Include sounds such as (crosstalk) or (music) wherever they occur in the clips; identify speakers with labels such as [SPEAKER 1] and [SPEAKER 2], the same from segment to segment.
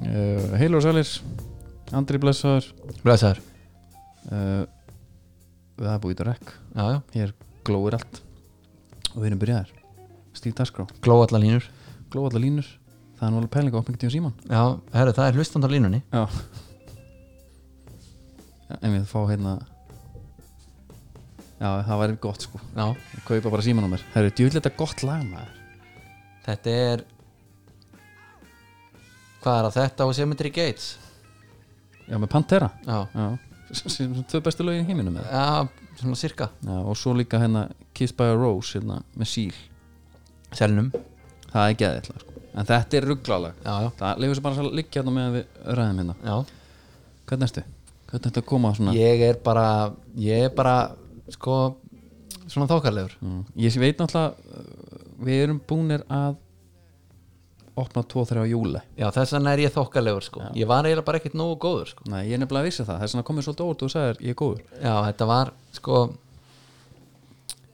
[SPEAKER 1] Eh, heil og sælir Andri blessaður
[SPEAKER 2] Blessaður
[SPEAKER 1] uh, Það er búið í drekk
[SPEAKER 2] Já, já,
[SPEAKER 1] Glóir allt Og við erum byrjaðar Stíf Daskrá
[SPEAKER 2] glóa allar línur
[SPEAKER 1] Gló allar línur Það er nú alveg pæling á opningi tíu síman
[SPEAKER 2] Já, herru, það er hlustandar línunni
[SPEAKER 1] En við fá hérna Já, það væri gott sko
[SPEAKER 2] Já,
[SPEAKER 1] Ég Kaupa bara síman á mér Herru, djúvill þetta gott lag maður
[SPEAKER 2] þetta er Hvað er að þetta og Cemetery Gates?
[SPEAKER 1] Já, með Pantera
[SPEAKER 2] Já,
[SPEAKER 1] Já Sem- sem sem Tvö bestu lögin í heiminum með
[SPEAKER 2] já svona sirka
[SPEAKER 1] Já, og svo líka hérna Kiss by a Rose hérna Með síl
[SPEAKER 2] Selnum
[SPEAKER 1] Það er geðið sko En þetta er rugglalag
[SPEAKER 2] Já, já,
[SPEAKER 1] Það leifur sér bara að liggja hérna meðan við ræðum hérna
[SPEAKER 2] já
[SPEAKER 1] Hvernig ertu? Hvernig ertu að koma svona? Ég,
[SPEAKER 2] Ég er bara, ég er bara Sko, svona þókarlegur
[SPEAKER 1] mm. ég veit náttúrulega uh, við erum búnir að opna 2-3 á júli
[SPEAKER 2] Já, þess vegna er ég þókarlegur, sko Ég var eiginlega bara ekkert nógu góður, sko
[SPEAKER 1] Nei, ég er nefnilega að vissi það, það er svona komið svolítið óvart og þú sagðir ég er góður
[SPEAKER 2] Já, þetta var, sko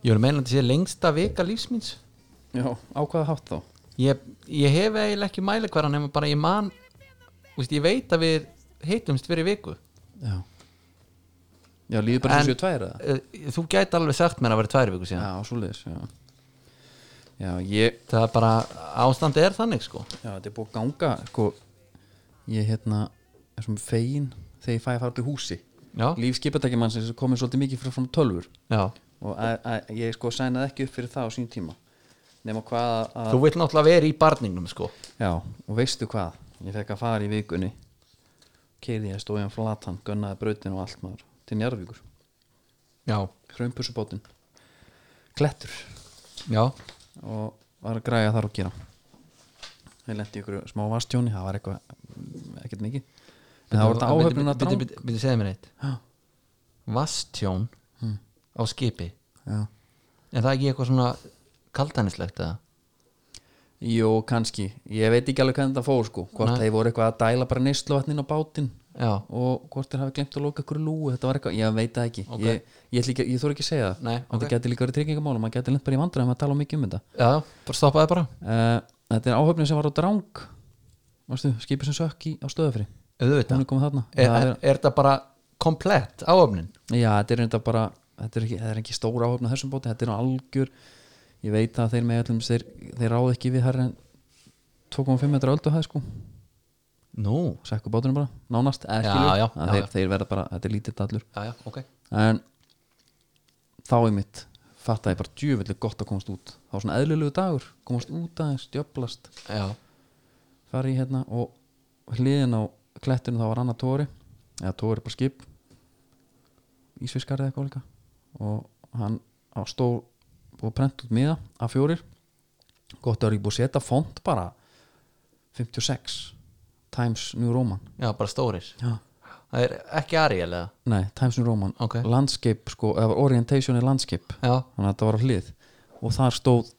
[SPEAKER 2] Ég vil meina að þetta sé lengsta vika lífsmýns
[SPEAKER 1] Já, á hvaða hátt þá?
[SPEAKER 2] ég, ég hef eiginlega ekki mælikvara nema bara ég man úst, ég veit að við heitumst fyrir viku
[SPEAKER 1] Já Já, líður bara
[SPEAKER 2] En-
[SPEAKER 1] þessu tværi eða?
[SPEAKER 2] Eh, þú gæti alveg sagt mér að vera tvær viku
[SPEAKER 1] Já,
[SPEAKER 2] síðan
[SPEAKER 1] svoleiðis, já Já, ég,
[SPEAKER 2] það er bara, ástandi er þannig sko
[SPEAKER 1] já, þetta er búið að ganga sko, ég hérna er svona fegin þegar ég fæ að fara upp í húsi
[SPEAKER 2] já,
[SPEAKER 1] Lífskipatækjumann sem komið svolítið mikið frá frá tölvur
[SPEAKER 2] já.
[SPEAKER 1] og að, að, ég sko sænaði ekki upp fyrir það á sín tíma nema hvað að
[SPEAKER 2] þú vill náttúrulega vera í barningnum sko
[SPEAKER 1] já, og veistu hvað, ég fekk að fara í vikunni keiri ég stóðum flatan gunnaði brautin og allt maður til Njarðvíkur,
[SPEAKER 2] já,
[SPEAKER 1] hraunpussubótin klettur
[SPEAKER 2] já,
[SPEAKER 1] og var að græja þar og gera ég lendi ykkur smá vastjóni, það var eitthvað ekkert mikið en það var þetta áhöfnum að drang
[SPEAKER 2] byrju, segðu mér eitt
[SPEAKER 1] Já.
[SPEAKER 2] vastjón
[SPEAKER 1] Hmm.
[SPEAKER 2] á skipi
[SPEAKER 1] já.
[SPEAKER 2] er það ekki eitthvað svona kaltanislegt eða?
[SPEAKER 1] jú, kannski, ég veit ekki alveg hvernig þetta fór sko, hvort
[SPEAKER 2] Nei.
[SPEAKER 1] þeir voru eitthvað að dæla bara neysluvatnin á bátinn
[SPEAKER 2] já,
[SPEAKER 1] og hvort þeir hafi glemt að loka ykkur lúu þetta var eitthvað, ég veit það ekki
[SPEAKER 2] Ok.
[SPEAKER 1] ég, ég, ætla ekki- ég þóra ekki að segja það
[SPEAKER 2] Nei,
[SPEAKER 1] þetta
[SPEAKER 2] ok.
[SPEAKER 1] gæti líka verið tryggingamál og maður gæti lent bara í vandræðum að tala mikið um þetta
[SPEAKER 2] já, bara stoppaði bara
[SPEAKER 1] uh, þetta er áhöfnin sem var á drang Vastu, skipið sem sökk í, á stöðafri
[SPEAKER 2] auðvitað,
[SPEAKER 1] hún er komið þarna
[SPEAKER 2] er,
[SPEAKER 1] Það
[SPEAKER 2] er, er það bara komplett áöfnin?
[SPEAKER 1] já, þetta er reynda bara þetta er ekki, þetta er ekki stóra áhöfn á þessum bóti þetta er nú algjör ég veit að þeir með öllum þeir, þeir ráð ekki við herri en 2,5 metra öldu hæð sko
[SPEAKER 2] nú,
[SPEAKER 1] sekku bátunum bara, nánast eða
[SPEAKER 2] Já,
[SPEAKER 1] skilur,
[SPEAKER 2] já,
[SPEAKER 1] að
[SPEAKER 2] já,
[SPEAKER 1] þeir,
[SPEAKER 2] já.
[SPEAKER 1] þeir verða bara, þetta er lítið allur
[SPEAKER 2] já, já, ok
[SPEAKER 1] en þá er mitt fattaði ég bara djöfellig gott að komast út þá var svona eðlilegu dagur, komast út aðeins djöblast,
[SPEAKER 2] já,
[SPEAKER 1] fari ég hérna og hliðin á klettinu þá var annar Tóri eða Tóri bara skip Ísfiskar eða eitthvað líka og hann á stór búið að prenta út miða af fjórir gott að vera ekki búið að setja font bara 56 Times New Roman
[SPEAKER 2] já, bara stórir
[SPEAKER 1] Já.
[SPEAKER 2] það er ekki Ariel eða
[SPEAKER 1] nei, Times New Roman
[SPEAKER 2] ok,
[SPEAKER 1] landscape sko, eða var orientation í landscape
[SPEAKER 2] já,
[SPEAKER 1] þannig að þetta var á hlið og þar stóð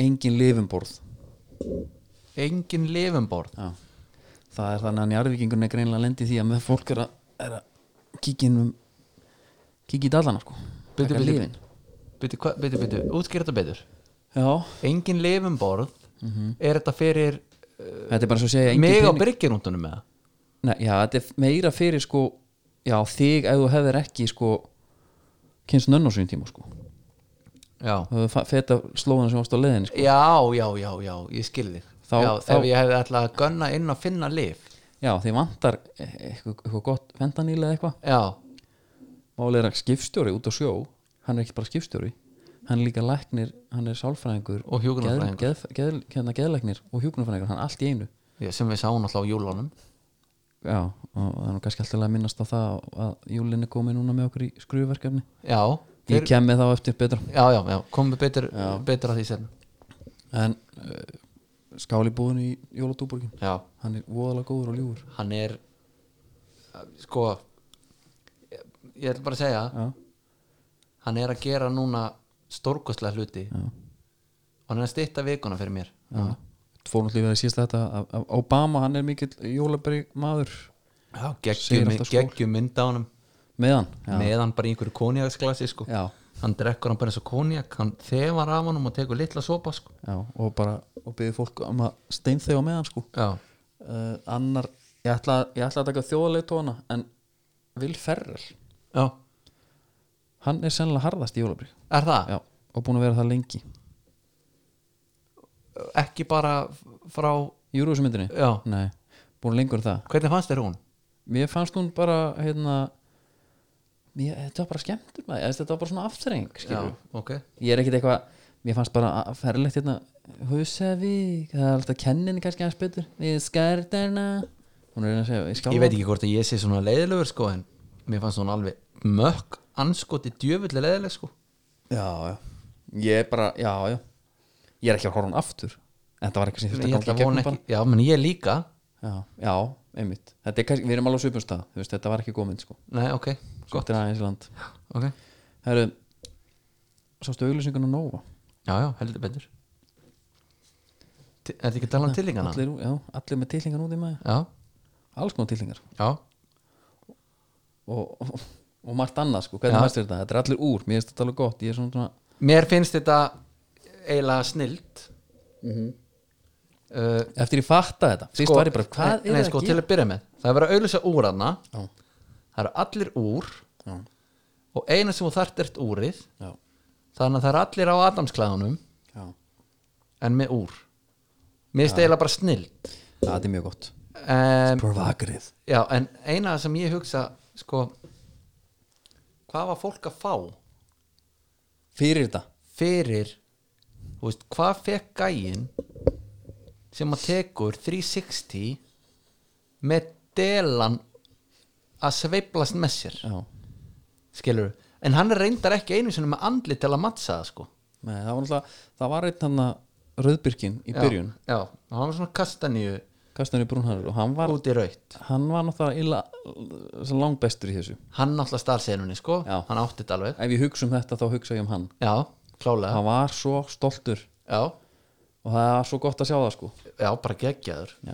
[SPEAKER 1] engin lifumborð
[SPEAKER 2] engin lifumborð
[SPEAKER 1] Já. það er þannig að njarðvíkingun er greinilega lendi því að með fólk er að, er að kíkja inn um kíkja í dallana sko
[SPEAKER 2] Bíddu,
[SPEAKER 1] Taka
[SPEAKER 2] bíddu.
[SPEAKER 1] lyfin.
[SPEAKER 2] byttu, byttu, byttu, útskýra þetta betur
[SPEAKER 1] Já,
[SPEAKER 2] engin lifumborð er þetta fyrir
[SPEAKER 1] þetta er bara svo að segja engin
[SPEAKER 2] mig á
[SPEAKER 1] pening-
[SPEAKER 2] byrgjurúndunum eða
[SPEAKER 1] Nei, já, þetta er meira fyrir sko já, þig ef þú hefðir ekki sko kynst nönn á sín tíma sko
[SPEAKER 2] já,
[SPEAKER 1] þú hefur feta slóðan sem varst á leiðin sko.
[SPEAKER 2] já, já, já, já, ég skil þig
[SPEAKER 1] Þá-
[SPEAKER 2] já,
[SPEAKER 1] þá-
[SPEAKER 2] ef ég hefði ætlað að gunna inn og finna lif
[SPEAKER 1] já, þið vantar e- eitthvað, eitthvað gott fendaníla eða eitthvað
[SPEAKER 2] já,
[SPEAKER 1] Málið er að skipstjóri út á sjó hann er ekki bara skipstjóri hann er líka læknir, hann er sálfræðingur
[SPEAKER 2] Og hjúkrunarfræðingur.
[SPEAKER 1] geð, geð, geð, hérna, geðlæknir og hjúknarfræðingur, hann er allt í einu
[SPEAKER 2] já, sem við sáum alltaf á júlunum
[SPEAKER 1] já, og það er nú kannski alltaf að minnast á það að júlinni komi núna með okkur í skrúverkefni
[SPEAKER 2] já,
[SPEAKER 1] ég kem með þá eftir betra
[SPEAKER 2] já, já, já, komum við betur, betur að því sem
[SPEAKER 1] en uh, skáli búinu í Jólatúborgin
[SPEAKER 2] já,
[SPEAKER 1] hann er voðalega góður og ljúfur
[SPEAKER 2] hann er sko ég, ég ætla bara að segja
[SPEAKER 1] já,
[SPEAKER 2] hann er að gera núna stórkostlega hluti
[SPEAKER 1] já,
[SPEAKER 2] og hann er að stýtta vikuna fyrir mér
[SPEAKER 1] já fórum allir við að síðast þetta að, að Obama, hann er mikill jólabri maður
[SPEAKER 2] já,
[SPEAKER 1] Segir alltaf skór.
[SPEAKER 2] geggjum mynd á honum
[SPEAKER 1] meðan
[SPEAKER 2] með hann bara í einhverju konjaksklasi sko.
[SPEAKER 1] já,
[SPEAKER 2] hann drekkur hann bara eins og konjak hann þefar af honum og tekur litla sopa sko.
[SPEAKER 1] já, og bara og byrði fólk um að stein þau á meðan sko
[SPEAKER 2] já,
[SPEAKER 1] uh, annar ég ætla, ég ætla að taka þjóðarleitóna en Vil Ferrell
[SPEAKER 2] Já,
[SPEAKER 1] hann er sennilega harðast í jólabrík
[SPEAKER 2] er það?
[SPEAKER 1] Já, og búin að vera það lengi
[SPEAKER 2] Ekki bara frá
[SPEAKER 1] Júruvísmyndinni?
[SPEAKER 2] Já,
[SPEAKER 1] Nei, búin lengur en það
[SPEAKER 2] hvernig fannst þér hún?
[SPEAKER 1] Mér fannst hún bara hérna mér, þetta var bara skemmtur maður eða þetta var bara svona aftreng skilurðu.
[SPEAKER 2] ok
[SPEAKER 1] ég er ekkit eitthvað, mér fannst bara að ferlegt hérna, Húsavík það er alltaf kennin kannski hans betur við skærdarna hún er að segja, ég skal
[SPEAKER 2] Ég veit ekki hvort að ég sé svona leiðilegur sko en mér fannst hún alveg mökk anskoti djöfulli leiðileg sko
[SPEAKER 1] já, já, ég er bara, já, já ég er ekki að horfa hún aftur en þetta var eitthvað sem
[SPEAKER 2] Ég
[SPEAKER 1] þurfti að
[SPEAKER 2] ætla
[SPEAKER 1] gangi
[SPEAKER 2] að vona
[SPEAKER 1] gegnum
[SPEAKER 2] ekki
[SPEAKER 1] bara
[SPEAKER 2] Já, menn ég líka
[SPEAKER 1] já, já, einmitt, þetta er kannski, við erum alveg á svipum stað, þú veist, þetta var ekki góð mynd sko,
[SPEAKER 2] Nei, ok, gott
[SPEAKER 1] þetta er aðeins í land
[SPEAKER 2] Ok,
[SPEAKER 1] Herru, sástu auglýsingun á Nova
[SPEAKER 2] já, já, heldur betur Ti- Er þetta ekki að tala um tillingana?
[SPEAKER 1] allir, já, allir með tilhingar út í maður
[SPEAKER 2] Já,
[SPEAKER 1] alls konar tilhingar
[SPEAKER 2] já,
[SPEAKER 1] og, og, og margt annað sko, hvernig
[SPEAKER 2] Já.
[SPEAKER 1] mæstir þetta, þetta er allir úr mér finnst þetta alveg gott, ég er svona, svona
[SPEAKER 2] mér finnst þetta eiginlega snilt mm -hmm.
[SPEAKER 1] eftir ég fatta þetta, Mhm. fyrst var ég bara hvað
[SPEAKER 2] sko, nei,
[SPEAKER 1] er
[SPEAKER 2] sko,
[SPEAKER 1] það
[SPEAKER 2] til
[SPEAKER 1] að
[SPEAKER 2] að byrja með, það er verið að auðlýsa úr hana
[SPEAKER 1] Já.
[SPEAKER 2] það eru allir úr
[SPEAKER 1] gera
[SPEAKER 2] og eina sem þú þart ert úrið
[SPEAKER 1] já,
[SPEAKER 2] þannig að það eru allir á Adamsklæðunum
[SPEAKER 1] já, já,
[SPEAKER 2] en með úr mér finnst eiginlega bara snilt
[SPEAKER 1] það er mjög gott
[SPEAKER 2] um,
[SPEAKER 1] provakrið,
[SPEAKER 2] já, en eina sem ég hugsa sko hvað var fólk að fá
[SPEAKER 1] fyrir þetta
[SPEAKER 2] fyrir þú veist, hvað fekk gæin sem að tekur 360 með delan að sveiplast með sér
[SPEAKER 1] já,
[SPEAKER 2] skilur en hann reyndar ekki einu sinni með andli til að mattsa það sko
[SPEAKER 1] Nei, það var alltaf það var einn hann að rauðbyrkin í byrjun,
[SPEAKER 2] já, já, og hann var svona kastaníu
[SPEAKER 1] Kastanur Brúnharður og hann var,
[SPEAKER 2] út í raut
[SPEAKER 1] hann var náttúrulega illa, sem langbestur í þessu
[SPEAKER 2] hann náttúrulega starfseinunni sko,
[SPEAKER 1] Já.
[SPEAKER 2] hann átti þetta alveg
[SPEAKER 1] ef ég hugsa um þetta þá hugsa ég um hann
[SPEAKER 2] já, klálega
[SPEAKER 1] hann var svo stoltur
[SPEAKER 2] já,
[SPEAKER 1] og það var svo gott að sjá það sko
[SPEAKER 2] já, bara geggjaður
[SPEAKER 1] já,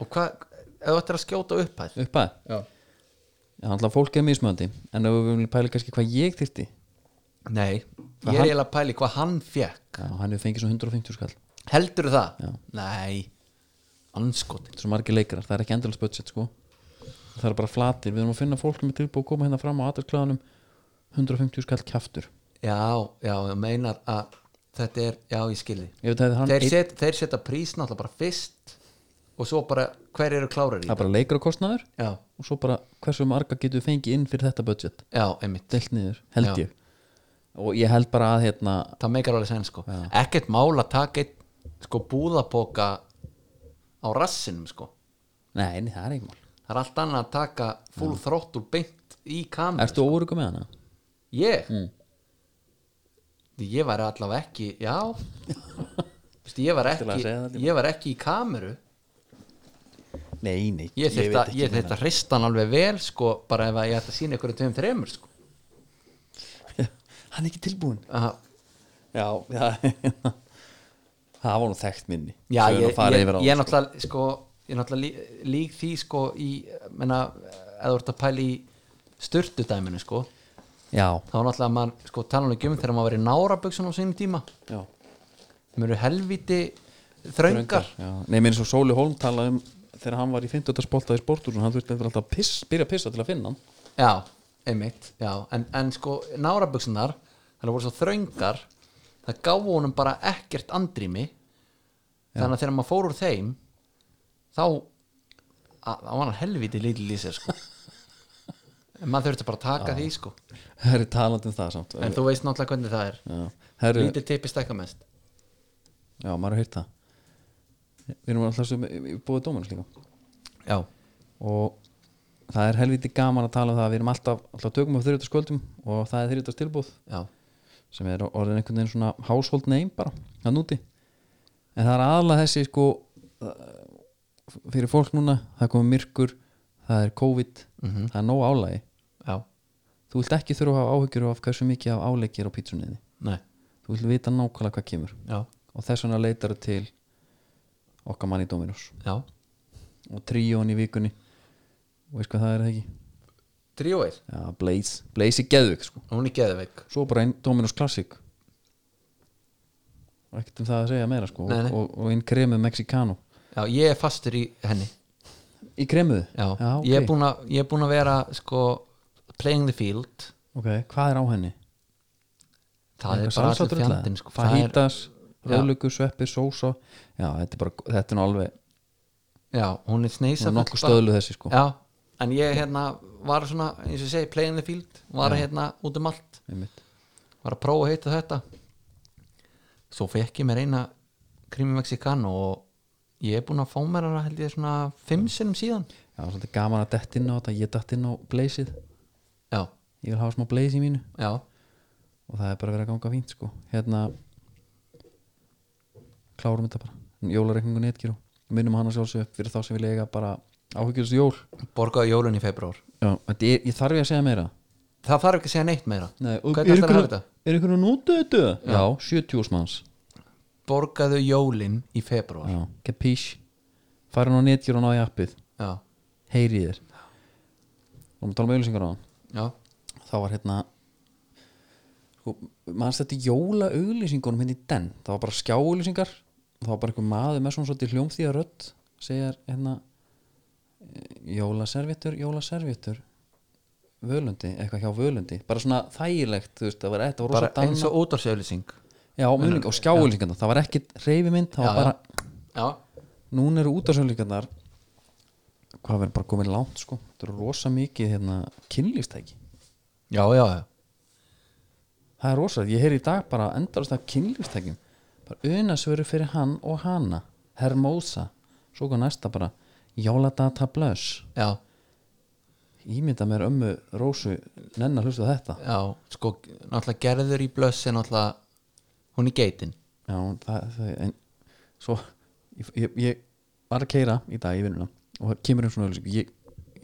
[SPEAKER 2] og hvað, ef þú ættir að skjóta upphæð
[SPEAKER 1] uppæð
[SPEAKER 2] já,
[SPEAKER 1] Já, alltaf fólk er mismöndi en ef við viljum pæla kannski hvað ég þyrti
[SPEAKER 2] nei ég er
[SPEAKER 1] hann-
[SPEAKER 2] eiginlega að pæli hvað hann fekk
[SPEAKER 1] Já, hann hefur fengið svo 150 skall þetta
[SPEAKER 2] heldur það? Já. nei, anskotin
[SPEAKER 1] er svo margir leikarar, það er ekki endalast budget sko það er bara flatir, við erum að finna fólk með tilbúið að koma hérna fram á aðeinsklaðanum 150 skall kjaftur
[SPEAKER 2] já, já, þú meinar að þetta er, já, ég skilji
[SPEAKER 1] Ég veit að hann
[SPEAKER 2] þeir,
[SPEAKER 1] einn-
[SPEAKER 2] set, þeir setja prís náttúrulega bara fyrst og svo bara hver eru klárar í
[SPEAKER 1] það er bara leikararkostnaður
[SPEAKER 2] já,
[SPEAKER 1] og svo bara hversu marga getur við fengið inn fyrir þetta budget
[SPEAKER 2] já, einmitt
[SPEAKER 1] delt niður, held
[SPEAKER 2] Já.
[SPEAKER 1] ég og ég held bara að hérna
[SPEAKER 2] það meikar alveg sen sko ekkert mál að taka eitt sko búðapoka á rassinum sko
[SPEAKER 1] nei, nei, það er ekki mál
[SPEAKER 2] það er allt annað að taka full þróttul beint í kamer
[SPEAKER 1] Erstu óryggur með hana?
[SPEAKER 2] ég
[SPEAKER 1] Mm.
[SPEAKER 2] ég var allavega ekki
[SPEAKER 1] (laughs)
[SPEAKER 2] já Vistu, ég,
[SPEAKER 1] að
[SPEAKER 2] var ekki,
[SPEAKER 1] segja það líka.
[SPEAKER 2] ég var ekki í kameru
[SPEAKER 1] Nei, nei,
[SPEAKER 2] ég
[SPEAKER 1] veit
[SPEAKER 2] þurfti að,
[SPEAKER 1] ekki
[SPEAKER 2] ég
[SPEAKER 1] um
[SPEAKER 2] þyrfti að hrista hann alveg vel sko bara ef að ég ætti að sína ykkur um tveim þremur sko
[SPEAKER 1] það. (laughs) Hann er ekki tilbúin
[SPEAKER 2] Aha.
[SPEAKER 1] Já, já (laughs) Það var nú þekkt minni
[SPEAKER 2] Já,
[SPEAKER 1] Svo
[SPEAKER 2] ég,
[SPEAKER 1] erum við að fara
[SPEAKER 2] ég,
[SPEAKER 1] yfir á það,
[SPEAKER 2] ég
[SPEAKER 1] sko.
[SPEAKER 2] náttúrulega sko, ég náttúrulega lí, lík því sko í, menna, eða þú ert að pæla í styrtudæminu sko
[SPEAKER 1] Já,
[SPEAKER 2] þá náttúrulega maður, sko, talan ekki um þegar maður var í náraböksunum á sínum tíma
[SPEAKER 1] já
[SPEAKER 2] þeim eru helviti þröngar,
[SPEAKER 1] já. Nei, mér er svo Sóli Holm talaði um þegar hann var í 50. spoltaði í sportúrun hann þurfti alltaf að piss, byrja að pissa til að finna hann
[SPEAKER 2] já, einmitt já, en, en sko, náraböksunar þannig voru svo þröngar það gáfu honum bara ekkert andrými þannig að þegar maður fór úr þeim þá að- þá var hann helviti lítil í sér (laughs) sko En maður þurfti bara að taka því sko
[SPEAKER 1] Herri, talandi um það samt
[SPEAKER 2] En þú veist náttúrulega hvernig það er
[SPEAKER 1] já, Herri,
[SPEAKER 2] Lítið tippi stækka mest
[SPEAKER 1] já, maður er heyrt það Við erum alltaf sem búið dóminus líka
[SPEAKER 2] Já,
[SPEAKER 1] og það er helviti gaman að tala um það við erum alltaf, alltaf tökum á þriðutaskvöldum og það er þriðutastilbúð
[SPEAKER 2] já,
[SPEAKER 1] sem er orðin einhvern veginn svona household name bara, hann úti en það er aðalega þessi sko uh, fyrir fólk núna það er komið myrkur, það er COVID það er nóg álagi
[SPEAKER 2] já,
[SPEAKER 1] þú vilt ekki þurfa að hafa áhyggjur af hversu mikið af áleikir á pítsunniði
[SPEAKER 2] nei,
[SPEAKER 1] þú vilt vita nákvæmlega hvað kemur
[SPEAKER 2] já,
[SPEAKER 1] og þess vegna leitar þú til okkar mann í Dominus
[SPEAKER 2] já
[SPEAKER 1] og tríón í vikunni og veist hvað það er eða ekki
[SPEAKER 2] Tríóið,
[SPEAKER 1] já, Blaze, Blaze í Geðvik sko.
[SPEAKER 2] hún er geðveik
[SPEAKER 1] svo bara einn Dominus Classic og ekkert um það að segja meira sko
[SPEAKER 2] Nei, nei.
[SPEAKER 1] og, og einn kremið Mexicano
[SPEAKER 2] Já, ég er fastur í henni
[SPEAKER 1] í kremuðu
[SPEAKER 2] já,
[SPEAKER 1] ok.
[SPEAKER 2] ég er búinn að- ég er búin að vera sko, playing the field
[SPEAKER 1] ok, hvað er á henni?
[SPEAKER 2] það er
[SPEAKER 1] Eitthvað
[SPEAKER 2] bara
[SPEAKER 1] salsatur
[SPEAKER 2] allir
[SPEAKER 1] öll eða?
[SPEAKER 2] fjandinn sko. það er,
[SPEAKER 1] fajitas, rauðlöku, sveppi, sósa já, þetta er bara, þetta er nú alveg
[SPEAKER 2] já, hún er
[SPEAKER 1] hún
[SPEAKER 2] sneisa
[SPEAKER 1] er nokkuð stöðlu þessi sko
[SPEAKER 2] já, en ég hérna var svona, eins og ég segi, playing the field var hérna út um allt
[SPEAKER 1] Einmitt.
[SPEAKER 2] var að prófa að heita þetta svo fekk ég mér eina krimi mexikano og ég er búinn að fá mér hana held ég svona fimm sinnum síðan
[SPEAKER 1] já, svolítið gaman að dett inn á þetta, ég dett inn á blazeið
[SPEAKER 2] já,
[SPEAKER 1] ég vil hafa smá blaze í mínu
[SPEAKER 2] já,
[SPEAKER 1] og það er bara verið að ganga fínt sko hérna klárum þetta bara jólareikningu netgíru minnum hann að sjálfsög upp fyrir þá sem vilja eiga bara áhyggjast jól
[SPEAKER 2] borgaði jólun í februar
[SPEAKER 1] já, þetta er, ég þarf ég að segja meira
[SPEAKER 2] það þarf ekki að segja neitt meira
[SPEAKER 1] Nei, og
[SPEAKER 2] hvernig ætlar að hafa þetta?
[SPEAKER 1] er einhvern að nota þetta? já, 70 úrsmanns
[SPEAKER 2] borgaðu jólin í februar já,
[SPEAKER 1] já, capiche farin á netgíru og náði appið
[SPEAKER 2] já,
[SPEAKER 1] heyri þér og við tala um auðlýsingar á hann
[SPEAKER 2] já,
[SPEAKER 1] þá var hérna sko, mannst þetta jóla auglýsingunum hérna í den, það var bara skjáauglýsingar og það var bara einhver maður með svona svolítið hljómþýða rödd segjar hérna "Eh, jólaservittur, jólaservittur völundi, eitthvað hjá völundi bara svona þægilegt, þú veist, það var þetta var
[SPEAKER 2] bara
[SPEAKER 1] rosa danna,
[SPEAKER 2] eins og útarsauðlýsing
[SPEAKER 1] já, munning, og skjáauglýsingarna það var ekki reyfimynd, það
[SPEAKER 2] Já,
[SPEAKER 1] var
[SPEAKER 2] já.
[SPEAKER 1] bara
[SPEAKER 2] já,
[SPEAKER 1] núna eru útarsauglýsingarnar hvað verður bara komin langt sko þetta eru rosa mikið hérna kynlýstæki
[SPEAKER 2] já, já, já.
[SPEAKER 1] það er rosalegt, ég heyri í dag bara endarast af kynlífstækjum bara unasvöru fyrir hann og hana Hermosa, svo hvað næsta bara Jóladata Blöss
[SPEAKER 2] já.
[SPEAKER 1] ímynda mér ömmu Rósu nenn að hlusta á þetta
[SPEAKER 2] Já, sko, náttúrulega gerður í blöss er náttúrulega, hún er geitin
[SPEAKER 1] Já, það, það, en svo ég, ég, ég var að keira í dag í vinnuna og það kemur um svona auðlýsing ég,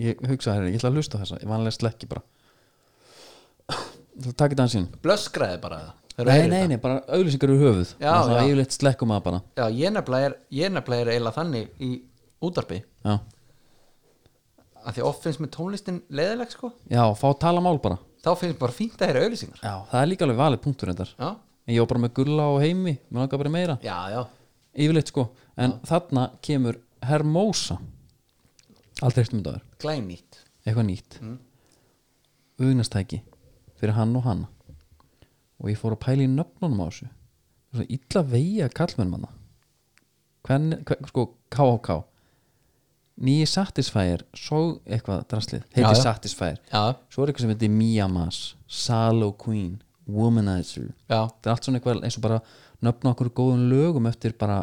[SPEAKER 1] ég hugsaði hérna, ég ætla að hlusta á þessa ég vanlega slekki bara (coughs) það takið dansinn
[SPEAKER 2] Blössgræði bara það Þeir eru
[SPEAKER 1] Nei,
[SPEAKER 2] að heyra
[SPEAKER 1] nei,
[SPEAKER 2] þetta.
[SPEAKER 1] nei, bara auðlýsingar úr höfuð
[SPEAKER 2] Já,
[SPEAKER 1] það er
[SPEAKER 2] já.
[SPEAKER 1] yfirleitt slekkum að bara
[SPEAKER 2] Já, ég nefnilega er, ég nefnilega er eiginlega þannig í útarpi
[SPEAKER 1] Já,
[SPEAKER 2] að því oft finnst mér tónlistin leiðileg sko
[SPEAKER 1] já fá að tala mál bara
[SPEAKER 2] þá finnst mér bara fínt að heyra auðlýsingar
[SPEAKER 1] Já, það er líka alveg valið punktur reyndar
[SPEAKER 2] Já,
[SPEAKER 1] En ég var bara með gulla og heimi, mér langar bara í meira
[SPEAKER 2] já, já,
[SPEAKER 1] Yfirleitt sko, en þarna kemur Hermosa Aldrei eftir myndaður,
[SPEAKER 2] glænýtt
[SPEAKER 1] eitthvað nýtt mm. Ugnastæki Fyrir hann og hanna Og ég fór að pæla í nöfnunum á þessu Svo illa veiga kallmennum hana Hvern, hvern, sko, KHK Nýji Satisfyer Svo eitthvað draslið, heiti
[SPEAKER 2] Já, já.
[SPEAKER 1] Satisfyer
[SPEAKER 2] Já,
[SPEAKER 1] Svo er eitthvað sem heiti Miyamas Salo Queen, Womanizer
[SPEAKER 2] já,
[SPEAKER 1] þetta er allt svona eitthvað eins og bara nöfna okkur góðum lögum eftir bara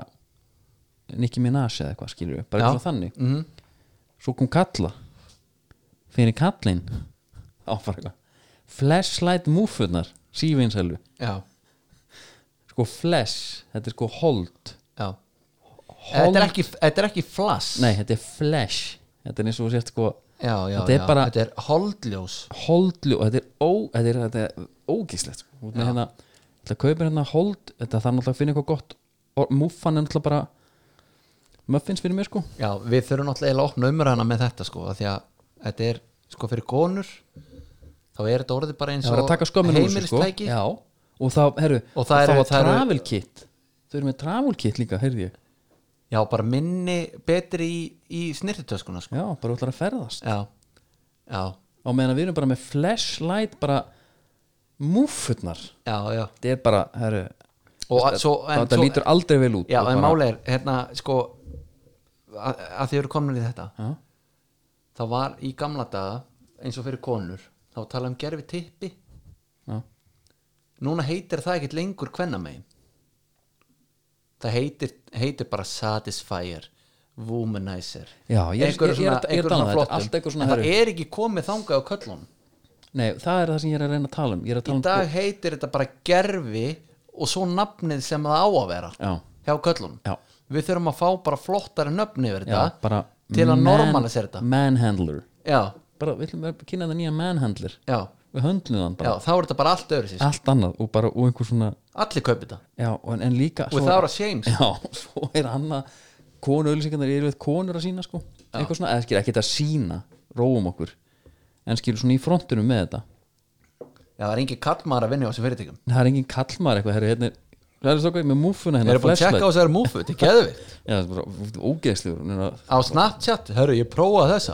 [SPEAKER 1] Nicki Minaj eða eitthvað skilur við bara
[SPEAKER 2] Já.
[SPEAKER 1] eitthvað svona þannig,
[SPEAKER 2] mhm,
[SPEAKER 1] svo kom kalla fyrir kallin (laughs) áfara eitthvað flashlight múfunar, sífinsælu
[SPEAKER 2] já,
[SPEAKER 1] sko flash, þetta er sko hold
[SPEAKER 2] já
[SPEAKER 1] Hold-
[SPEAKER 2] Þetta er ekki, þetta er ekki flass
[SPEAKER 1] nei, þetta er flash þetta er eins og þú sért sko
[SPEAKER 2] Já, já,
[SPEAKER 1] Þetta er
[SPEAKER 2] já,
[SPEAKER 1] bara-
[SPEAKER 2] þetta er holdljós
[SPEAKER 1] holdlu og þetta er, ó, þetta er, þetta er ógíslegt sko. Út með hérna, þetta kaupir hérna hold þetta þarf náttúrulega að finna eitthvað gott og múfan er náttúrulega bara muffins fyrir mér sko
[SPEAKER 2] Já, við þurfum náttúrulega eiginlega að opna umræðana með þetta sko, af því að þetta er sko fyrir konur þá er þetta orðið bara eins
[SPEAKER 1] það var að taka
[SPEAKER 2] og
[SPEAKER 1] skömmin úr þessu sko
[SPEAKER 2] heimilistæki
[SPEAKER 1] Já, og þá, herru,
[SPEAKER 2] Og
[SPEAKER 1] og
[SPEAKER 2] það
[SPEAKER 1] það,
[SPEAKER 2] eru-
[SPEAKER 1] var
[SPEAKER 2] það eru-
[SPEAKER 1] travel kit þau eru með travel kit líka, heyrði ég
[SPEAKER 2] Já, bara minni betri í, í snirtitöskuna sko.
[SPEAKER 1] já, bara ætlar að ferðast
[SPEAKER 2] Já, já,
[SPEAKER 1] á meðan við erum bara með flashlight bara múfutnar
[SPEAKER 2] já, já
[SPEAKER 1] þetta er bara, herru
[SPEAKER 2] Og að- svo, en
[SPEAKER 1] þetta
[SPEAKER 2] svo-
[SPEAKER 1] lítur aldrei vel út
[SPEAKER 2] Já,
[SPEAKER 1] Og bara-
[SPEAKER 2] en máli er, hérna, sko að, að þið eru komin í þetta
[SPEAKER 1] Já.
[SPEAKER 2] þá var í gamla daga eins og fyrir konur, þá var talað um gerfi tippi
[SPEAKER 1] já,
[SPEAKER 2] núna heitir það ekkert lengur hvenna megin það heitir, heitir bara Satisfyer Womanizer
[SPEAKER 1] Já, ég er-
[SPEAKER 2] Einhverju
[SPEAKER 1] ég- ég er
[SPEAKER 2] svona-
[SPEAKER 1] að- ég er
[SPEAKER 2] einhverju
[SPEAKER 1] að tala um
[SPEAKER 2] svona
[SPEAKER 1] þetta,
[SPEAKER 2] flottum.
[SPEAKER 1] allt eitthvað svona
[SPEAKER 2] en það
[SPEAKER 1] herru.
[SPEAKER 2] er ekki komið þangað á köllunum
[SPEAKER 1] nei, það er það sem ég er að reyna að tala um ég er að
[SPEAKER 2] í
[SPEAKER 1] tala um
[SPEAKER 2] dag heitir þetta bara gerfi og svo nafnið sem það á að vera
[SPEAKER 1] Já.
[SPEAKER 2] hjá köllunum
[SPEAKER 1] Já.
[SPEAKER 2] við þurfum að fá bara flottari nöfni yfir
[SPEAKER 1] já,
[SPEAKER 2] þetta
[SPEAKER 1] bara
[SPEAKER 2] til að
[SPEAKER 1] man-
[SPEAKER 2] normalisera þetta
[SPEAKER 1] manhandler,
[SPEAKER 2] já,
[SPEAKER 1] bara við ætlum að kynna þetta nýja manhandler
[SPEAKER 2] já,
[SPEAKER 1] við höndlum þann
[SPEAKER 2] já,
[SPEAKER 1] bara,
[SPEAKER 2] þá er þetta bara allt öðru sér
[SPEAKER 1] allt annað og bara, og einhver svona
[SPEAKER 2] allir kaupi þetta
[SPEAKER 1] já, en, en líka svo-
[SPEAKER 2] og það er að shame sko.
[SPEAKER 1] (laughs) Já, svo er annað konu auðlýsingarnar eru við konur að sína sko eitthvað svona, eða skilur ekki þetta sína róum okkur, en skilur svona í frontunum með þetta,
[SPEAKER 2] já, það er engin kallmaður að vinna á þessum fyrirtækjum
[SPEAKER 1] en það er engin kallmar eitthvað, herru, hérna er það er svo með múfuna
[SPEAKER 2] Þeir
[SPEAKER 1] hérna
[SPEAKER 2] eru búin að tjekka á þessari múfu, þetta er geðvikt
[SPEAKER 1] Já, það er bara ógeðslegur
[SPEAKER 2] Á Snapchat, herru, ég prófaði þessa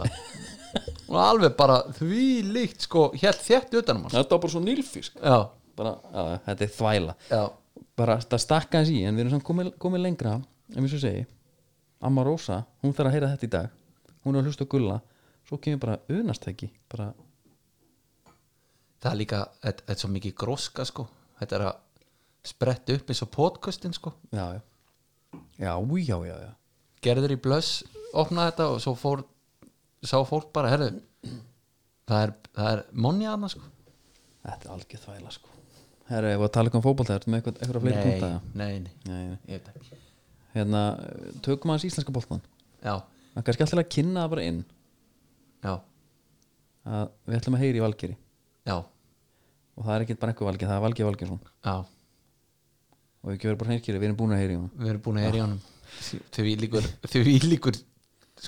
[SPEAKER 2] Hún var alveg bara því líkt sko, hélt þétt utanum hann
[SPEAKER 1] Þetta var bara svo nýlfisk
[SPEAKER 2] Já,
[SPEAKER 1] bara, að, Þetta er þvæla
[SPEAKER 2] já,
[SPEAKER 1] bara þetta stakka hans í en við erum samt komið, komið lengra en eins og ég segi, Amma Rósa hún þarf að heyra þetta í dag, hún er að hlusta á gulla svo kemur bara unastæki bara,
[SPEAKER 2] það er líka, þetta þetta er svo mikið gróska sko Þetta er að spretta upp eins og podcastin sko
[SPEAKER 1] já, já já, új, já, já, já
[SPEAKER 2] Gerður í blöss, opnaði þetta og svo fór Sá fólk bara, herru Það er, það er monni aðna sko
[SPEAKER 1] þetta er algjör þvæla sko herru, ég var að tala eitthvað um fótbolta, ertu með eitthvað, eitthvað fleiri punta
[SPEAKER 2] nei, nei,
[SPEAKER 1] Nei, nei.
[SPEAKER 2] ég veit ekki
[SPEAKER 1] hérna, tökum aðeins íslenska boltan
[SPEAKER 2] Já,
[SPEAKER 1] það er kannski alltaf að kynna það bara inn
[SPEAKER 2] já,
[SPEAKER 1] að við ætlum að heyri í Valgeri
[SPEAKER 2] já,
[SPEAKER 1] og það er ekkert bara eitthvað Valgeri, það er Valgeri Valgersson
[SPEAKER 2] já
[SPEAKER 1] og við ekki verið bara hreinskýri, við erum búin að heyri í hún
[SPEAKER 2] við erum búin
[SPEAKER 1] Ah.
[SPEAKER 2] að heyra í honum því líkur, því líkur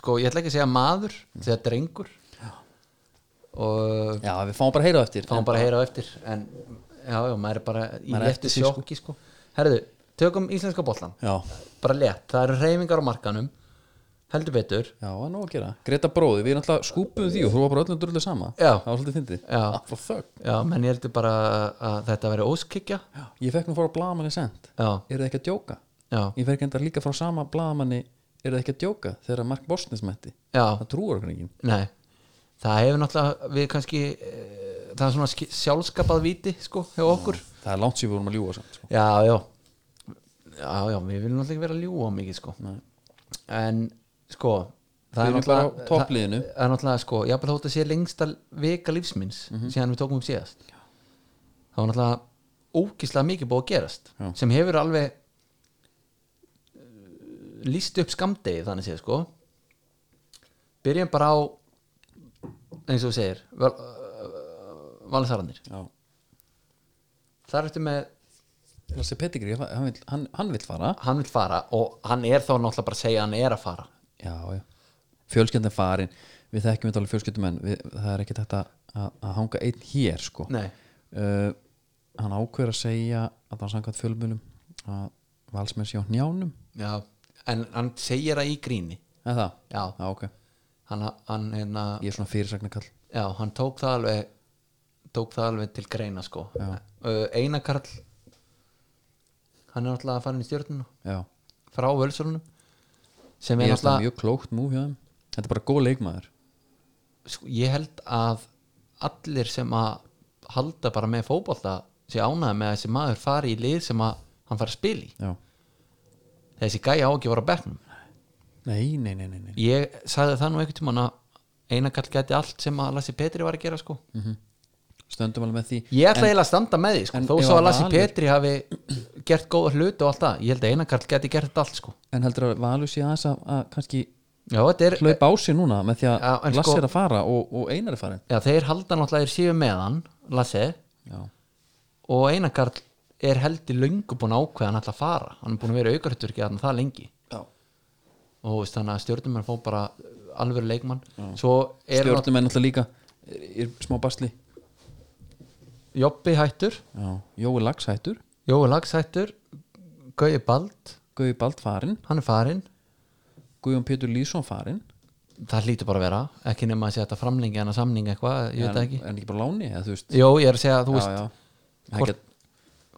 [SPEAKER 2] sko, ég ætla ekki að segja maður því að drengur og
[SPEAKER 1] já, við fáum bara að heyra á eftir
[SPEAKER 2] fáum bara að heyra á eftir en já, já, maður er bara í
[SPEAKER 1] Maður er
[SPEAKER 2] léttu
[SPEAKER 1] eftir sig,
[SPEAKER 2] sjokki sko. herðu, tökum íslenska bollan
[SPEAKER 1] já,
[SPEAKER 2] bara létt, það eru reyfingar á markanum heldur betur
[SPEAKER 1] Já, það er nóg að gera Greta bróði, við náttúrulega skúpuðum því og þú var bara öllum drullið sama
[SPEAKER 2] Já.
[SPEAKER 1] Það var svolítið fyndið
[SPEAKER 2] Já.
[SPEAKER 1] Ah, for fuck.
[SPEAKER 2] já, menn ég heldur bara að þetta veri óskikja
[SPEAKER 1] Ég fekk nú fór að blaðamanni sent
[SPEAKER 2] já,
[SPEAKER 1] Eru þið ekki að djóka?
[SPEAKER 2] já,
[SPEAKER 1] Ég fekk enda líka frá sama blaðamanni Eru þið ekki að djóka? Þegar Mark Bosnes mætti
[SPEAKER 2] já
[SPEAKER 1] Það trúar okkur enginn
[SPEAKER 2] nei, það hefur náttúrulega við kannski eh, það er svona ski- sjálfskapað viti sko, hjá okkur
[SPEAKER 1] Það er langt sér við vorum að ljúga samt sko.
[SPEAKER 2] já, já já, já, við viljum náttúrulega ekki vera að ljúa mikið sko. en sko
[SPEAKER 1] Við
[SPEAKER 2] það
[SPEAKER 1] erum bara á
[SPEAKER 2] er náttúrulega það
[SPEAKER 1] toppliðinu
[SPEAKER 2] það er náttúrulega sko, ég að þótt að sé lengsta vika lífsminns
[SPEAKER 1] Mhm.
[SPEAKER 2] síðan við tókum upp síðast það var náttúrulega ógislega mikið búið að gerast
[SPEAKER 1] Já.
[SPEAKER 2] sem hefur alveg eh, lýst upp skamdegi þannig séð sko byrjum bara á eins og þú segir val, valinsarannir
[SPEAKER 1] Já.
[SPEAKER 2] þar ertu með
[SPEAKER 1] Lassi Pettigri, hann, vill- hann, hann vill fara
[SPEAKER 2] hann vil fara og hann er þá náttúrulega bara að segja að hann er að fara
[SPEAKER 1] Já, já Fjölskyldin farin Við þekkjum þetta alveg fjölskyldumenn við, Það er ekki þetta að, að hanga einn hér sko.
[SPEAKER 2] Nei.
[SPEAKER 1] uh, hann ákveður að segja að það var samkvæmt fjölmjölum að valsmenn sé á njánum
[SPEAKER 2] já. en hann segir það í gríni
[SPEAKER 1] eða það?
[SPEAKER 2] Já.
[SPEAKER 1] Já, ok,
[SPEAKER 2] hann, hann, hérna,
[SPEAKER 1] ég er svona fyrirsagnakall
[SPEAKER 2] já, hann tók það alveg tók það alveg til greina sko uh, Einakarl hann er náttúrulega að fara inn í stjórnuna
[SPEAKER 1] já,
[SPEAKER 2] frá völsölunum sem
[SPEAKER 1] ég
[SPEAKER 2] er
[SPEAKER 1] er svona
[SPEAKER 2] náttúrulega
[SPEAKER 1] mjög klókt múf hjá þeim þetta er bara góð leikmaður
[SPEAKER 2] sko, ég held að allir sem að halda bara með fótbolta sé ánægð með að þessi maður fari í lið sem að hann fari að spila í
[SPEAKER 1] já.
[SPEAKER 2] þessi gæja á ekki að voru á bekknum
[SPEAKER 1] nei, nei, nei, nei, nei.
[SPEAKER 2] ég sagði það nú einhvern tímann að einakall gæti allt sem að Lassi Petri var að gera sko
[SPEAKER 1] stöndum alveg með því
[SPEAKER 2] ég ætla eiginlega að standa með því sko
[SPEAKER 1] en
[SPEAKER 2] þó
[SPEAKER 1] ef
[SPEAKER 2] svo
[SPEAKER 1] að
[SPEAKER 2] að Lassi
[SPEAKER 1] Valur-
[SPEAKER 2] Petri hafi gert góða hluti og allt það ég held að einakall gæti gert þetta allt sko
[SPEAKER 1] en heldur að Valur sé aðeins að, að kannski
[SPEAKER 2] já, þetta er,
[SPEAKER 1] hlaupa á sig núna með því að
[SPEAKER 2] Já, en
[SPEAKER 1] Lasse
[SPEAKER 2] sko-
[SPEAKER 1] er að fara og, og Einar er farin
[SPEAKER 2] já, þeir halda náttúrulega þeir séu með hann Lassi
[SPEAKER 1] já,
[SPEAKER 2] og einakall er held í löngu búin að ákveða hann alltaf að fara hann er búin að vera aukarhættur ekki að það lengi
[SPEAKER 1] já.
[SPEAKER 2] og þú veist, þannig að stjórnum er fó bara alvöru leikmann svo er náttúrulega
[SPEAKER 1] stjórnum er náttúrulega líka er, er smá basli
[SPEAKER 2] Jobbi hættur
[SPEAKER 1] já. Jói Lags hættur,
[SPEAKER 2] Jói Lags hættur Gauði Bald,
[SPEAKER 1] Gauði Bald farin
[SPEAKER 2] hann er farinn
[SPEAKER 1] Guðjón Pétur Lýsson farin
[SPEAKER 2] það hlýtur bara að vera, ekki nema að segja þetta framlengi en að samninga eitthvað, ég veit það
[SPEAKER 1] en,
[SPEAKER 2] ekki
[SPEAKER 1] en ekki bara láni eða, þú veist,
[SPEAKER 2] Jó, ég er að segja að þú
[SPEAKER 1] já,
[SPEAKER 2] veist
[SPEAKER 1] já.
[SPEAKER 2] hvort-
[SPEAKER 1] Ekkert,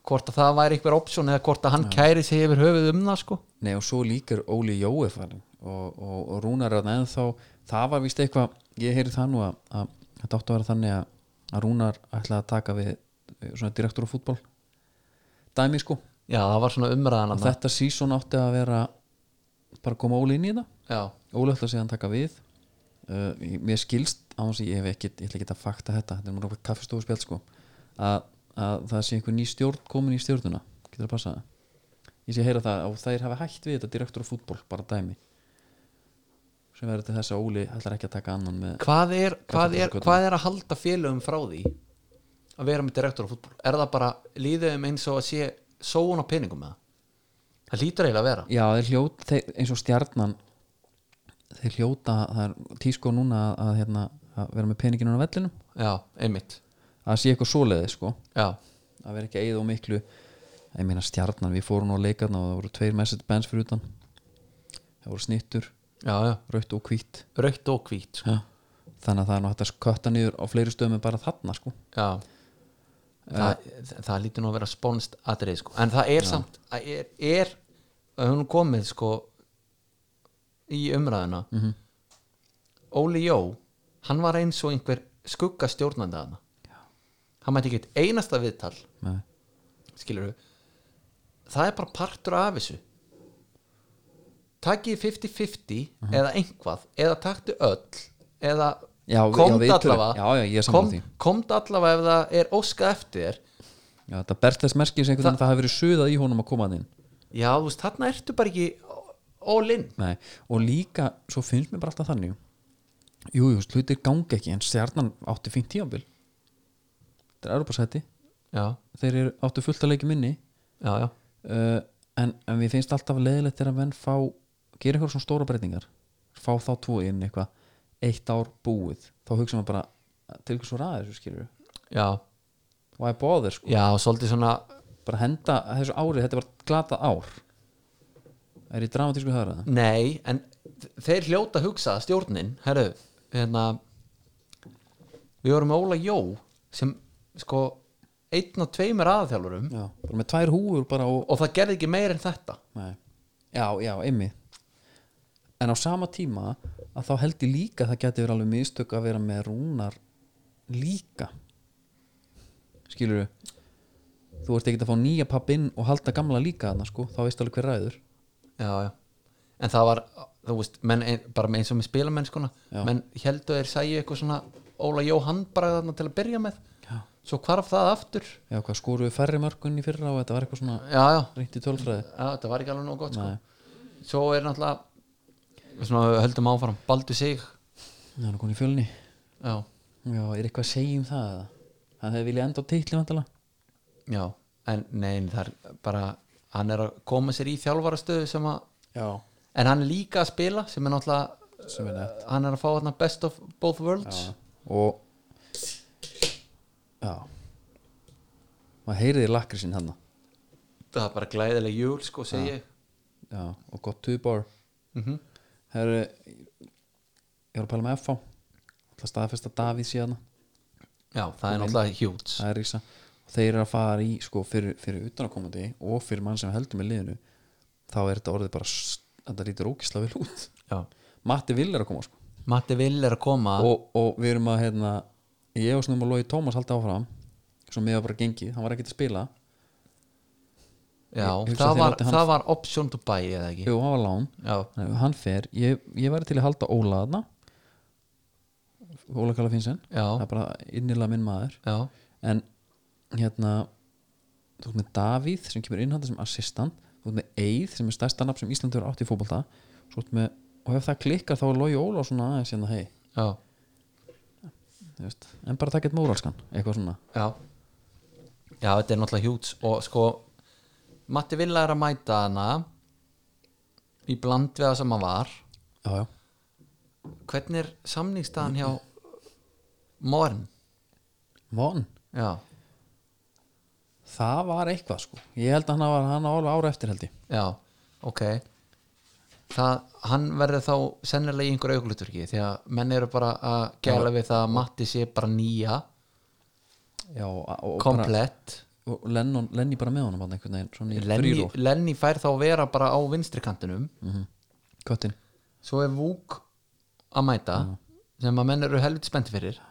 [SPEAKER 2] hvort að það væri eitthvað option eða hvort að hann kæri sig yfir höfuð um það sko
[SPEAKER 1] nei og svo líka er Óli Jói farin og, og, og Rúnar er en þá það var vist eitthvað, ég heyri það nú að, að þetta átti að vera þannig að, að Rúnar ætlaði að taka við eh, svona direktur á fútbol dæmi sko,
[SPEAKER 2] Já, það var svona umræðan að það
[SPEAKER 1] þetta sísón átti að vera bara koma Óli inn í það
[SPEAKER 2] Já,
[SPEAKER 1] Óli ætlaði síðan að taka við uh, ég- mér skilst á þess að ég hef ekki ég ætla ekki að fakta þetta, þetta er mér okkur kaffestofu spjall sko, að, að það sé einhver ný stjórn komin í stjórnuna, getur það passað ég sé að heyra það og þær hafa hægt við þetta direktur á fútból, bara dæmi sem verður til þess að Óli ætlar ekki að taka annan með
[SPEAKER 2] hvað er, hvað er,
[SPEAKER 1] Kaffibókarköllum.
[SPEAKER 2] hvað er að halda félögum frá því að vera með direktor á fútbol er það bara líðum eins og að sé sóun á peningum með það það hlýtur eiginlega að vera
[SPEAKER 1] já, þeir hljóta, þeir, eins og stjarnan þeir hljóta, það er tísko núna að, að, hérna, að vera með peninginu á vellinum,
[SPEAKER 2] Já, einmitt
[SPEAKER 1] að sé eitthvað svoleiði sko
[SPEAKER 2] Já,
[SPEAKER 1] að vera ekki að eyða og miklu ég meina stjarnan, við fórum á leikarna og það voru tveir message bands fyrir utan það voru snittur,
[SPEAKER 2] já, já,
[SPEAKER 1] raut og hvít
[SPEAKER 2] raukt og hvít sko.
[SPEAKER 1] ja. þannig að það er nú hægt að kötta niður á fleiri stöðum en bara þarna sko
[SPEAKER 2] já Þa, það, það lítur nú að vera spónst atrið sko. en það er samt það er, er að hún komið sko í umræðuna -hmm. Óli Jó hann var eins og einhver skugga stjórnandi hana hann mætti ekki eitt einasta viðtal
[SPEAKER 1] Nei.
[SPEAKER 2] skilur það er bara partur af þessu takið 50-50
[SPEAKER 1] Mhm.
[SPEAKER 2] eða einhvað eða taktu öll eða
[SPEAKER 1] Já, við- já,
[SPEAKER 2] komd
[SPEAKER 1] við tölum-
[SPEAKER 2] allavega
[SPEAKER 1] já, já, ég er sammála
[SPEAKER 2] kom,
[SPEAKER 1] því.
[SPEAKER 2] komd allavega ef það er óskað eftir þér
[SPEAKER 1] Já, þetta berst þess merkis einhvern veginn að það hafi verið suðað í honum að koma að inn
[SPEAKER 2] já, þú veist, þarna ertu bara ekki all in
[SPEAKER 1] Nei. og líka, svo finnst mér bara alltaf þannig jú, jú, hlutir gangi ekki en stjarnan átti fínt tíambil þetta er Europasæti
[SPEAKER 2] já,
[SPEAKER 1] þeir eru áttu fullt að leiki minni
[SPEAKER 2] já, já,
[SPEAKER 1] uh, en, en við finnst alltaf leðilegt þegar menn fá gera eitthvað svona stóra breytingar fá þá tvo inn eitthvað eitt ár búið, þá hugsa maður bara til hvers var aðeins, skilur
[SPEAKER 2] já
[SPEAKER 1] why bother, sko,
[SPEAKER 2] já, svolítið svona
[SPEAKER 1] bara henda þessu árið, þetta var glata ár er í dramatísku höfraða
[SPEAKER 2] nei, en þeir hljóta að hugsa að stjórnin, herru hérna við vorum með Óla Jó sem sko einn og tveimur aðaþjálfurum
[SPEAKER 1] já, bara með tvær húur bara og
[SPEAKER 2] og það gerði ekki meir en þetta
[SPEAKER 1] Nei. já, já, einmi en á sama tíma að þá held ég líka að það geti verið alveg mistök að vera með rúnar líka skilur þú ert ekki að fá nýja pappinn og halda gamla líka þarna sko, þá veist alveg hver ræður
[SPEAKER 2] já, já. en það var þú veist, menn, ein- bara eins og með spilamennskuna
[SPEAKER 1] Já.
[SPEAKER 2] menn heldur þeir sæju eitthvað svona Óla Jóhann bara þarna til að byrja með
[SPEAKER 1] Já.
[SPEAKER 2] svo hvarf það aftur já,
[SPEAKER 1] já, hvað skoru við færri mörgun í fyrra og þetta var eitthvað svona
[SPEAKER 2] já,
[SPEAKER 1] reynt í tölfræði
[SPEAKER 2] já þetta var ekki alveg nóg gott sko.
[SPEAKER 1] Nei.
[SPEAKER 2] svo er náttúrulega svona, höldum áfram, baldu sig
[SPEAKER 1] það er konið í fjölni
[SPEAKER 2] já,
[SPEAKER 1] já, er eitthvað að segja um það eða? hann hefði viljað enda á titli vandala
[SPEAKER 2] já, en nein það er bara, hann er að koma sér í þjálfarastöðu sem að,
[SPEAKER 1] já,
[SPEAKER 2] en hann er líka að spila sem er náttúrulega,
[SPEAKER 1] sem er nett
[SPEAKER 2] hann er að fá þarna best of both worlds já,
[SPEAKER 1] og já maður heyriði lakrísinn hann
[SPEAKER 2] það er bara glæðileg júl sko, segi ég
[SPEAKER 1] já, og gott tubar
[SPEAKER 2] mm
[SPEAKER 1] herru ég var að pæla með FH alltaf staðfesta Davíð síðan
[SPEAKER 2] Já, það er náttúrulega hjúts
[SPEAKER 1] það er rísa og þeir eru að fara í sko fyrir, fyrir utanakomandi og fyrir mann sem heldur með liðinu þá er þetta orðið bara s- þetta lítur ókisla vel út Matti Vill er að koma sko
[SPEAKER 2] Matti Vill er að koma
[SPEAKER 1] og, og við erum að hérna, ég og snum að logi Tómas halda áfram sem miða bara gengið, hann var ekkert að spila
[SPEAKER 2] Já,
[SPEAKER 1] ég hugsa
[SPEAKER 2] það
[SPEAKER 1] þeir
[SPEAKER 2] var,
[SPEAKER 1] láti hann-
[SPEAKER 2] það var option to buy eða ekki
[SPEAKER 1] Jú, hann var lán
[SPEAKER 2] Já,
[SPEAKER 1] Nei, hann fer, ég, ég væri til að halda Óla þarna Óla Kalla Finnsen það
[SPEAKER 2] já,
[SPEAKER 1] er bara innilega minn maður
[SPEAKER 2] já,
[SPEAKER 1] en hérna þú ert með Davíð sem kemur innhanda sem assistant þú ert með Eið sem er stærsta nafn sem Íslandur átt í fótbolta svo ert með, og ef það klikkar þá er Lói Óla svona aðeins hérna hei
[SPEAKER 2] já,
[SPEAKER 1] þú veist, en bara takk eitt móralskan eitthvað svona
[SPEAKER 2] já Já, þetta er náttúrulega hjúts og sko, Matti Vill er að mæta hana í bland við það sem hann var
[SPEAKER 1] já, já.
[SPEAKER 2] Hvernig er samningstaðan hjá Morn?
[SPEAKER 1] Von,
[SPEAKER 2] Já,
[SPEAKER 1] það var eitthvað sko ég held að hann var hann á alveg ára eftir held ég
[SPEAKER 2] já, ok Það, hann verður þá sennilega í einhverju augluturki því að menn eru bara að gæla við það að Matti sé bara nýja
[SPEAKER 1] já, og, og, bara,
[SPEAKER 2] komplett
[SPEAKER 1] og Lennon, Lenny bara með honum þarna einhvern veginn, svona í
[SPEAKER 2] Lenny,
[SPEAKER 1] frýró,
[SPEAKER 2] Lenny fær þá að vera bara á vinstri kantinum
[SPEAKER 1] Mm. köttin
[SPEAKER 2] svo er Vúk að mæta sem að menn eru helviti spennti fyrir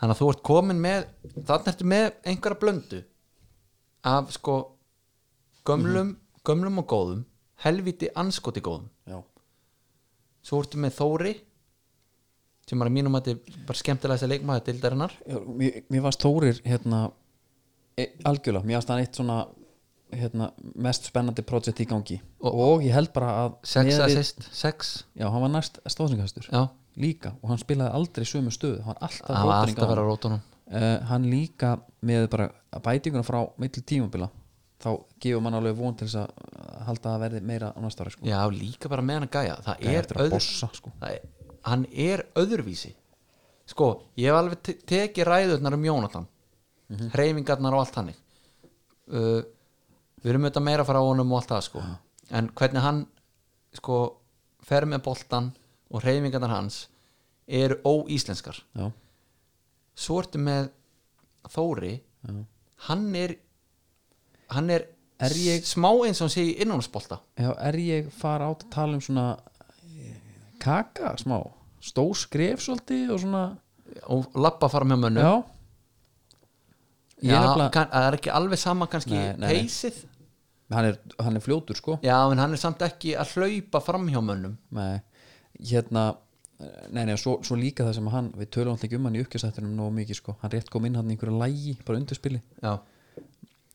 [SPEAKER 2] þannig að þú ert komin með þannig ertu með einhverja blöndu af sko gömlum,
[SPEAKER 1] Mhm.
[SPEAKER 2] gömlum og góðum helviti anskoti góðum
[SPEAKER 1] já,
[SPEAKER 2] svo ertu með Þóri sem er að mínum að þetta er bara skemmtilega þessi leikmaður dildarinnar
[SPEAKER 1] Já, mér, mér varst Þórir hérna e, algjörlega, mér varst hann eitt svona hérna, mest spennandi projekt í gangi og, ég held bara að
[SPEAKER 2] sex
[SPEAKER 1] miðað við-
[SPEAKER 2] assist, sex
[SPEAKER 1] já, hann var næst stóðsingahæstur
[SPEAKER 2] já,
[SPEAKER 1] líka og hann spilaði aldrei sömu stöðu hann var alltaf rótering
[SPEAKER 2] það var alltaf að
[SPEAKER 1] á
[SPEAKER 2] vera
[SPEAKER 1] honum.
[SPEAKER 2] rótunum
[SPEAKER 1] Eh, hann líka með bara bætinguna frá milli tímabila þá gefur mann alveg von til þess að að halda að verði meira á næsta ári sko.
[SPEAKER 2] Já, líka bara með hann að gæja Það
[SPEAKER 1] Gæja
[SPEAKER 2] er
[SPEAKER 1] eftir að
[SPEAKER 2] öðru-
[SPEAKER 1] bossa, sko.
[SPEAKER 2] það er, Hann er öðruvísi Sko, ég hef alveg te-
[SPEAKER 1] Mhm.
[SPEAKER 2] tekið ræðurnar um Jónatan mm Hreyfingarnar og allt hannig uh, við erum auðvitað meira að fara á honum og allt það sko. en hvernig hann sko, fer með boltan og reyfingarnar hans eru óíslenskar
[SPEAKER 1] já,
[SPEAKER 2] svo ertu með Þóri
[SPEAKER 1] já,
[SPEAKER 2] hann er hann er,
[SPEAKER 1] Er ég-
[SPEAKER 2] smá eins og hann sé í innanúrsbolta
[SPEAKER 1] já er ég fara át að tala um svona eh, kaka smá stó skref svolítið og svona
[SPEAKER 2] og labba fram hjá mönnum
[SPEAKER 1] já ég
[SPEAKER 2] Já,
[SPEAKER 1] er nefnilega
[SPEAKER 2] kann, það er ekki alveg sama kannski
[SPEAKER 1] Nei, nei, nei.
[SPEAKER 2] peysið
[SPEAKER 1] hann er, hann er fljótur sko
[SPEAKER 2] já, en hann er samt ekki að hlaupa fram hjá mönnum
[SPEAKER 1] Nei, hérna Nei, nei, svo, svo líka það sem hann Við tölum alltaf ekki um hann í uppgjastættunum nógu mikið sko. Hann rétt kom inn hann í einhverju lægi, bara undirspili
[SPEAKER 2] já,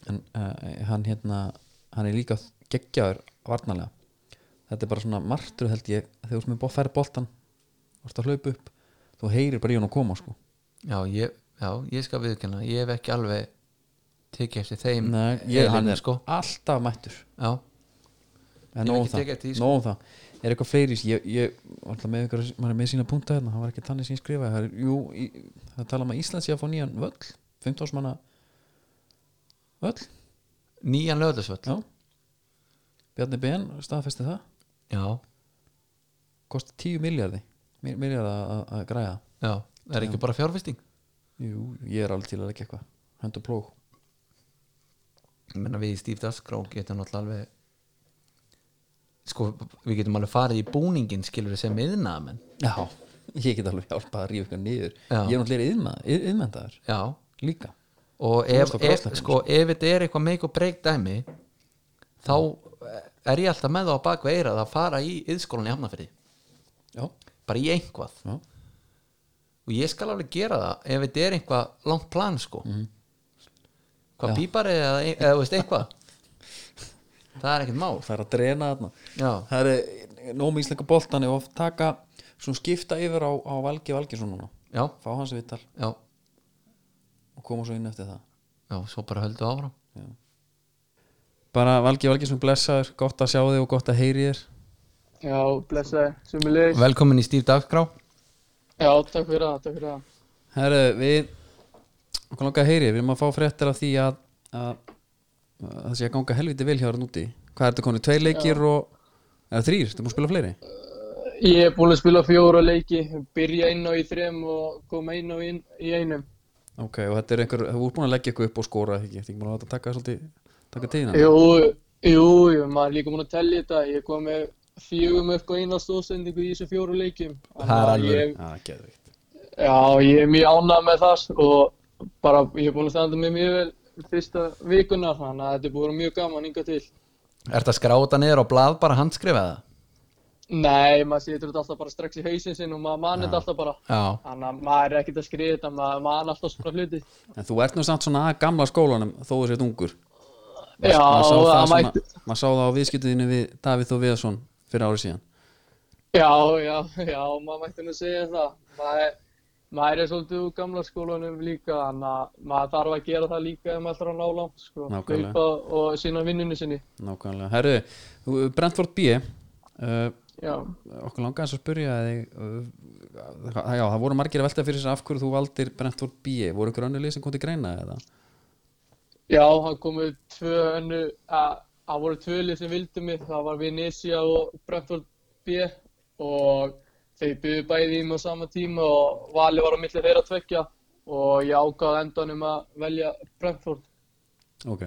[SPEAKER 1] En uh, hann hérna Hann er líka geggjaður varnarlega Þetta er bara svona martur held ég Þegar þú sem er bóð færð boltan Þú ert að hlaupa upp Þú heyrir bara í hann að koma sko
[SPEAKER 2] já, ég, já, ég skal viðkjöna ég hef ekki alveg tekið eftir þeim
[SPEAKER 1] Nei, ég,
[SPEAKER 2] eilum,
[SPEAKER 1] Hann er
[SPEAKER 2] sko.
[SPEAKER 1] alltaf mættur
[SPEAKER 2] já,
[SPEAKER 1] En
[SPEAKER 2] Ég hef
[SPEAKER 1] nóg um
[SPEAKER 2] ekki tekið
[SPEAKER 1] það,
[SPEAKER 2] eftir því, sko.
[SPEAKER 1] nóg um það Er eitthvað fleiri, ég, ég var alltaf með ykkur, maður er með sína punta hérna, það var ekki þannig sem ég skrifaði það er, jú, í, það tala um að Ísland sé að fá nýjan völl 15 manna völl,
[SPEAKER 2] nýjan löðlisvöld
[SPEAKER 1] já Bjarni BN staðfesti það
[SPEAKER 2] já,
[SPEAKER 1] kosti 10 miljardi miljardi að, að græða
[SPEAKER 2] já, það er ekki bara fjárfesting
[SPEAKER 1] Jú, ég er alveg til að leggja eitthvað höndu plóg,
[SPEAKER 2] ég menna við í Steve Dasgró getum náttúrulega alveg sko, við getum alveg farið í búningin skilur við sem yðnaðamenn
[SPEAKER 1] já, (laughs) ég get alveg hjálpað að rífa eitthvað niður
[SPEAKER 2] Já.
[SPEAKER 1] ég er náttúrulega yðmenntaður
[SPEAKER 2] já,
[SPEAKER 1] líka,
[SPEAKER 2] og
[SPEAKER 1] Þú
[SPEAKER 2] ef,
[SPEAKER 1] varst á
[SPEAKER 2] ef,
[SPEAKER 1] krossleggum,
[SPEAKER 2] sko, ef þetta er eitthvað make og break dæmi þá eh, er ég alltaf með þá á bakveira að fara í yðskólan í Hafnafyrði
[SPEAKER 1] já,
[SPEAKER 2] bara í einhvað
[SPEAKER 1] já
[SPEAKER 2] og ég skal alveg gera það ef þetta er einhvað langt plan sko
[SPEAKER 1] Mhm. Já.
[SPEAKER 2] hvað pípar er eða, eða þú
[SPEAKER 1] (laughs)
[SPEAKER 2] veist eitthvað það er ekkert mál
[SPEAKER 1] það er að drena þarna
[SPEAKER 2] já,
[SPEAKER 1] það er nóg með íslenga boltan og taka, svona skipta yfir á, á Valgi Valginsson núna,
[SPEAKER 2] já,
[SPEAKER 1] fá hans viðtal
[SPEAKER 2] já,
[SPEAKER 1] og koma svo inn eftir það
[SPEAKER 2] já svo bara höldu áfram
[SPEAKER 1] bara Valgi Valginsson blessaður, gott að sjá þig og gott að heyri þér
[SPEAKER 3] Já, blessaði, sumulegis.
[SPEAKER 2] velkomin í Stíf Dagskrá
[SPEAKER 3] Já, takk fyrir það, takk fyrir það.
[SPEAKER 1] Herru, við okkur langar að heyri, við erum að fá fréttir af því að, að, að það sé að ganga helviti vel hjá þér núti hvað er þetta konið, tveir leikir og eða þrýr, þú múið spila fleiri
[SPEAKER 3] Ég er búin að spila fjóra leiki, byrja inn á í þrem og koma inn á inn í einum.
[SPEAKER 1] ok, og þetta er einhver, þú ert búin að leggja eitthvað upp og skora ekki, þetta er búin að láta taka svolítið taka tíðina,
[SPEAKER 3] Jú, jú, jú, maður er líka búin að tellja þetta. Ég kom með fjögum eitthvað eina stóðsendingu í þessum fjóra leikim.
[SPEAKER 2] Það er alveg-
[SPEAKER 3] Ég,
[SPEAKER 1] það er geðvikt
[SPEAKER 3] já, ég er mjög ánað með það og bara ég er búin að standa mig mjög vel fyrsta vikuna þannig að þetta er búin mjög gaman yngar til.
[SPEAKER 2] er þetta skráta niður á blað bara handskrifaða
[SPEAKER 3] Nei, maður setur þetta alltaf bara strax í hausinn sinn og maður mann þetta alltaf bara.
[SPEAKER 2] já,
[SPEAKER 3] Þannig að maður er ekkert að skrifa þetta, maður man alltaf svona hluti.
[SPEAKER 1] en þú ert nú samt svona að gamla skólanum þó þú sétt ungur
[SPEAKER 3] Já,
[SPEAKER 1] maður sá það,
[SPEAKER 3] það
[SPEAKER 1] svona,
[SPEAKER 3] mætti,
[SPEAKER 1] maður sá það á viðskiptiðinu við Davíð og Viðarsson fyrir árið síðan
[SPEAKER 3] já, já, já, maður mætti nú segja það. Maður, maður er svolítið úr gamla skólanum líka, þannig að maður þarf að gera það líka ef maður ætlar að ná langt, sko.
[SPEAKER 1] Nákvæmlega.
[SPEAKER 3] Hlaupa og sína vinnunni sinni.
[SPEAKER 1] nákvæmlega, herru, þú- Brentford B uh,
[SPEAKER 3] Já,
[SPEAKER 1] okkur langar eins að spyrja þig uh, það- já, það voru margir að velta fyrir sér af hverju þú valdir Brentford B voru ykkur önnur lið sem kom til greina eða
[SPEAKER 3] já, það komu tvö önnu, að það voru tvö lið sem vildu mig, það var Vinesia og Brentford B og þeir byggðu bæði í mig á sama tíma og valið var á milli þeirra tvekja og ég ákvaði á endanum að velja Brentford.
[SPEAKER 1] ok,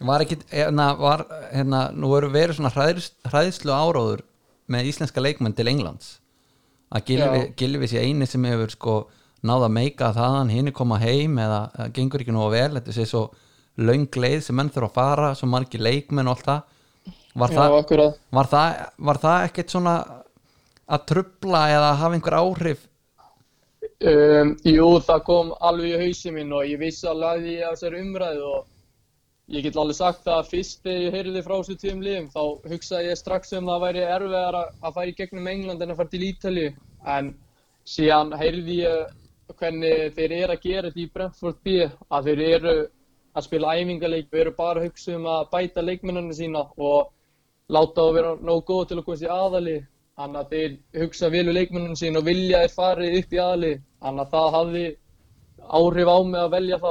[SPEAKER 2] Var ekki, hérna, var, hérna, nú eru verið svona hræðs, hræðslu áróður með íslenska leikmenn til Englands að gilfi,
[SPEAKER 3] Já.
[SPEAKER 2] gilfi sé eini sem hefur sko náða meika þaðan hinn koma heim eða eða gengur ekki nógu vel þetta sé svo löng leið sem menn þurfa að fara svo margi leikmenn og allt það var,
[SPEAKER 3] Já,
[SPEAKER 2] það,
[SPEAKER 3] akkurat.
[SPEAKER 2] var, það, var það ekkert svona að trubla eða hafa einhver áhrif
[SPEAKER 3] Um, jú, það kom alveg í hausin minn og ég vissi alveg að ég á þessari umræðu og ég get alveg sagt það að fyrst þegar ég heyrði frá þessu tveim liðum þá hugsaði ég strax um það væri erfiðar að fara í gegnum England en að fara til Ítalíu en síðan heyrði ég hvernig þeir eru að gera þetta í Brentford B að þeir eru að spila æfingaleik við erum bara að hugsa um að bæta leikmennina sína og láta þá vera nógu góð til að komast í aðali þannig að þeir hugsa vel um leikmennina sína og vilja að þeir fari upp í aðali þannig að það hafði áhrif á mig að velja þá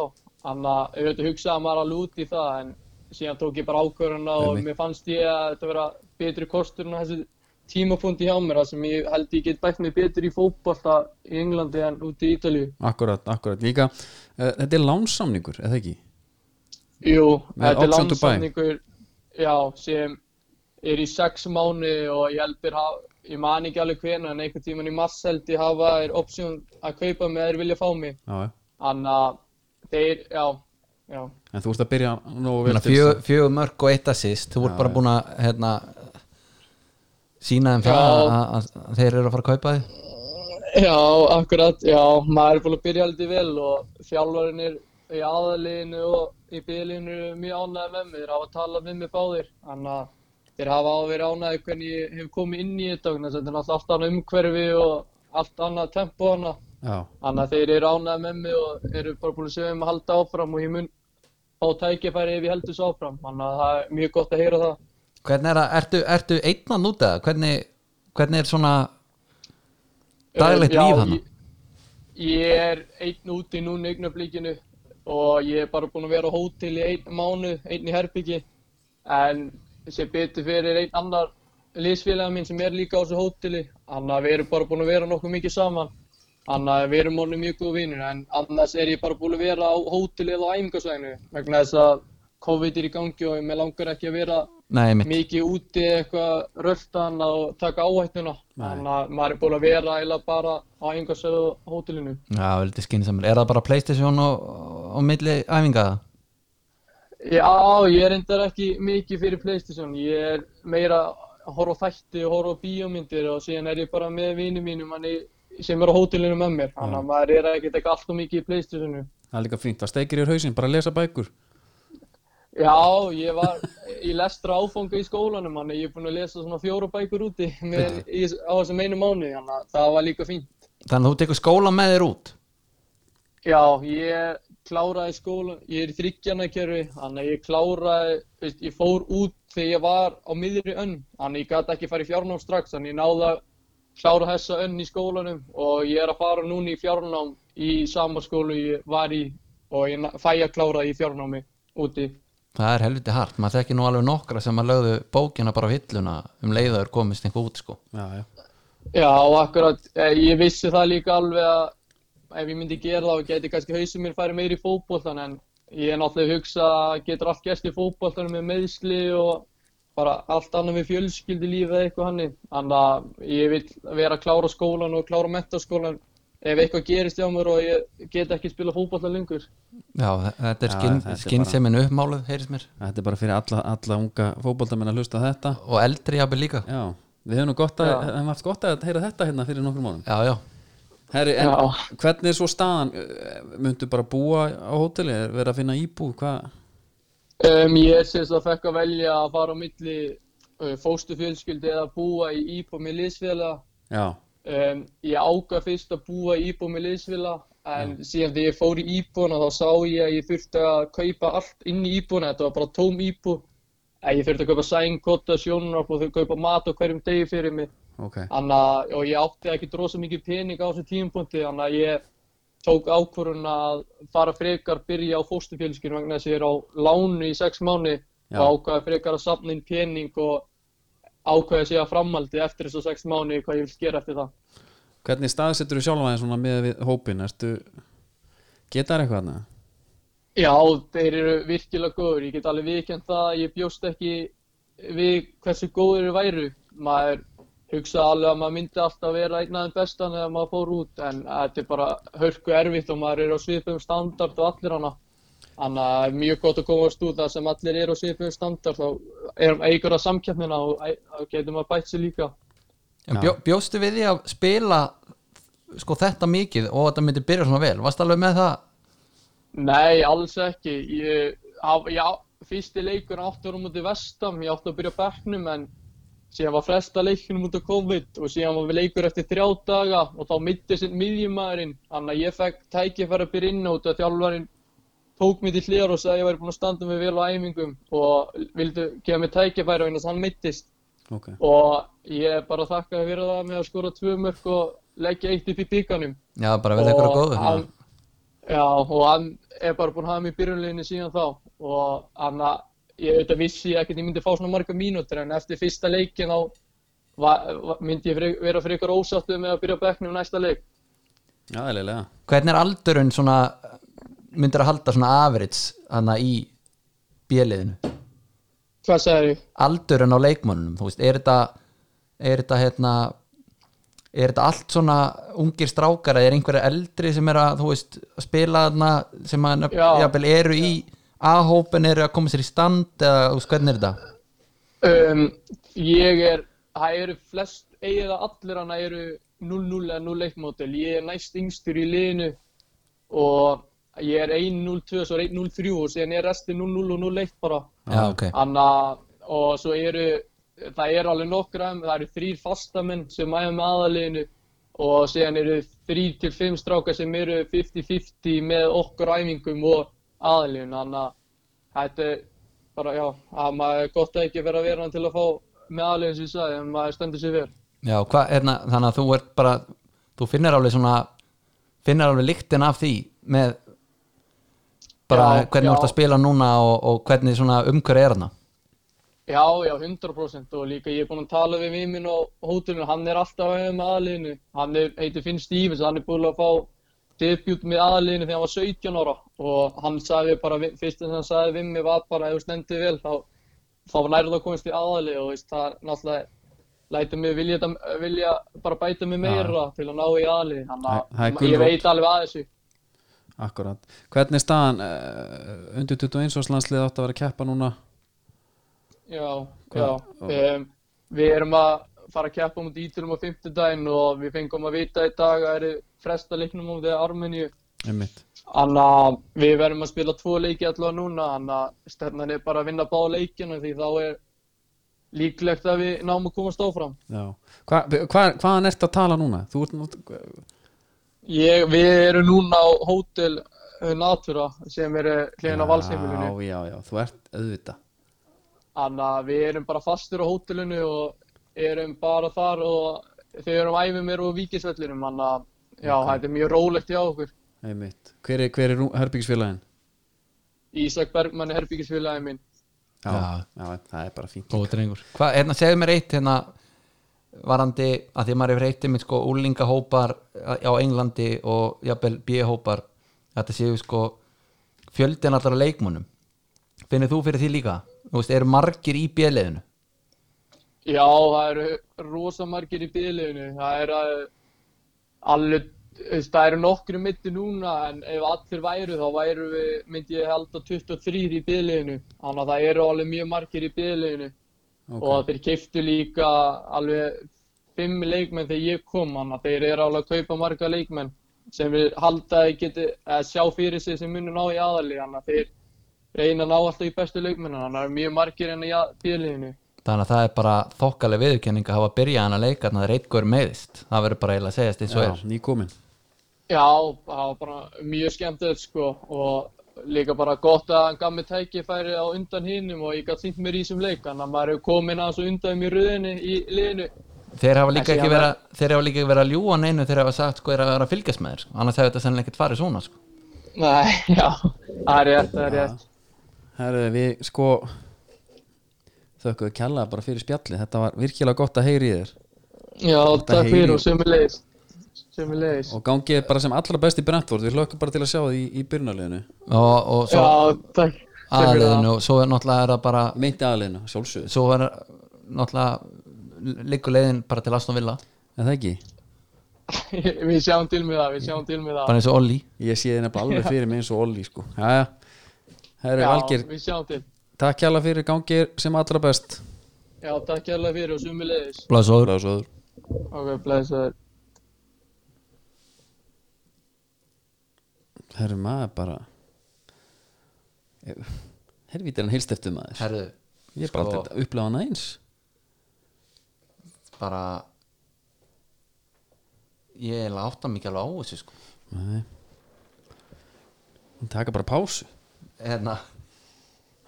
[SPEAKER 3] þannig að auðvitað hugsaði maður alveg út í það en síðan tók ég bara ákvörðuna og
[SPEAKER 1] Einmitt.
[SPEAKER 3] mér fannst ég að þetta vera betri kostur en þessi tímapunkti hjá mér þar sem ég held ég get bætt mig betur í fótbolta í Englandi en úti í Ítalju
[SPEAKER 1] Akkurat, akkurat, líka uh, Þetta er lánsamningur, eða ekki?
[SPEAKER 3] Jú,
[SPEAKER 1] Með
[SPEAKER 3] þetta er
[SPEAKER 1] option to buy.
[SPEAKER 3] landsamningur já, sem er í sex mánu og ég heldur hafa, ég man ekki alveg hvena en einhvern tíman í mars held ég hafa er option að kaupa mig eða þeir vilja fá mig
[SPEAKER 1] Já, já.
[SPEAKER 3] þannig að þeir, já, já
[SPEAKER 1] en þú ert að byrja nógu vel
[SPEAKER 2] Þannig að
[SPEAKER 1] til þess
[SPEAKER 2] fjögur fjögur mörg og eitt assist þú voru bara búin að hérna, sína þeim það
[SPEAKER 3] Já.
[SPEAKER 2] að, að, að þeir eru að fara að kaupa þig
[SPEAKER 3] Já, akkurat, já, maður er búin að byrja aldrei vel og þjálfarinn er í aðalínu og í bylínu mjög ánæði með mig, þeir hafa talað með mig báðir, þannig að þeir hafa á að vera ánæði hvernig ég hef komið inn í þetta, þannig að þetta er náttúrulega allt annað umhverfi og allt annað tempo hana,
[SPEAKER 1] Já,
[SPEAKER 3] þannig að þeir eru ánæði með mig og eru bara búin að segja um að halda áfram og ég mun á tækifæri ef ég heldur svo áfram, þannig að það er mjög gott að heyra það.
[SPEAKER 2] Hvernig er það, ertu, ertu einnan út eða? Hvernig, hvernig er svona daglegt
[SPEAKER 3] Eh, Já,
[SPEAKER 2] líf hana?
[SPEAKER 3] ég- Ég er einn úti núna í augnablikinu og ég er bara búinn að vera á hótel í einn mánu, einn í herbyggi en sem betur fyrir einn annar liðsfélaga minn sem er líka á þessu hóteli þannig að við erum bara búin að vera nokkuð mikið saman þannig að við erum orðin mjög góð vinnir en annars er ég bara búin að vera á hóteli eða á æfingarsvæðinu vegna þess að COVID er í gangi og mér langar ekki að vera
[SPEAKER 2] Nei, mitt
[SPEAKER 3] mikið úti eitthvað röltan og taka áhættuna þannig að maður er búin að vera eiginlega bara á einhversöðu hótelinu
[SPEAKER 2] Já, veldig skinsamur Er það bara Playstation og, og milli æfinga?
[SPEAKER 3] Já, ég er reyndar ekki mikið fyrir Playstation ég er meira að horfa á þætti og horfa á bíómyndir og síðan er ég bara með vinum mínum manni, sem er á hótelinu með mér þannig að maður er ekkert ekki alltaf mikið í Playstationu
[SPEAKER 1] það er líka fínt, það steikir í hausinn, bara að lesa bækur
[SPEAKER 3] Já, ég var í lestra áfanga í skólanum manni, ég er búin að lesa svona fjóra bækur úti með, í, á þessum einu mánu þannig að það var líka fínt
[SPEAKER 2] Þannig að þú tekur skóla með þér út
[SPEAKER 3] Já, ég kláraði skólan, ég er í þryggjarnakerfi, þannig að ég kláraði, veist, ég fór út þegar ég var á miðri önn, þannig að ég gæti ekki farið í fjárnám strax, þannig að ég náði að klára þessa önn í skólanum og ég er að fara núna í fjárnám í sama skólu ég var í og ég na- fæ að klára í fjárnámi úti.
[SPEAKER 2] Það er helviti hart, maður þekki nú alveg nokkra sem að lögðu bókina bara á hilluna um leiðaður komist einhver út sko
[SPEAKER 1] Já, já,
[SPEAKER 3] Já, og akkurat, eh, ég vissi það líka alveg að ef ég myndi gera það, geti kannski hausum mér farið meiri í fótboltan, en ég er náttúrulega hugsa að getur allt gæst í fótboltanum með meðsli og bara allt annað með fjölskyldulíf eða eitthvað hannig. Þannig að ég vil vera að klára skólan og klára mentaskólan ef eitthvað gerist hjá mér og ég get ekki spila fótbolta lengur.
[SPEAKER 2] Já, þetta er
[SPEAKER 1] Já,
[SPEAKER 2] skinn-
[SPEAKER 1] þetta er bara-
[SPEAKER 2] skinnsemin uppmáluð, heyrist mér
[SPEAKER 1] þetta er bara fyrir alla, alla unga fótboltamenn að hlusta á þetta
[SPEAKER 2] Og eldri jafnvel líka
[SPEAKER 1] Já, við hefum nú gott að,
[SPEAKER 3] Já.
[SPEAKER 1] hefum haft gott að heyra þetta hérna fyrir nokkrum mánum
[SPEAKER 2] Já, já,
[SPEAKER 1] Herri, en
[SPEAKER 3] Já.
[SPEAKER 1] hvernig er svo staðan, myndu bara búa á hóteli, er verið að finna íbú, hvað?
[SPEAKER 3] Um, ég sést að fekk að velja að fara á milli uh, fóstufjölskyldi eða búa í íbúð með liðsfélaga
[SPEAKER 1] Já,
[SPEAKER 3] Um, ég ákvað fyrst að búa í íbúð með liðsvila en síðan þegar ég fór í íbúðuna þá sá ég að ég þurfti að kaupa allt inn í íbúðuna, þetta var bara tóm íbúð að ég þurfti að kaupa sæng, kotta, sjónunarp og þau kaupa mat og hverjum degi fyrir mig
[SPEAKER 1] ok
[SPEAKER 3] Anna, og ég átti ekki drosa mikið pening á þessu tímapunkti þannig að ég tók ákvörðun að fara frekar byrja á fóstufjölskyn vegna þess að ég er á lánu í sex mánu
[SPEAKER 1] Já.
[SPEAKER 3] og ákvaði frekar að safna inn pening og ákvaði sig að framhaldi eftir þessu sex mánu hvað ég vil gera eftir það
[SPEAKER 1] Hvernig staðsetur þú sjálfa þér svona með við hópin, ertu, getar eitthvað hana?
[SPEAKER 3] Já, þeir eru virkilega góður. Ég get alveg viðkjönd það að ég bjóst ekki við hversu góður þeir væru. Maður hugsaði alveg að maður myndi alltaf vera einn af þeim bestan þegar maður fór út en þetta er bara hörku erfitt og maður er á svipum standard og allir hana. Þannig að það er mjög gott að komast út þar sem allir eru á svipum standard þá er eigur að samkeppnina og æ- þá getur maður bætt sér líka.
[SPEAKER 2] En
[SPEAKER 1] Já.
[SPEAKER 2] bjó, bjóstu við því að spila sko þetta mikið og þetta myndi byrja svona vel Varst alveg með það?
[SPEAKER 3] Nei, alls ekki. Ég, haf, já, fyrsti leikur átti ára mútið vestam, ég átti að byrja á bekknum en síðan var fresta leikunum út af COVID og síðan var leikur eftir þrjá daga og þá mitti sinn miðjumæðurinn. Þannig að ég fekk tækifæri að byrja inn út af þjálfarinn tók mér til hliðar og sagði að ég væri búinn að standa mig vel á æfingum og vildi gefa mér tækifæri vegna þess að hann mittist
[SPEAKER 1] Ok,
[SPEAKER 3] og ég bara þakkaði fyrir það með að skora tvö mörg og leggja eitt upp í bíkanum.
[SPEAKER 2] Já, bara vel eitthvað góðu
[SPEAKER 3] hann- Já, og hann er bara búinn að hafa mig í byrjunleginni síðan þá og hann að ég auðvitað vissi ég ekkert ég myndi fá svona marga mínútur en eftir fyrsta leikin þá va- va- myndi ég fre- vera fyrir ykkur ósáttu með að byrja á bekknum næsta leik.
[SPEAKER 1] Já, eðlilega
[SPEAKER 2] Hvernig er aldurinn svona myndir að halda svona average hana í bjöliðinu?
[SPEAKER 3] Hvað segir ég?
[SPEAKER 2] Aldurinn á leikmönnum, þú veist, er þetta er þetta hérna er þetta allt svona ungir strákar eða er einhverja eldri sem er að þú veist, að spila þarna sem að nöfn,
[SPEAKER 3] Já.
[SPEAKER 2] jafnvel, eru í A-hópen eru að koma sér í stand eða þú veist, hvernig er þetta?
[SPEAKER 3] Um, ég er, það eru flest, eða allir hana eru 0-0 eða 0-1 mótil. Ég er næst yngstur í liðinu og ég er 1-0-2, svo er 1-0-3 og síðan er resti 0-0 og 0-1 bara.
[SPEAKER 2] Já, ok
[SPEAKER 3] Anna, og svo eru, það eru alveg nokkra, það eru þrýr fastamenn sem æfa með aðaliðinu og síðan eru þrýr til fimm strákar sem eru 50-50 með okkur æfingum og aðaliðinu. Þannig að þetta er bara, já, að maður er gott að ekki vera að vera til að fá með aðaliðinu sem ég sagði, en maður stendur sér vel.
[SPEAKER 2] Já, hvað, hérna, þannig að þú ert bara þú finnir alveg svona finnir alveg lyktin af því með bara
[SPEAKER 3] Já,
[SPEAKER 2] hvernig
[SPEAKER 3] já.
[SPEAKER 2] þú ert að spila núna og, og hvernig svona umhverju er hérna. hana
[SPEAKER 3] Já, já, 100% og líka ég er búinn að tala við við minn á hótelinu, hann er alltaf að hefða með aðliðinu, hann er, heitir Finn Stevens, hann er búinn að fá debut með aðliðinu þegar hann var 17 ára og hann sagði bara, við- fyrst sem hann sagði við mig var bara, ef þú stendur vel, þá, þá var nærið að komast í aðlið og veist, það náttúrulega læti mig vilja, þetta- vilja bara bæta mig meira til að ná í aðlið,
[SPEAKER 1] Það-
[SPEAKER 3] þannig
[SPEAKER 1] það
[SPEAKER 3] að
[SPEAKER 1] er
[SPEAKER 3] ég
[SPEAKER 1] gulrót.
[SPEAKER 3] veit alveg að þessu.
[SPEAKER 1] Akkurat. Hvernig er staðan uh, undir 21 árs landslið átt að vera að keppa núna?
[SPEAKER 3] Já,
[SPEAKER 1] Hvað-
[SPEAKER 3] já. Um, við erum að fara að keppa mútið íturum á fimmtudaginn og við fengum að vita í dag að það eru fresta leiknum á því Armeníu.
[SPEAKER 1] Einmitt.
[SPEAKER 3] Þannig að við verðum að spila tvo leiki allavega núna, þannig að stefnan er bara að vinna bá leikina því þá er líklegt að við náum að komast áfram.
[SPEAKER 1] Já. Hva, hva, hvaðan ertu að tala núna? Þú ert nút...
[SPEAKER 3] Ég, við erum núna á Hotel Natura sem er eh, hliðin á valsheimilinu.
[SPEAKER 1] Já, já, já, þú ert auðvita
[SPEAKER 3] Þannig að við erum bara fastur á hótelinu og erum bara þar og þau erum æfið mér og víkisvellinum. Þannig að já, þetta er mjög rólegt hjá okkur.
[SPEAKER 1] Einmitt. Hver er, hver er herbyggisfélagin?
[SPEAKER 3] Ísak Bergmann er herbyggisfélagið minn.
[SPEAKER 2] Já.
[SPEAKER 1] já, það er bara fínt
[SPEAKER 2] Góð drengur Hvað, hérna, segðu mér eitt hérna varandi, að því að maður hefur eitt með sko úlingahópar á Englandi og jafnvel B-hópar þetta séu sko fjöldin allra leikmunum finnir þú fyrir því líka? Þú veist, eru margir í bjöliðinu?
[SPEAKER 3] Já, það eru rosa margir í bíliðinu. Það er að alveg, þú veist, það eru nokkru mitti núna en ef allir væru þá væru við, myndi ég held að 23 í bíliðinu. Þannig að það eru alveg mjög margir í bíliðinu. og þeir keiftu líka alveg fimm leikmenn þegar ég kom hann að þeir eru alveg að kaupa marga leikmenn sem við halda að geti að sjá fyrir sig sem munur ná í aðalí hann að þeir reyna að ná alltaf í bestu leikmenn hann er mjög margir enn í bíliðinu
[SPEAKER 2] þannig að það er bara þokkaleg viðurkenning að hafa byrjað hann að leika þannig að reitgur meðist það verður bara eiginlega að segjast eins og er
[SPEAKER 1] Já, nýkomin
[SPEAKER 3] já, það var bara mjög skemmtilegt sko og líka bara gott að hann gaf mér tækifæri á undan hinnum og ég gætt sýnt mér í þessum leik þannig að maður er komin aðeins og undan mér röðinni í liðinu
[SPEAKER 2] þeir hafa líka
[SPEAKER 3] Þessi
[SPEAKER 2] ekki
[SPEAKER 3] hann
[SPEAKER 2] verið að- þeir hafa líka ekki verið að ljúa neinu þeir hafa sagt sko er að vera að fylgjast með þér sko. annars hefur þetta sennilega ekkert farið svona sko.
[SPEAKER 3] nei, (laughs) já, það er rétt, það er rétt
[SPEAKER 1] Herðu, við sko þökkum við kjallaði bara fyrir spjalli þetta var virkilega gott að heyri þér
[SPEAKER 3] Já, takk
[SPEAKER 1] heyrir-
[SPEAKER 3] fyrir og sömulegis sömulegis
[SPEAKER 1] og gangið bara sem allra best í Brentford við hlökkum bara til að sjá því í, í byrnarleginu
[SPEAKER 2] og, og svo
[SPEAKER 3] Já, takk Takk fyrir það.
[SPEAKER 2] aðliðinu og svo er náttúrulega er það bara
[SPEAKER 1] meinti aðleginu, sjálfsögð
[SPEAKER 2] svo er náttúrulega liggur leiðin bara til Aston Villa
[SPEAKER 1] en það ekki,
[SPEAKER 3] (laughs) Við sjáum til með það, við sjáum til með það
[SPEAKER 2] bara eins og Olli
[SPEAKER 1] ég sé þeir nefnilega alveg fyrir mig eins og Olli sko Jæja, herru Valgir,
[SPEAKER 3] við sjáum til
[SPEAKER 1] takk kjallaði fyrir gangið sem allra best
[SPEAKER 3] Já, takk hérlega fyrir og sömulegis
[SPEAKER 2] Blasóður
[SPEAKER 1] Blásaður
[SPEAKER 3] Ok, blæsaður
[SPEAKER 1] herru maður bara herrvítið er hann heilst eftir maður
[SPEAKER 2] herðu
[SPEAKER 1] Ég er bara
[SPEAKER 2] Sko-
[SPEAKER 1] aldrei að upplega hana eins
[SPEAKER 2] bara ég er eiginlega átta mikið alveg á þessu sko
[SPEAKER 1] Nei Hún taka bara pásu
[SPEAKER 2] hérna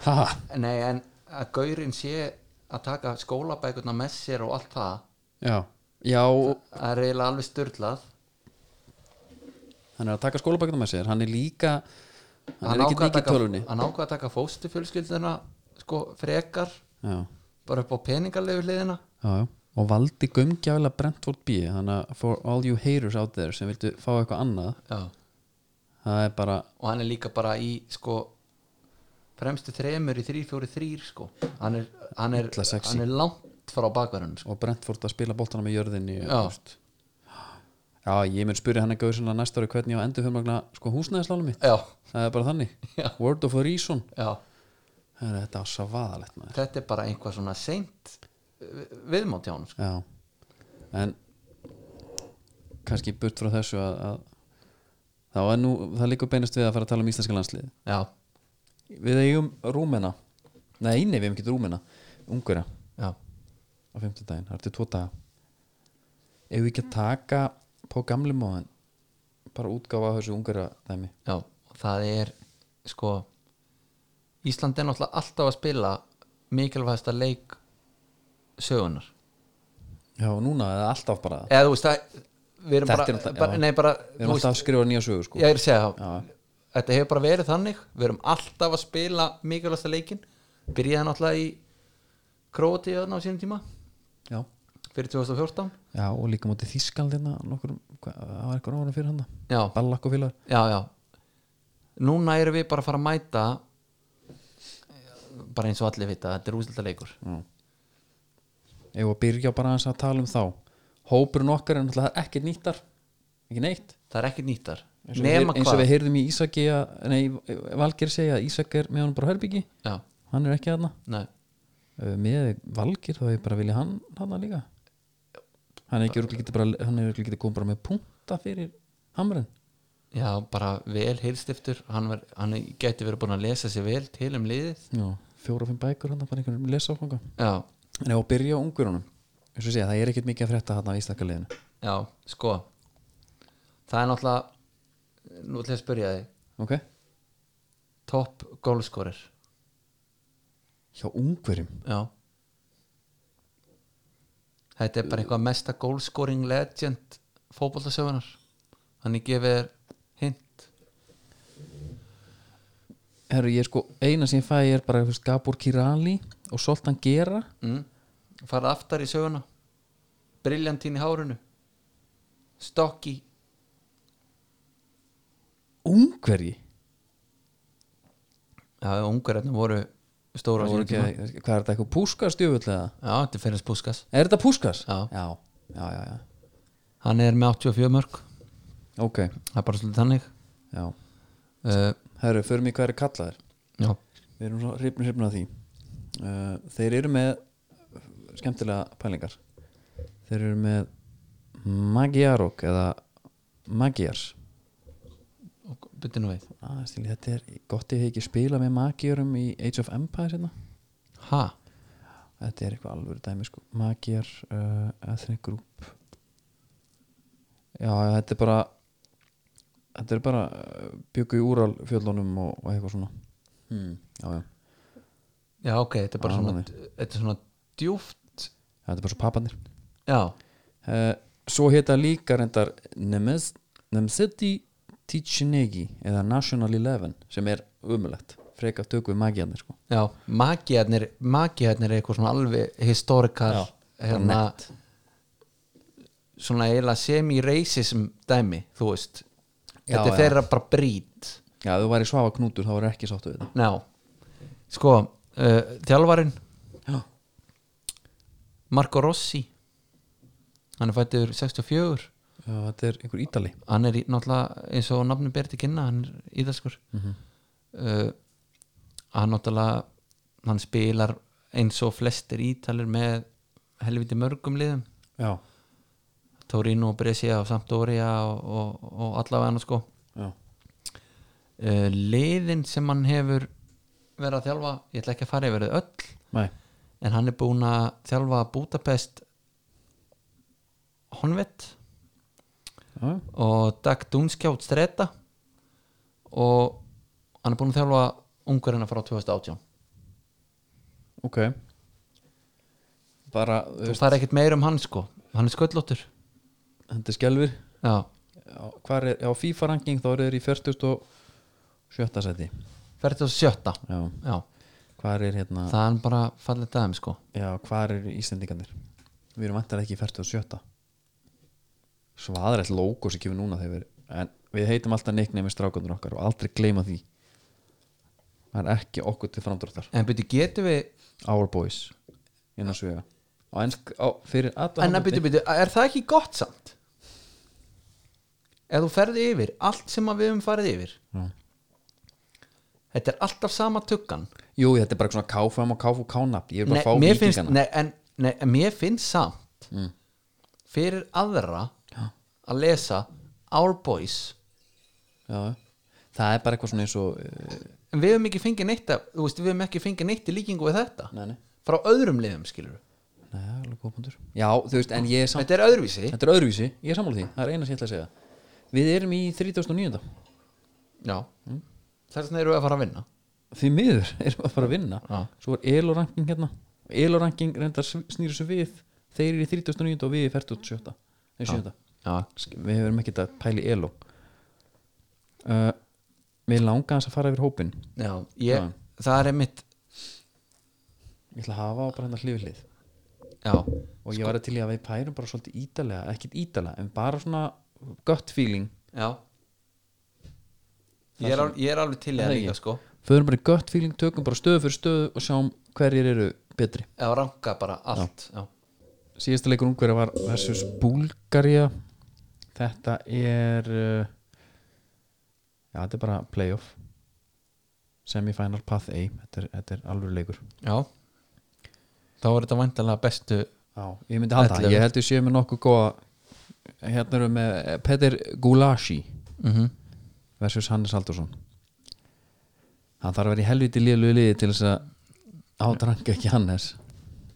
[SPEAKER 1] Haha
[SPEAKER 2] Nei, en að gaurinn sé að taka skólabækurna með sér og allt það
[SPEAKER 1] Já Já, og
[SPEAKER 2] það er eiginlega alveg styrlað
[SPEAKER 1] hann er að taka skólabækna með sér Hann er líka Hann, er
[SPEAKER 2] ákvað
[SPEAKER 1] ekki
[SPEAKER 2] að
[SPEAKER 1] líka í
[SPEAKER 2] taka-
[SPEAKER 1] tölvunni
[SPEAKER 2] hann ákvað að taka fóstu fjölskylduna sko frekar
[SPEAKER 1] já,
[SPEAKER 2] bara upp á peningarlegu hliðina
[SPEAKER 1] já, já og valdi gömgjála Brentford B þannig að for all you haters out there sem viltu fá eitthvað annað
[SPEAKER 2] já.
[SPEAKER 1] það er bara,
[SPEAKER 2] og hann er líka bara í sko fremstu þremur í 3-4-3 sko hann er, hann er,
[SPEAKER 1] Illa sexy.
[SPEAKER 2] hann er langt frá bakverðinu sko.
[SPEAKER 1] og Brentford að spila boltana með jörðinni
[SPEAKER 2] Já.
[SPEAKER 1] þú veist. já, ég mun spyrja hann að gauð svona næsta ári hvernig ég á endur fjörmagna sko húsnæðislánum mitt,
[SPEAKER 2] já,
[SPEAKER 1] það er bara þannig
[SPEAKER 2] Já.
[SPEAKER 1] word of a reason,
[SPEAKER 2] já,
[SPEAKER 1] það er þetta svo vaðalegt maður
[SPEAKER 2] þetta er bara einhvað svona seint vi- viðmót hjá hann sko.
[SPEAKER 1] Já, en kannski burt frá þessu að, að þá er nú, það líka beinast við að fara að tala um íslenska landslið
[SPEAKER 2] já,
[SPEAKER 1] Við eigum Rúmena Nei, nei, við eigum ekki Rúmena Ungverja á
[SPEAKER 2] já,
[SPEAKER 1] fimmtudaginn, það er til tvo daga Ef við ekki að taka på gamli móðan bara útgáfa af þessu Ungverja dæmi
[SPEAKER 2] já og það er sko Ísland er náttúrulega alltaf að spila mikilvægasta leik sögunar
[SPEAKER 1] Já, og núna er það alltaf bara það
[SPEAKER 2] eða þú veist það við erum
[SPEAKER 1] Þetta
[SPEAKER 2] bara,
[SPEAKER 1] er náttúrulega-
[SPEAKER 2] bara,
[SPEAKER 1] já.
[SPEAKER 2] nei, bara
[SPEAKER 1] Við
[SPEAKER 2] þú
[SPEAKER 1] erum alltaf að skrifa nýja sögu sko
[SPEAKER 2] ég er að segja það
[SPEAKER 1] Já.
[SPEAKER 2] þetta hefur bara verið þannig við erum alltaf að spila mikilvægsta leikin byrjaði náttúrulega í Króti á sínum tíma
[SPEAKER 1] Já,
[SPEAKER 2] fyrir 2014
[SPEAKER 1] já og líka mútið þýskaldina hérna, nokkur, hvað, það var eitthvað ára fyrir hann
[SPEAKER 2] já,
[SPEAKER 1] Ballakkofélag
[SPEAKER 2] já, já núna erum við bara að fara að mæta bara eins og allir vita þetta er úsleita leikur
[SPEAKER 1] Ef að byrja bara aðeins að tala um þá Hópurinn okkar er náttúrulega ekkert nýttar Ekki neitt
[SPEAKER 2] það er ekkert nýttar
[SPEAKER 1] Eins og,
[SPEAKER 2] nema
[SPEAKER 1] eins og
[SPEAKER 2] hvað
[SPEAKER 1] við heyrðum í Ísaki að, Nei, Valgir segja að Ísak er með hann bara á herbyggi
[SPEAKER 2] já,
[SPEAKER 1] Hann er ekki þarna
[SPEAKER 2] nei,
[SPEAKER 1] Uh, Með Valgir þá hefur bara vilja hann þarna líka Hann er ekki örugglega getið bara Hann er ekki getið komið bara með punta fyrir Hamren
[SPEAKER 2] já, bara vel heilstiftur hann, var, hann gæti verið búin að lesa sér vel til um liðið
[SPEAKER 1] Já, fjóra og fimm bækur hann bara einhverjum lesa áfanga
[SPEAKER 2] já,
[SPEAKER 1] En ef að byrja á ungurunum Eins og segja, það er ekkert mikið að frétta hann á Ísaka liðinu
[SPEAKER 2] Já, sko Það er náttúrulega Nú ætla ég að spyrja þig
[SPEAKER 1] Ok,
[SPEAKER 2] Topp gólskorir
[SPEAKER 1] hjá ungverjum
[SPEAKER 2] Já Þetta er bara eitthvað mesta gólskoring legend fótboltasögunar Þannig gefið þér hint
[SPEAKER 1] Herru, ég sko, eina sem ég fæ er bara þú veist, Gabor Kirali og Soltan Gera
[SPEAKER 2] mm. Farað aftar í söguna Briljantín í hárunu Stokki
[SPEAKER 1] Ungverji
[SPEAKER 2] Já, ungverðarnir voru
[SPEAKER 1] Það
[SPEAKER 2] stóra á
[SPEAKER 1] voru
[SPEAKER 2] sínum
[SPEAKER 1] ekki-
[SPEAKER 2] tíma.
[SPEAKER 1] Hvað er þetta, eitthvað púskast jöfulega?
[SPEAKER 2] Já, þetta er fyrir Spúskas
[SPEAKER 1] Er þetta púskas?
[SPEAKER 2] Já.
[SPEAKER 1] já, já, já, já.
[SPEAKER 2] Hann er með 84 mörg
[SPEAKER 1] Ok,
[SPEAKER 2] Það er bara svolítið þannig
[SPEAKER 1] já
[SPEAKER 2] uh,
[SPEAKER 1] Herru, förum í hvað er kallaðir
[SPEAKER 2] Já,
[SPEAKER 1] Við erum svo hrifnir hrifnir að því uh, Þeir eru með skemmtilega pælingar Þeir eru með Magyarok eða Magyars
[SPEAKER 2] og byrja nú við
[SPEAKER 1] ah, stíli, Þetta er gott ég hef ekki spila með Magyarum í Age of Empires hérna.
[SPEAKER 2] Ha?
[SPEAKER 1] Þetta er eitthvað alvöru dæmi sko Magyar, uh, Ethnic Group Já, þetta er bara Þetta er bara uh, byggu í úral fjöllunum og, og eitthvað svona hmm. Já, já,
[SPEAKER 2] Já, ok, þetta er bara
[SPEAKER 1] Já,
[SPEAKER 2] svona
[SPEAKER 1] þannig.
[SPEAKER 2] Þetta er svona djúft
[SPEAKER 1] þetta er bara svo pappanir
[SPEAKER 2] Já,
[SPEAKER 1] uh, Svo heita líka reyndar Nemes, Nemseti Tichinegi eða National Eleven sem er umulegt freka tökum við magiðanir sko
[SPEAKER 2] já, magiðarnir Magiðarnir er eitthvað svona alveg historikal
[SPEAKER 1] Já, bara
[SPEAKER 2] hérna Svona eiginlega semi-racism dæmi, þú veist
[SPEAKER 1] Já,
[SPEAKER 2] Þetta er
[SPEAKER 1] já.
[SPEAKER 2] þeirra bara brýt
[SPEAKER 1] Já, ef þú væri svafa knútur þá voru ekki sáttu við það
[SPEAKER 2] Já, sko uh, Þjálfarinn
[SPEAKER 1] Já,
[SPEAKER 2] Marco Rossi Hann er fættur 64
[SPEAKER 1] já þetta er einhver ítali
[SPEAKER 2] hann er í, náttúrulega eins og nafnum ber til kynna hann er íðalskur
[SPEAKER 1] Mhm.
[SPEAKER 2] uh, hann náttúrulega hann spilar eins og flestir ítalir með helviti mörgum liðum
[SPEAKER 1] Já,
[SPEAKER 2] Torino og Brescia og Sampdoria og, og, og allavega sko
[SPEAKER 1] já,
[SPEAKER 2] uh, liðin sem hann hefur verið að þjálfa, ég ætla ekki að fara yfir þau öll
[SPEAKER 1] nei
[SPEAKER 2] en hann er búin að þjálfa Budapest Honvett
[SPEAKER 1] Já, já
[SPEAKER 2] og Dag Dunskjátt Streta og hann er búin að þjálfa ungurina frá 2018
[SPEAKER 1] ok bara, þú
[SPEAKER 2] þú
[SPEAKER 1] veist,
[SPEAKER 2] fær ekkert meira um hann sko hann er sköllóttur
[SPEAKER 1] þetta er skelfur
[SPEAKER 2] já,
[SPEAKER 1] hvað er, á FIFA ranking þá eru þeir í 47. sæti
[SPEAKER 2] 47
[SPEAKER 1] já,
[SPEAKER 2] já,
[SPEAKER 1] hvað hvar er hérna
[SPEAKER 2] það er bara fallið dæmi sko
[SPEAKER 1] já, hvar er Íslendingarnir við erum vantar ekki í 47 svaðrætt logo sem kemur núna þegar við, en við heitum alltaf nickname strákandur okkar og aldrei gleyma því það er ekki okkur til framdráttar
[SPEAKER 2] en byrju getum við,
[SPEAKER 1] our boys innan svega á ensk, á, fyrir alla
[SPEAKER 2] en
[SPEAKER 1] handa-
[SPEAKER 2] að byrju byrju er það ekki gott samt ef þú ferði yfir allt sem að við höfum farið yfir
[SPEAKER 1] Já.
[SPEAKER 2] þetta er alltaf sama tuggan
[SPEAKER 1] jú, þetta er bara svona KFM og KFK nafn ég er bara
[SPEAKER 2] Nei,
[SPEAKER 1] að fá Mm.
[SPEAKER 2] mér finnst,
[SPEAKER 1] vikingana
[SPEAKER 2] nei, en, nei, en mér finnst samt fyrir aðra að lesa Our Boys
[SPEAKER 1] Já. það er bara eitthvað svona eins og eh,
[SPEAKER 2] en við höfum ekki fengið neitt að, þú veist, við höfum ekki fengið neitt í líkingu við þetta
[SPEAKER 1] nei, nei,
[SPEAKER 2] frá öðrum liðum skilur
[SPEAKER 1] nei, alveg góð punktur. já, þú veist, en ég er samt
[SPEAKER 2] þetta er öðruvísi
[SPEAKER 1] Þetta er öðruvísi, ég er sammála því, það er eina sem ég ætla að segja Við erum í 39.
[SPEAKER 2] já, mm. þess vegna eru við að fara að vinna
[SPEAKER 1] Því miður (laughs) erum við að fara að vinna
[SPEAKER 2] Já.
[SPEAKER 1] Svo er elo-ranking hérna Elo-ranking reyndar sv- snýr þessu við Þeir eru í 39. og við í 47. Nei, 7.
[SPEAKER 2] já,
[SPEAKER 1] Sk- Við hefum ekkert að pæla í elo uh, Við langa þess að fara yfir hópin
[SPEAKER 2] já, ég,
[SPEAKER 1] Já.
[SPEAKER 2] það er einmitt
[SPEAKER 1] Ég ætla að hafa á bara hérna hlifið hlið
[SPEAKER 2] já,
[SPEAKER 1] Og ég var að til í að við pærum bara svolítið ítalega Ekkert ítalega, en bara svona gut feeling
[SPEAKER 2] já ég er, al- ég er alveg til í
[SPEAKER 1] Það
[SPEAKER 2] það
[SPEAKER 1] er
[SPEAKER 2] líka
[SPEAKER 1] ekki.
[SPEAKER 2] sko
[SPEAKER 1] Förum bara í gut feeling, tökum bara stöðu fyrir stöðu Og sjáum hverjir eru betri
[SPEAKER 2] eða ranka bara allt já,
[SPEAKER 1] síðasta leikur ungverja var versus Búlgaria þetta er uh, já, þetta er bara playoff semifinal path A þetta er, þetta er alveg leikur
[SPEAKER 2] já. þá er þetta vantanlega bestu
[SPEAKER 1] já, ég myndi halda það,
[SPEAKER 2] Ellefu.
[SPEAKER 1] ég held ég sé með nokkuð góða hérna erum við með eh, Peter Gulashi
[SPEAKER 2] mm -hmm.
[SPEAKER 1] versus Hannes Haldursson hann þarf að vera í helviti liðlu liði til þess að átranga ekki Hannes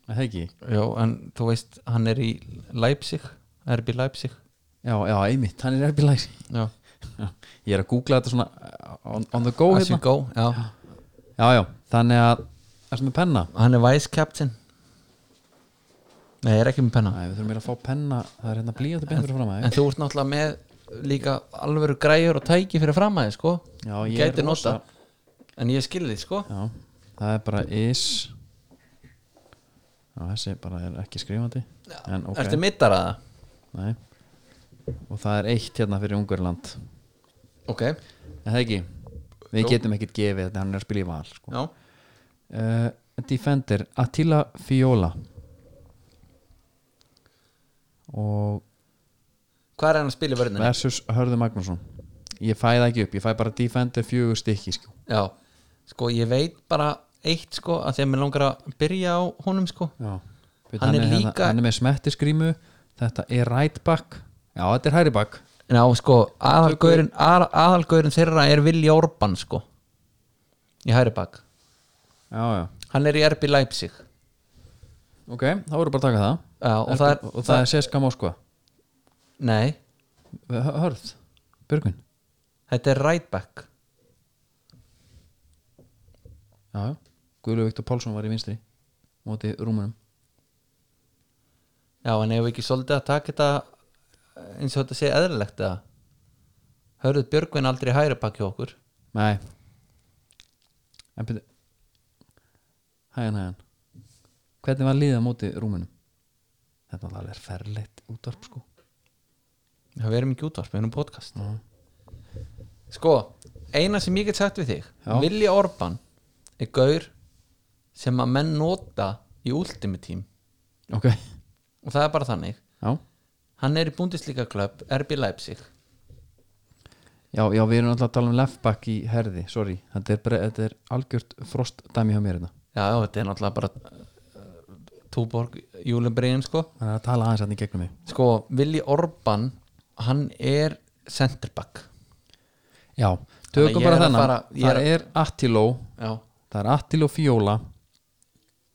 [SPEAKER 1] Er það ekki,
[SPEAKER 2] Já, en þú veist, hann er í Leipzig, RB Leipzig
[SPEAKER 1] já, já, einmitt hann er erbilæs
[SPEAKER 2] Já,
[SPEAKER 1] ég er að googla þetta svona eh, on, on the go
[SPEAKER 2] as
[SPEAKER 1] hérna
[SPEAKER 2] you go já.
[SPEAKER 1] Já, já, þannig að Erstu með penna?
[SPEAKER 2] Hann er vice captain Nei, ég er ekki með penna
[SPEAKER 1] Nei, við þurfum meira að fá penna Það er hérna blíjandi beint fyrir fram
[SPEAKER 2] En
[SPEAKER 1] aðeins
[SPEAKER 2] þú ert náttúrulega með líka alvöru græjur og tæki fyrir framæði, sko
[SPEAKER 1] Já,
[SPEAKER 2] Þú
[SPEAKER 1] ég er
[SPEAKER 2] Gætir nota
[SPEAKER 1] rosa-
[SPEAKER 2] En ég skilði því, sko
[SPEAKER 1] Já, það er bara is Já, þessi bara er ekki skrifandi En ok,
[SPEAKER 2] Ertu mittar að það?
[SPEAKER 1] nei Og það er eitt hérna fyrir Ungverland
[SPEAKER 2] Ok,
[SPEAKER 1] Er það ekki? Við getum ekkert gefið þetta Hann er að spila í val sko.
[SPEAKER 2] já
[SPEAKER 1] uh, Defender, Attila Fiola Og
[SPEAKER 2] Hvað er hann að spila í vörðinni?
[SPEAKER 1] versus Hörður Magnússon Ég fæ það ekki upp, ég fæ bara Defender fjögur stykki sko.
[SPEAKER 2] Já, sko, ég veit bara eitt, sko að því að mér langar að byrja á honum, sko
[SPEAKER 1] Já,
[SPEAKER 2] Hann er
[SPEAKER 1] hérna-
[SPEAKER 2] líka-
[SPEAKER 1] hann er með smettiskrímu þetta er right back já þetta er hæri back
[SPEAKER 2] Já, sko, aðalgaurin, aðal, aðalgaurin þeirra er Vilji Orban, sko í hæri bak
[SPEAKER 1] já já
[SPEAKER 2] hann er í RB Leipzig
[SPEAKER 1] ok þá voru bara að taka það
[SPEAKER 2] Já, og
[SPEAKER 1] Er-
[SPEAKER 2] það er-
[SPEAKER 1] og það, er Seska Moskva
[SPEAKER 2] nei,
[SPEAKER 1] Hör- hörð Björgvin
[SPEAKER 2] þetta er right back
[SPEAKER 1] já já Guðlu Viktor Pálsson var í vinstri móti rúmunum
[SPEAKER 2] já, en ef við ekki svolítið að taka þetta eh, eins og þetta sé eðlilegt að hörðu Björgvin aldrei í hæri bak hjá okkur
[SPEAKER 1] nei en byrju hægan hægan hvernig var liða móti rúmunum þetta var alveg ferleitt útvarp sko
[SPEAKER 2] Já, við erum ekki útvarp, við erum podcast sko, eina sem ég get sagt við þig
[SPEAKER 1] Já.
[SPEAKER 2] Vilji Orban er gaur sem að menn nota í Ultimate Team
[SPEAKER 1] ok
[SPEAKER 2] og það er bara þannig
[SPEAKER 1] já
[SPEAKER 2] hann er í Bundesliga klubb RB Leipzig
[SPEAKER 1] Já, já, við erum alltaf að tala um left back í herði, sorry, þetta er, bara, þetta er algjört frostdæmi hjá mér hérna
[SPEAKER 2] já, já, þetta er náttúrulega bara uh, Túborg Júlibriðin sko
[SPEAKER 1] Það er að tala aðeins hérna í gegnum mig
[SPEAKER 2] sko, Willi Orban hann er centerback
[SPEAKER 1] Já,
[SPEAKER 2] Þannig að
[SPEAKER 1] tökum
[SPEAKER 2] ég
[SPEAKER 1] bara
[SPEAKER 2] er að
[SPEAKER 1] þennan,
[SPEAKER 2] fara- ég er
[SPEAKER 1] það
[SPEAKER 2] að-
[SPEAKER 1] er Attilo
[SPEAKER 2] já,
[SPEAKER 1] það er Attilo Fjóla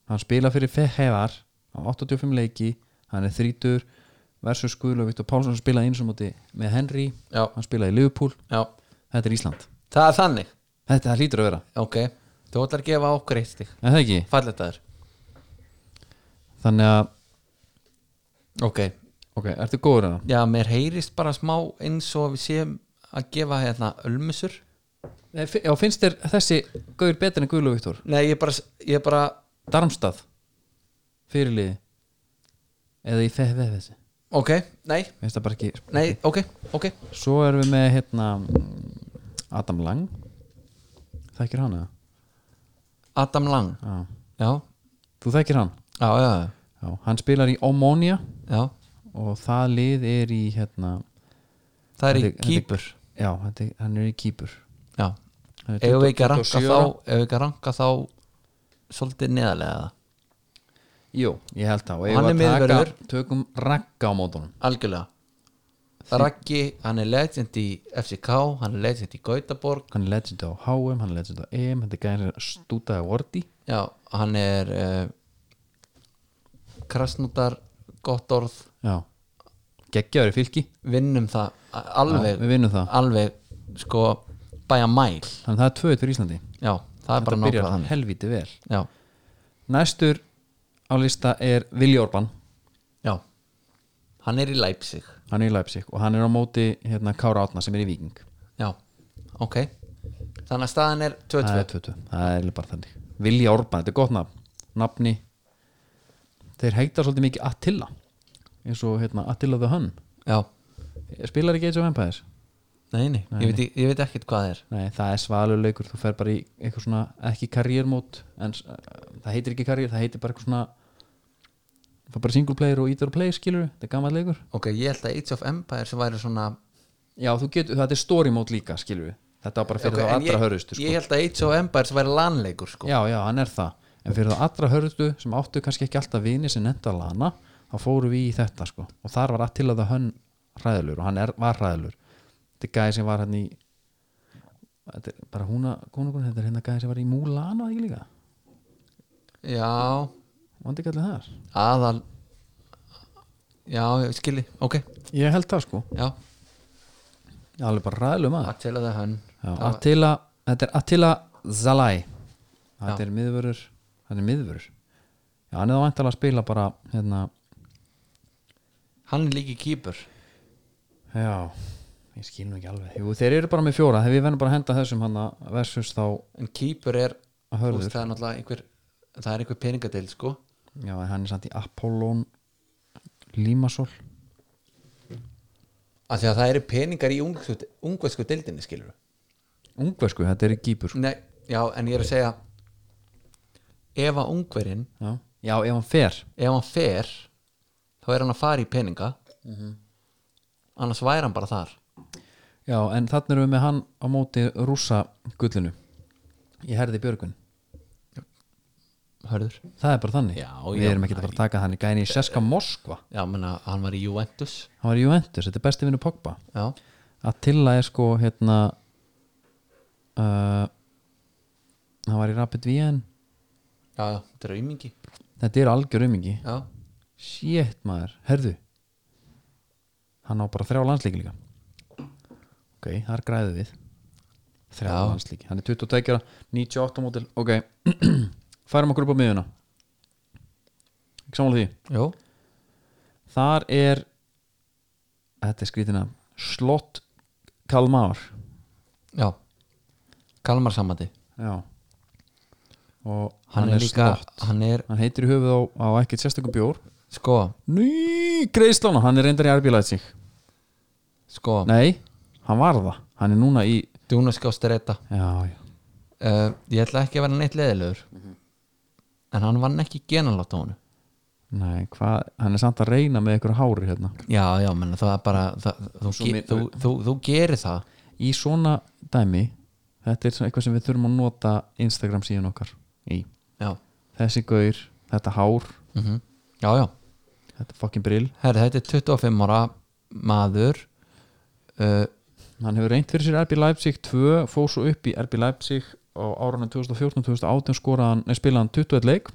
[SPEAKER 1] hann spila fyrir Fehevar á 85 leiki, hann er þrítur versus Guðlaug Viktor Pálsson hann spilaði eins og móti með Henry
[SPEAKER 2] já,
[SPEAKER 1] hann spilaði í Liverpool,
[SPEAKER 2] já
[SPEAKER 1] þetta er Ísland
[SPEAKER 2] það er þannig,
[SPEAKER 1] Þetta það hlýtur að vera,
[SPEAKER 2] ok þú ætlar að gefa okkur eitt stík,
[SPEAKER 1] en það ekki
[SPEAKER 2] fallet að þér
[SPEAKER 1] Þannig að,
[SPEAKER 2] ok,
[SPEAKER 1] ok, ertu góður hérna?
[SPEAKER 2] já, mér heyrist bara smá eins og við séum að gefa hérna ölmusur
[SPEAKER 1] Nei, fi- Já, finnst þér þessi gaur betur en Guðlu Viktor?
[SPEAKER 2] Nei, ég bara, ég bara
[SPEAKER 1] Darmstað fyrirliði eða í fefið þessi
[SPEAKER 2] Ok, nei,
[SPEAKER 1] finnst það bara ekki
[SPEAKER 2] nei, ok, ok
[SPEAKER 1] svo erum við með hérna mm, Adam Lang þekkir hann eða?
[SPEAKER 2] Adam Lang
[SPEAKER 1] Já.
[SPEAKER 2] Já,
[SPEAKER 1] þú þekkir hann?
[SPEAKER 2] já, já, já,
[SPEAKER 1] Já, hann spilar í Omonia
[SPEAKER 2] já.
[SPEAKER 1] og það lið er í hérna
[SPEAKER 2] Það er í
[SPEAKER 1] þetta- þetta
[SPEAKER 2] kýpur
[SPEAKER 1] já, þetta er- hann er í Kýpur
[SPEAKER 2] Já,
[SPEAKER 1] Hann er
[SPEAKER 2] ef við ekki að
[SPEAKER 1] 27
[SPEAKER 2] ranka
[SPEAKER 1] ára.
[SPEAKER 2] þá Ef við ekki að ranka þá Svolítið neðarlega það.
[SPEAKER 1] Jú, ég held það og
[SPEAKER 2] Hann
[SPEAKER 1] eigum
[SPEAKER 2] er
[SPEAKER 1] að taka,
[SPEAKER 2] miðvörður.
[SPEAKER 1] tökum ragga á mótunum
[SPEAKER 2] Algjörlega Raggi, hann er legend í FCK Hann er legend í Gautaborg
[SPEAKER 1] hann er legend á HM, hann er legend á EM þetta gæri stútaði vorti
[SPEAKER 2] Já, hann er uh, Krasnútar Gott orð,
[SPEAKER 1] já, geggjaður í fylki
[SPEAKER 2] vinnum það a-
[SPEAKER 1] Já,
[SPEAKER 2] Alveg,
[SPEAKER 1] við vinnum það
[SPEAKER 2] alveg Sko, bæja mæl
[SPEAKER 1] þannig að það er tvöð fyrir Íslandi
[SPEAKER 2] Já, það
[SPEAKER 1] þetta
[SPEAKER 2] er bara nákvæmlega
[SPEAKER 1] byrjar hérna.
[SPEAKER 2] þannig
[SPEAKER 1] helviti vel
[SPEAKER 2] Já,
[SPEAKER 1] næstur á lista er Vili Orban
[SPEAKER 2] já Hann er í Leipzig
[SPEAKER 1] hann er í Leipzig og hann er á móti hérna Kára Átna sem er í Viking
[SPEAKER 2] Já, ok Þannig að staðan er 2-2
[SPEAKER 1] það er 22, það er eiginlega bara þannig Vili Orban, þetta er gott nafn nafni þeir heita svolítið mikið Attila eins og hérna Attila the Hun
[SPEAKER 2] Já,
[SPEAKER 1] spilar ekki eins og Empires
[SPEAKER 2] nei, nei, Ég, veit, ég veit ekkert hvað það er
[SPEAKER 1] Nei, það er svaluleikur, þú fer bara í eitthvað svona, ekki karriérmót en s- eh, það heitir ekki karriér, það heitir bara eitthvað svona það er bara single player og either player skilur, þetta er gammal leikur
[SPEAKER 2] Ok, ég held að Age of Empires væri svona
[SPEAKER 1] Já, þú getur, þetta er story mode líka skilur þetta var bara fyrir
[SPEAKER 2] Ok,
[SPEAKER 1] þá
[SPEAKER 2] en
[SPEAKER 1] allra
[SPEAKER 2] ég,
[SPEAKER 1] hörðustu sko.
[SPEAKER 2] Ég held að Age of Empires væri lanleikur sko.
[SPEAKER 1] Já, já, hann er það, en fyrir þá allra hörðustu sem áttu kannski ekki alltaf vini sem nefnda lana, þá fóru við í þetta sko. og þar var Attila það hönn hræðilur og hann er, var hræðilur þetta er gæði sem var hann í þetta er bara húna, konungun þetta er hérna gæði sem var í Múlana ekki líka
[SPEAKER 2] Já,
[SPEAKER 1] Vandi ekki allir þar?
[SPEAKER 2] aðal Já, ég skilji, ok
[SPEAKER 1] Ég held það sko
[SPEAKER 2] Já,
[SPEAKER 1] Alveg bara ræðlum að
[SPEAKER 2] Attila the Hun
[SPEAKER 1] Attila, þetta er Attila Zalai Þetta er miðvörur Þetta er miðvörur Já, hann er þá vantalega að spila bara hérna,
[SPEAKER 2] Hann er líki kýpur
[SPEAKER 1] Já, ég skil nú ekki alveg Jú, þeir eru bara með fjóra, þegar við verðum bara að henda þessum hann versus þá
[SPEAKER 2] En kýpur er, þú
[SPEAKER 1] Hörður.
[SPEAKER 2] veist, það er náttúrulega einhver Það er einhver peningadil, sko
[SPEAKER 1] Já, en hann er samt í Apollon Límasol
[SPEAKER 2] Af því að það eru peningar í ungvesku deildinni, skilur
[SPEAKER 1] Ungversku, þetta er í Gýpur sko.
[SPEAKER 2] Nei, já, en ég er að segja Ef að ungverinn
[SPEAKER 1] Já. Já, ef hann fer
[SPEAKER 2] Ef hann fer Þá er hann að fara í peninga Mhm. Annars væri hann bara þar
[SPEAKER 1] Já, en þannig erum við með hann á móti rúsa gullinu Ég herði Björgun
[SPEAKER 2] Hörður
[SPEAKER 1] Það er bara þannig
[SPEAKER 2] Já,
[SPEAKER 1] Við
[SPEAKER 2] já,
[SPEAKER 1] erum ekki að fara að taka hann í gæni í Seska Moskva
[SPEAKER 2] Já, menna, hann var í Juventus
[SPEAKER 1] Hann var í Juventus, þetta er besti vinnu Pogba
[SPEAKER 2] Já,
[SPEAKER 1] Attila er sko hérna uh, Hann var í Rapid Wien
[SPEAKER 2] já, já, þetta er aumingi
[SPEAKER 1] Þetta er algjör umingi
[SPEAKER 2] Já,
[SPEAKER 1] Shit maður, herðu Hann á bara þrjá landsleiki líka Ok, þar græðu við Þrjá
[SPEAKER 2] Já.
[SPEAKER 1] landsleiki Hann er 22, ára, 98 mótil Ok, (clears throat) færum okkur upp á miðuna Ekki sammála því
[SPEAKER 2] Jó.
[SPEAKER 1] Þar er Þetta er skrítina Slott Kalmar
[SPEAKER 2] já Kalmar samandi
[SPEAKER 1] Já Og
[SPEAKER 2] Hann, er líka,
[SPEAKER 1] slott
[SPEAKER 2] hann er,
[SPEAKER 1] Hann heitir í höfuð á, á ekkert sérstökum bjór
[SPEAKER 2] sko
[SPEAKER 1] Ný, greiðslána, hann er reyndar í arbílaðið sig
[SPEAKER 2] Sko,
[SPEAKER 1] Nei, hann var það Hann er núna í
[SPEAKER 2] dúnaskástur þetta
[SPEAKER 1] Já, já
[SPEAKER 2] uh, Ég ætla ekki að vera neitt leðilegur En hann vann ekki genanlátt á honum
[SPEAKER 1] Nei, hvað, hann er samt að reyna með einhverju hári hérna
[SPEAKER 2] Já, já, menna, það er bara það, þú,
[SPEAKER 1] Svo
[SPEAKER 2] ge,
[SPEAKER 1] mi-
[SPEAKER 2] þú, þú, þú gerir það
[SPEAKER 1] Í svona dæmi Þetta er svona eitthvað sem við þurfum að nota Instagram síðan okkar í
[SPEAKER 2] Já,
[SPEAKER 1] Þessi gaur, þetta hár,
[SPEAKER 2] mm já, já
[SPEAKER 1] þetta fucking brill
[SPEAKER 2] Herri, þetta er 25 ára maður uh,
[SPEAKER 1] Hann hefur reynt fyrir sér RB Leipzig 2 fóð svo upp í RB Leipzig á árunum 2014-2018 skoraðan nei, spilaði hann 21 leik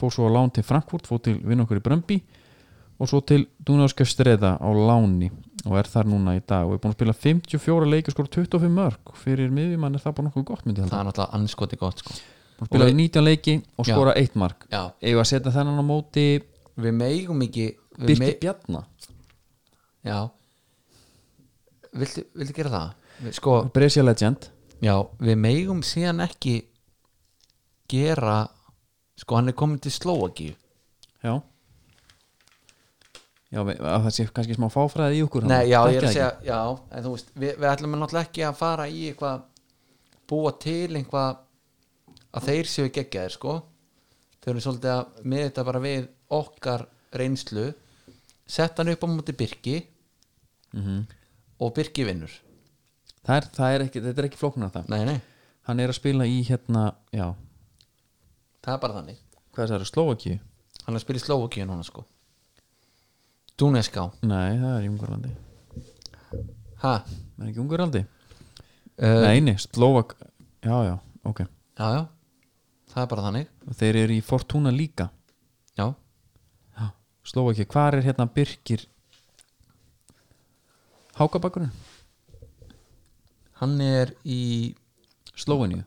[SPEAKER 1] fóð svo á lán til Frankfurt, fóð til vinn okkur í Brömbi og svo til Dunarska Streða á láni og er þar núna í dag og er búin að spila 54 leik og skora 25 mörg fyrir miðjumann er það bara nokkuð gott myndi ég halda.
[SPEAKER 2] Það er náttúrulega anskoti gott sko.
[SPEAKER 1] Búinn að spila 19 leiki og
[SPEAKER 2] Já.
[SPEAKER 1] skora 1 mark
[SPEAKER 2] Já,
[SPEAKER 1] eða að setja þennan á móti
[SPEAKER 2] við megum ekki við
[SPEAKER 1] Birki Bjarna
[SPEAKER 2] Já Viltu, viltu gera það? Við- Sko,
[SPEAKER 1] Brescia Legend
[SPEAKER 2] Já, við megum síðan ekki gera sko hann er komin til Slóakíu
[SPEAKER 1] já já, við- að það sé kannski smá fáfræði í okkur hann,
[SPEAKER 2] Nei, já,
[SPEAKER 1] þekkja
[SPEAKER 2] ég er
[SPEAKER 1] það
[SPEAKER 2] að segja já, en þú veist, við, við ætlum náttúrulega ekki að fara í eitthvað búa til eitthvað að þeir séu geggjaðir sko þeir eru svolítið að með þetta bara við okkar reynslu sett hann upp á móti Birki
[SPEAKER 1] ekki. Mhm.
[SPEAKER 2] og Birki vinnur
[SPEAKER 1] það er, það er ekki, þetta er ekki flóknar það
[SPEAKER 2] Nei, nei,
[SPEAKER 1] hann er að spila í hérna, já
[SPEAKER 2] það er bara þannig
[SPEAKER 1] hvað það er, Slovakíu?
[SPEAKER 2] hann er að spila í Slóakíu núna sko Dúneská,
[SPEAKER 1] Nei, það er í Ungurlandi
[SPEAKER 2] ha?
[SPEAKER 1] það er ekki Ungurlandi?
[SPEAKER 2] Uh,
[SPEAKER 1] Nei, nei, Slovak já, já, ok
[SPEAKER 2] Já, já, það er bara þannig
[SPEAKER 1] og þeir eru í Fortuna líka
[SPEAKER 2] Já,
[SPEAKER 1] já. Slovakíu, hvar er hérna Birkir Hákabakkurinn?
[SPEAKER 2] hann er í
[SPEAKER 1] Slóveníu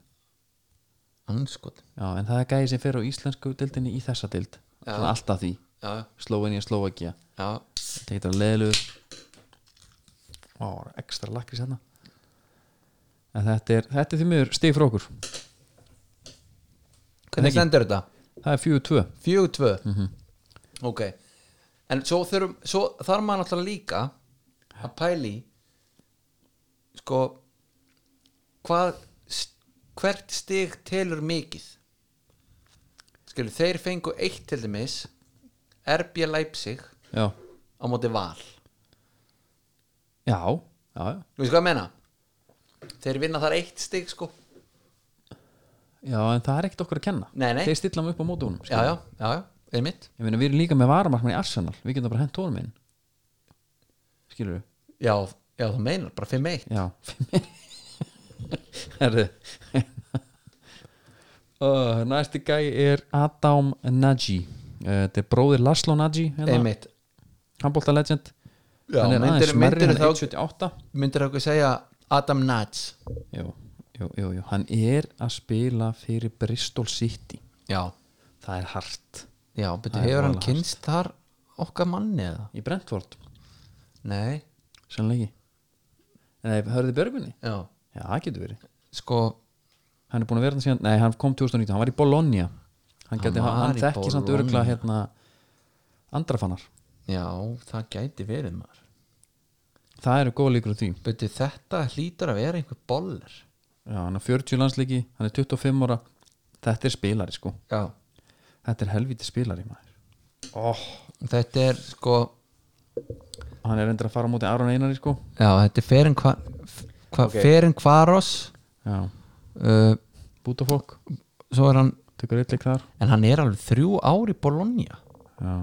[SPEAKER 2] anskot
[SPEAKER 1] Já, en það er gæði sem fer á íslensku dildinni í þessa dild
[SPEAKER 2] Já.
[SPEAKER 1] Svona alltaf því,
[SPEAKER 2] Já, já,
[SPEAKER 1] Slóvenía, Slóvakia
[SPEAKER 2] já
[SPEAKER 1] Þetta heitir að leðlugur Ó, það er ekstra lakrís hérna En þetta er, þetta er því miður stig frá okkur
[SPEAKER 2] Hvernig stendur þetta? Mhm.
[SPEAKER 1] Það er 4-2
[SPEAKER 2] 4-2 Ok En svo, þurfum, svo þarf maður náttúrulega líka að pæli sko hvað s- hvert stig telur mikið Skilur, þeir fengu eitt til dæmis RB Leipzig
[SPEAKER 1] Já,
[SPEAKER 2] á móti val
[SPEAKER 1] já, já, já.
[SPEAKER 2] Þú veist hvað ég menna? Þeir vinna þar eitt stig sko
[SPEAKER 1] já En það er ekkert okkur að kenna
[SPEAKER 2] Nei, nei.
[SPEAKER 1] Þeir stilla mig upp á mótunum
[SPEAKER 2] Já, já, já, já, einmitt
[SPEAKER 1] Ég meina, við erum líka með varamarkmann í Arsenal Við getum bara hent tónum inn Skilur við?
[SPEAKER 2] Já, já, það meinar, bara 5-1
[SPEAKER 1] Já (laughs) Herðu uh, Næsti gæi er Adam Nagy uh, Þetta er bróðir Laszlo Nagy hérna.
[SPEAKER 2] Einmitt
[SPEAKER 1] Handbólta legend
[SPEAKER 2] Já,
[SPEAKER 1] Hann er aðeins
[SPEAKER 2] myndirðu-
[SPEAKER 1] smerri, hann er
[SPEAKER 2] myndirðu
[SPEAKER 1] 178
[SPEAKER 2] Myndir okkur segja Adam Nats
[SPEAKER 1] jú, jú, jú, jú, hann er að spila fyrir Bristol City
[SPEAKER 2] Já,
[SPEAKER 1] Það er hart
[SPEAKER 2] já, betur
[SPEAKER 1] Það er
[SPEAKER 2] hefur hann
[SPEAKER 1] voðalega
[SPEAKER 2] kynst þar okkar manni eða?
[SPEAKER 1] Í Brentford,
[SPEAKER 2] Nei,
[SPEAKER 1] sannleiki Nei, hörðu Björgunni?
[SPEAKER 2] já,
[SPEAKER 1] Já, það getur verið
[SPEAKER 2] sko
[SPEAKER 1] hann er búin að vera þannig síðan, nei hann kom 2019 hann var í Bologna hann, gæti,
[SPEAKER 2] var
[SPEAKER 1] hann, hann
[SPEAKER 2] í
[SPEAKER 1] þekki samt
[SPEAKER 2] Bologna.
[SPEAKER 1] örgla hérna andrafannar,
[SPEAKER 2] Já, það gæti verið maður
[SPEAKER 1] það eru góð líkur á því
[SPEAKER 2] Betur þetta hlýtur að vera einhver boller
[SPEAKER 1] já, hann er 40 landsleiki, hann er 25 ára þetta er spilari sko
[SPEAKER 2] Já
[SPEAKER 1] þetta er helviti spilari maður oh.
[SPEAKER 2] Þetta er sko
[SPEAKER 1] hann er endur að fara á móti Aron Einari sko
[SPEAKER 2] Já, þetta er Ferin, hva, hva,
[SPEAKER 1] Ok.
[SPEAKER 2] ferin Kvaros
[SPEAKER 1] já,
[SPEAKER 2] uh,
[SPEAKER 1] Bútafólk,
[SPEAKER 2] Svo er hann
[SPEAKER 1] tekur eitthvað þar
[SPEAKER 2] En hann er alveg þrjú ár í Bologna
[SPEAKER 1] já,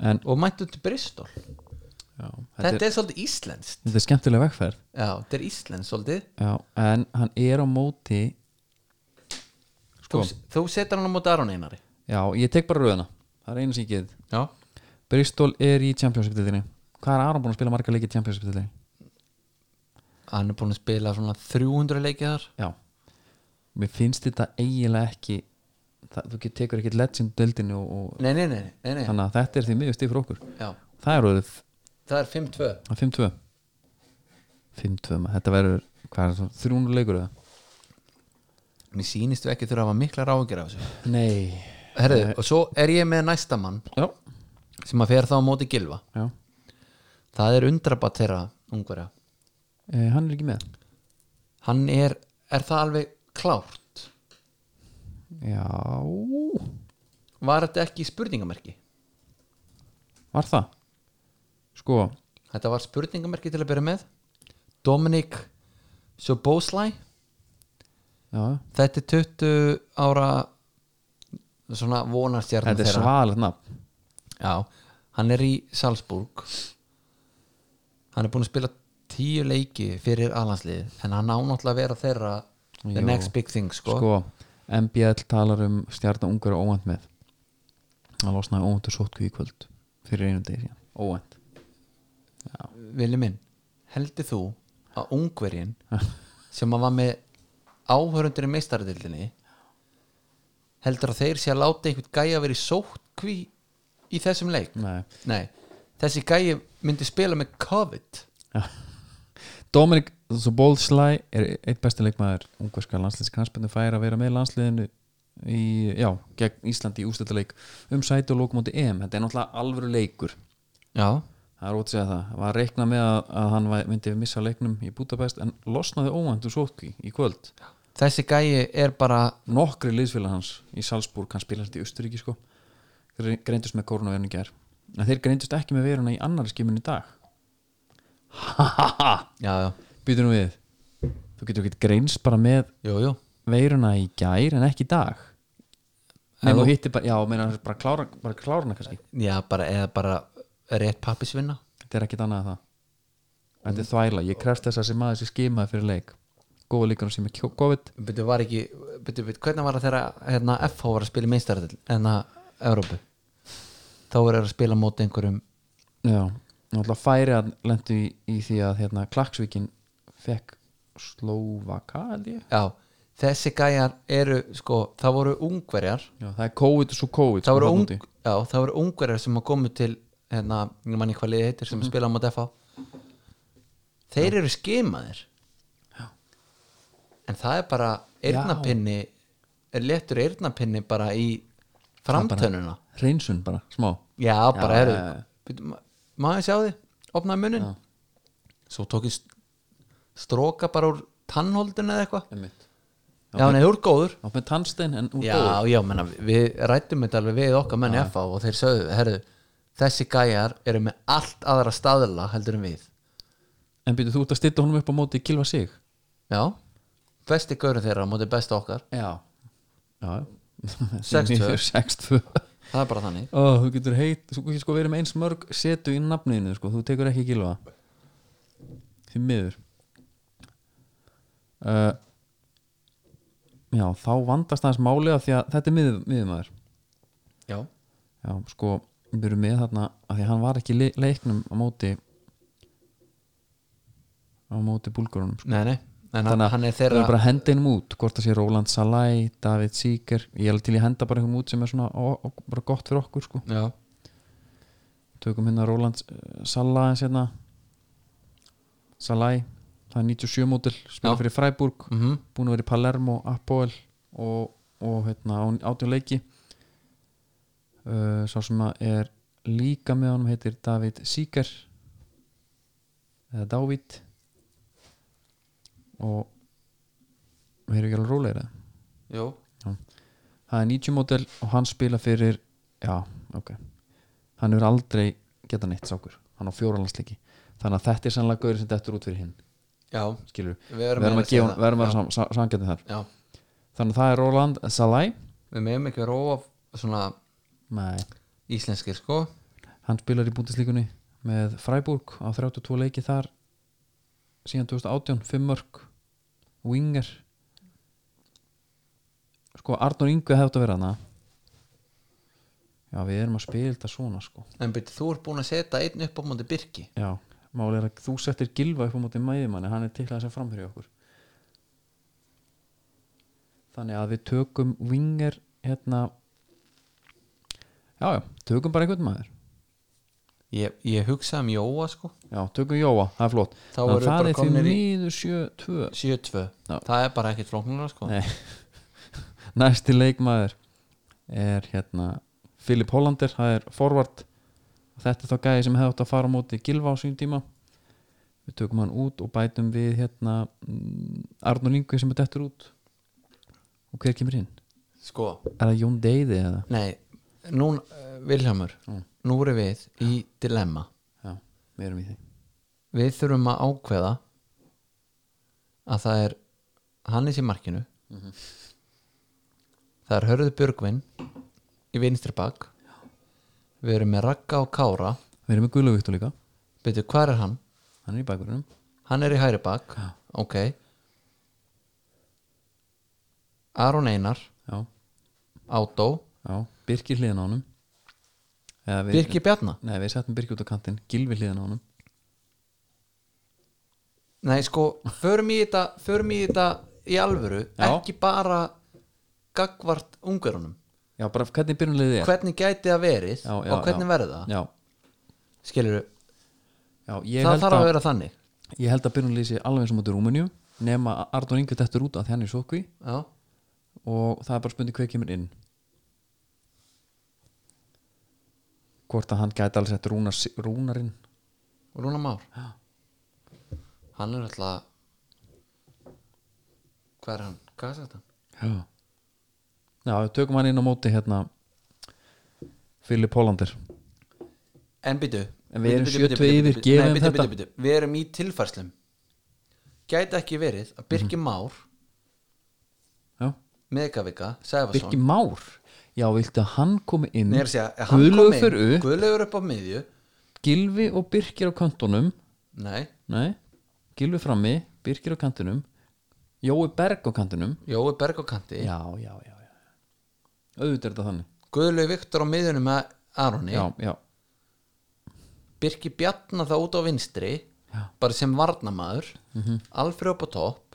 [SPEAKER 1] en
[SPEAKER 2] Og mættu til Bristol Þetta,
[SPEAKER 1] já, þetta, er,
[SPEAKER 2] er svolítið íslenskt
[SPEAKER 1] þetta er skemmtilega vegferð
[SPEAKER 2] Já, þetta er íslenskt svolítið
[SPEAKER 1] já, en hann er á móti
[SPEAKER 2] Þú,
[SPEAKER 1] sko,
[SPEAKER 2] þú setur hann á móti Aron Einari
[SPEAKER 1] já, ég tek bara röðuna það er einu sem ég getið
[SPEAKER 2] Já
[SPEAKER 1] Bristol er í Championship-dildinni Hvað er Aron búin að spila marga leiki í Championship-dildinni?
[SPEAKER 2] Hann er búin að spila svona 300 leikið þar
[SPEAKER 1] Já Mér finnst þetta eiginlega ekki það, Þú get- tekur ekkit Legend-dildinni og, og,
[SPEAKER 2] Nei, nei, nei, nei, nei.
[SPEAKER 1] Þannig að þetta er því miður stíð fyrir okkur
[SPEAKER 2] Já,
[SPEAKER 1] Það er röðið
[SPEAKER 2] það er 5-2
[SPEAKER 1] að 5-2 5-2, maður. þetta verður Hvað er það, 300 leikur eða?
[SPEAKER 2] Mér sýnist þú ekki þurfa að hafa mikla ráðgjur af þessu
[SPEAKER 1] Nei
[SPEAKER 2] Herðu, og svo er ég með næsta mann
[SPEAKER 1] Já,
[SPEAKER 2] sem að fer þá á móti gilva
[SPEAKER 1] já
[SPEAKER 2] Það er undrabat þeirra ungverja
[SPEAKER 1] e, Hann er ekki með
[SPEAKER 2] Hann er, er það alveg klárt?
[SPEAKER 1] Já
[SPEAKER 2] Var þetta ekki spurningamerki?
[SPEAKER 1] Var það? Sko,
[SPEAKER 2] Þetta var spurningamerki til að byrja með Dominic Soboslæ
[SPEAKER 1] já
[SPEAKER 2] Þetta er 20 ára svona vonarstjarnar
[SPEAKER 1] Þetta er svalet nafn
[SPEAKER 2] Já, hann er í Salzburg Hann er búin að spila tíu leiki fyrir alhanslið en hann á náttúrulega að vera þeirra the
[SPEAKER 1] Jú.
[SPEAKER 2] next big thing sko,
[SPEAKER 1] sko, MBL talar um stjarnan ungar og óvænt með hann losnaði óvæntur sótku í kvöld fyrir einu degi síðan, óvænt
[SPEAKER 2] Vili minn heldur þú að ungverjinn sem að var með áhörundur í meistaradildinni heldur að þeir sé að láta einhvern gæja verið sótkví í þessum leik
[SPEAKER 1] Nei. (laughs)
[SPEAKER 2] Nei, þessi gæja myndi spila með COVID
[SPEAKER 1] Dominic Zobolslæ er eitt besti leikmaður ungverska landsliðskranspindu fær að vera með landsliðinu í, já, gegn Íslandi í ústættuleik um sæti og lókumóti EM þetta er náttúrulega alvöru leikur
[SPEAKER 2] Já,
[SPEAKER 1] það er ótt að segja það, var að reikna með að, að hann væ- myndi missa leiknum í Budapest en losnaði óvænt úr sótkví í kvöld
[SPEAKER 2] þessi gæi er bara
[SPEAKER 1] nokkri liðsfélag hans í Salzburg hann spilast í Östuríki sko þeir greindust með koronavirun í gær en þeir greindust ekki með veruna í annari skimmun í dag ha ha ha
[SPEAKER 2] Já, já,
[SPEAKER 1] býtu nú við þú getur ekki greinst bara með
[SPEAKER 2] jú, jú
[SPEAKER 1] veiruna í gær en ekki í dag nema
[SPEAKER 2] þú-
[SPEAKER 1] þú hittir bara, já, meina bara klára, bara klára hana kannski
[SPEAKER 2] Já, bara, eða bara rétt pappisvinna
[SPEAKER 1] þetta er ekkit annað að það þetta er þvæla, ég krefst þess að sem maður sér skimaði fyrir leik góða líkur á sem er kjó- COVID
[SPEAKER 2] Byrju, var ekki, byrju, byrju, hvernig var það þegar hérna, FH var að spila í meistaradil en að Európu þá voru þeir að spila móti einhverjum
[SPEAKER 1] já, náttúrulega færi að lendu í, í því að hérna Klaksvíkin fekk Slovaka held ég
[SPEAKER 2] já, þessi gæjar eru sko, það voru ungverjar
[SPEAKER 1] já, það er COVID og svo COVID
[SPEAKER 2] það
[SPEAKER 1] sko,
[SPEAKER 2] voru,
[SPEAKER 1] þarna
[SPEAKER 2] ung,
[SPEAKER 1] úti.
[SPEAKER 2] já, það voru ungverjar sem að komu til hérna, ég manni hvað liðið heitir sem mm. spila á móti FH þeir eru skimaðir en það er bara eyrnapinni er léttur eyrnapinni bara í framtönuna
[SPEAKER 1] hreinsun bara, smá
[SPEAKER 2] Já,
[SPEAKER 1] Já,
[SPEAKER 2] bara
[SPEAKER 1] já,
[SPEAKER 2] eru
[SPEAKER 1] já, já.
[SPEAKER 2] Bíddu, ma- Maður sjá því, opnaði munnin Svo tók ég st- stróka bara úr tannholdinu eða eitthvað
[SPEAKER 1] Einmitt.
[SPEAKER 2] Já, hann er úr góður
[SPEAKER 1] á með tannstein en úr
[SPEAKER 2] Já,
[SPEAKER 1] góður
[SPEAKER 2] já, menna, við rættum þetta alveg við okkar menni FA og þeir sögðu, herðu þessi gæjar eru með allt aðra staðla heldur en við
[SPEAKER 1] en býtu þú út að stilla honum upp á móti kilva sig
[SPEAKER 2] Já, besti gaurinn þeirra á móti besta okkar
[SPEAKER 1] Já, já. (laughs)
[SPEAKER 2] 6-2.
[SPEAKER 1] 6-2
[SPEAKER 2] Það er bara þannig
[SPEAKER 1] Ó, Þú getur heit, þú getur sko verið með eins mörg setu í nafniðinu, sko, þú tekur ekki gilva Því miður uh, Já, þá vandast aðeins máli af því að þetta er mið, miðumæður
[SPEAKER 2] Já,
[SPEAKER 1] Já, sko, við erum með þarna af því að hann var ekki í le leiknum á móti á móti búlgurunum sko.
[SPEAKER 2] nei, nei En hann,
[SPEAKER 1] þannig að
[SPEAKER 2] hann er
[SPEAKER 1] þeir
[SPEAKER 2] þeirra
[SPEAKER 1] eru bara að henda einum út hvort það sé Róland Salai, David Sýker ég er alveg til í að henda bara einhverjum út sem er svona ó, ó, bara gott fyrir okkur sko
[SPEAKER 2] Já,
[SPEAKER 1] tökum hérna Róland Salai hérna Salai, það er 97 mótil spila
[SPEAKER 2] Já.
[SPEAKER 1] fyrir Freiburg,
[SPEAKER 2] mm
[SPEAKER 1] búin að vera í Palermo Apoel og, og hérna átjón leiki uh, sá sem að er líka með honum heitir David Sýker eða David og við erum ekki alveg rólegir eða
[SPEAKER 2] jú
[SPEAKER 1] það er 90 mótel og hann spila fyrir já, ok hann er aldrei geta neitt sákur hann á fjóralandsleiki þannig að þetta er sannlega gaurið sem dettur út fyrir hinn
[SPEAKER 2] Já,
[SPEAKER 1] skilur
[SPEAKER 2] við erum,
[SPEAKER 1] við erum að
[SPEAKER 2] segja
[SPEAKER 1] gefa honum- við erum að vera samgætni þar
[SPEAKER 2] það. Já,
[SPEAKER 1] þannig að það er Roland Salai
[SPEAKER 2] við meðum ekki róa svona
[SPEAKER 1] Nei.
[SPEAKER 2] íslenskir sko
[SPEAKER 1] hann spilar í búndislíkunni með Freiburg á 32 leiki þar síðan 2018, 5 mörg Winger sko Arnur Ingu hefði átt að vera hana já við erum að spila þetta svona sko
[SPEAKER 2] en byrju, þú ert búin að setja einn upp á móti Birki
[SPEAKER 1] Já, máli er að þú settir gilva upp á móti mæðimanni, hann er tiklað sem framherja hjá okkur Þannig að við tökum vinger hérna Já, já, tökum bara einhvern maður
[SPEAKER 2] ég, ég hugsaði um Jóa sko
[SPEAKER 1] Já, tökum Jóa, það er flott
[SPEAKER 2] Þá
[SPEAKER 1] Þannig að
[SPEAKER 2] eru bara
[SPEAKER 1] það er því
[SPEAKER 2] komnir í-
[SPEAKER 1] miður 7-2
[SPEAKER 2] 7-2,
[SPEAKER 1] Já.
[SPEAKER 2] það er bara ekkert flóknuna sko
[SPEAKER 1] Nei. (laughs) Næsti leikmaður er hérna Filip Hollander, það er forvart þetta er þá gæði sem hefði átt að fara á móti gilva á sínum tíma við tökum hann út og bætum við hérna mm, Arnur Lingvi sem er dettur út og hver kemur inn?
[SPEAKER 2] sko,
[SPEAKER 1] Er það Jón Deyði eða?
[SPEAKER 2] nei, nú uh, Vilhelmur, nú erum við í dilemma,
[SPEAKER 1] Já, við erum í því
[SPEAKER 2] við þurfum að ákveða að það er Hannes í markinu það er Hörður Björgvin í vinstri bak við erum með Ragga og Kára
[SPEAKER 1] Við erum með Guðlaugvíktu líka,
[SPEAKER 2] byrju, hvað er hann?
[SPEAKER 1] hann er í bækurunum
[SPEAKER 2] Hann er í hæri bak
[SPEAKER 1] Já.
[SPEAKER 2] Ok Aron Einar
[SPEAKER 1] Já,
[SPEAKER 2] Átó
[SPEAKER 1] já, Birkir hliðin á honum Eða við-
[SPEAKER 2] Birki Bjarna
[SPEAKER 1] Nei, við settum Birkir út á kantinn, Gilvi hliðin á honum
[SPEAKER 2] Nei sko, förum í þetta förum í þetta í alvöru
[SPEAKER 1] Já.
[SPEAKER 2] ekki bara gagvart ungarunum
[SPEAKER 1] Já, bara hvernig byrjunliðið er?
[SPEAKER 2] hvernig gæti það verið
[SPEAKER 1] Já, já,
[SPEAKER 2] og hvernig
[SPEAKER 1] já.
[SPEAKER 2] verður það
[SPEAKER 1] Já,
[SPEAKER 2] skilur,
[SPEAKER 1] já, ég
[SPEAKER 2] það
[SPEAKER 1] held
[SPEAKER 2] þarf að vera þannig
[SPEAKER 1] ég held að byrjunlið sé alveg eins og mútið Rúmeníu nema að Arnur Inga dettur út af því hann er sókví
[SPEAKER 2] já,
[SPEAKER 1] og það er bara spurning hver kemur inn hvort að hann gæti alveg sett rúnar, rúnarinn
[SPEAKER 2] og Rúna Már
[SPEAKER 1] Já.
[SPEAKER 2] hann er alltaf hvað er hann, hvað er þetta?
[SPEAKER 1] já já, við tökum hann inn á móti hérna Filip Hollander
[SPEAKER 2] en byttu
[SPEAKER 1] En við erum 72 yfir, gefum
[SPEAKER 2] þetta
[SPEAKER 1] þetta.
[SPEAKER 2] byttu, byttu. við erum í tilfærslum gæti ekki verið að Birki
[SPEAKER 1] Mhm.
[SPEAKER 2] Már
[SPEAKER 1] já,
[SPEAKER 2] Megavika, Sæfarsson
[SPEAKER 1] Birki Már já, viltu að hann komi inn
[SPEAKER 2] Nei, ég er að segja, ef hann kom
[SPEAKER 1] Guðlaugur
[SPEAKER 2] inn,
[SPEAKER 1] fer upp,
[SPEAKER 2] Guðlaugur upp á miðju
[SPEAKER 1] Gilvi og Birkir á kantunum
[SPEAKER 2] Nei,
[SPEAKER 1] nei, Gilvi frammi Birkir á kantunum Jói Berg á kantunum
[SPEAKER 2] Jói Berg á kanti
[SPEAKER 1] já, já, já, já. auðvitað er þetta þannig
[SPEAKER 2] Guðlaug Viktor á miðjunum með Aroni
[SPEAKER 1] já, já,
[SPEAKER 2] Birki Bjarna það út á vinstri
[SPEAKER 1] Já. Mhm.
[SPEAKER 2] bara sem varnamaður mm -hmm. Alfred upp á topp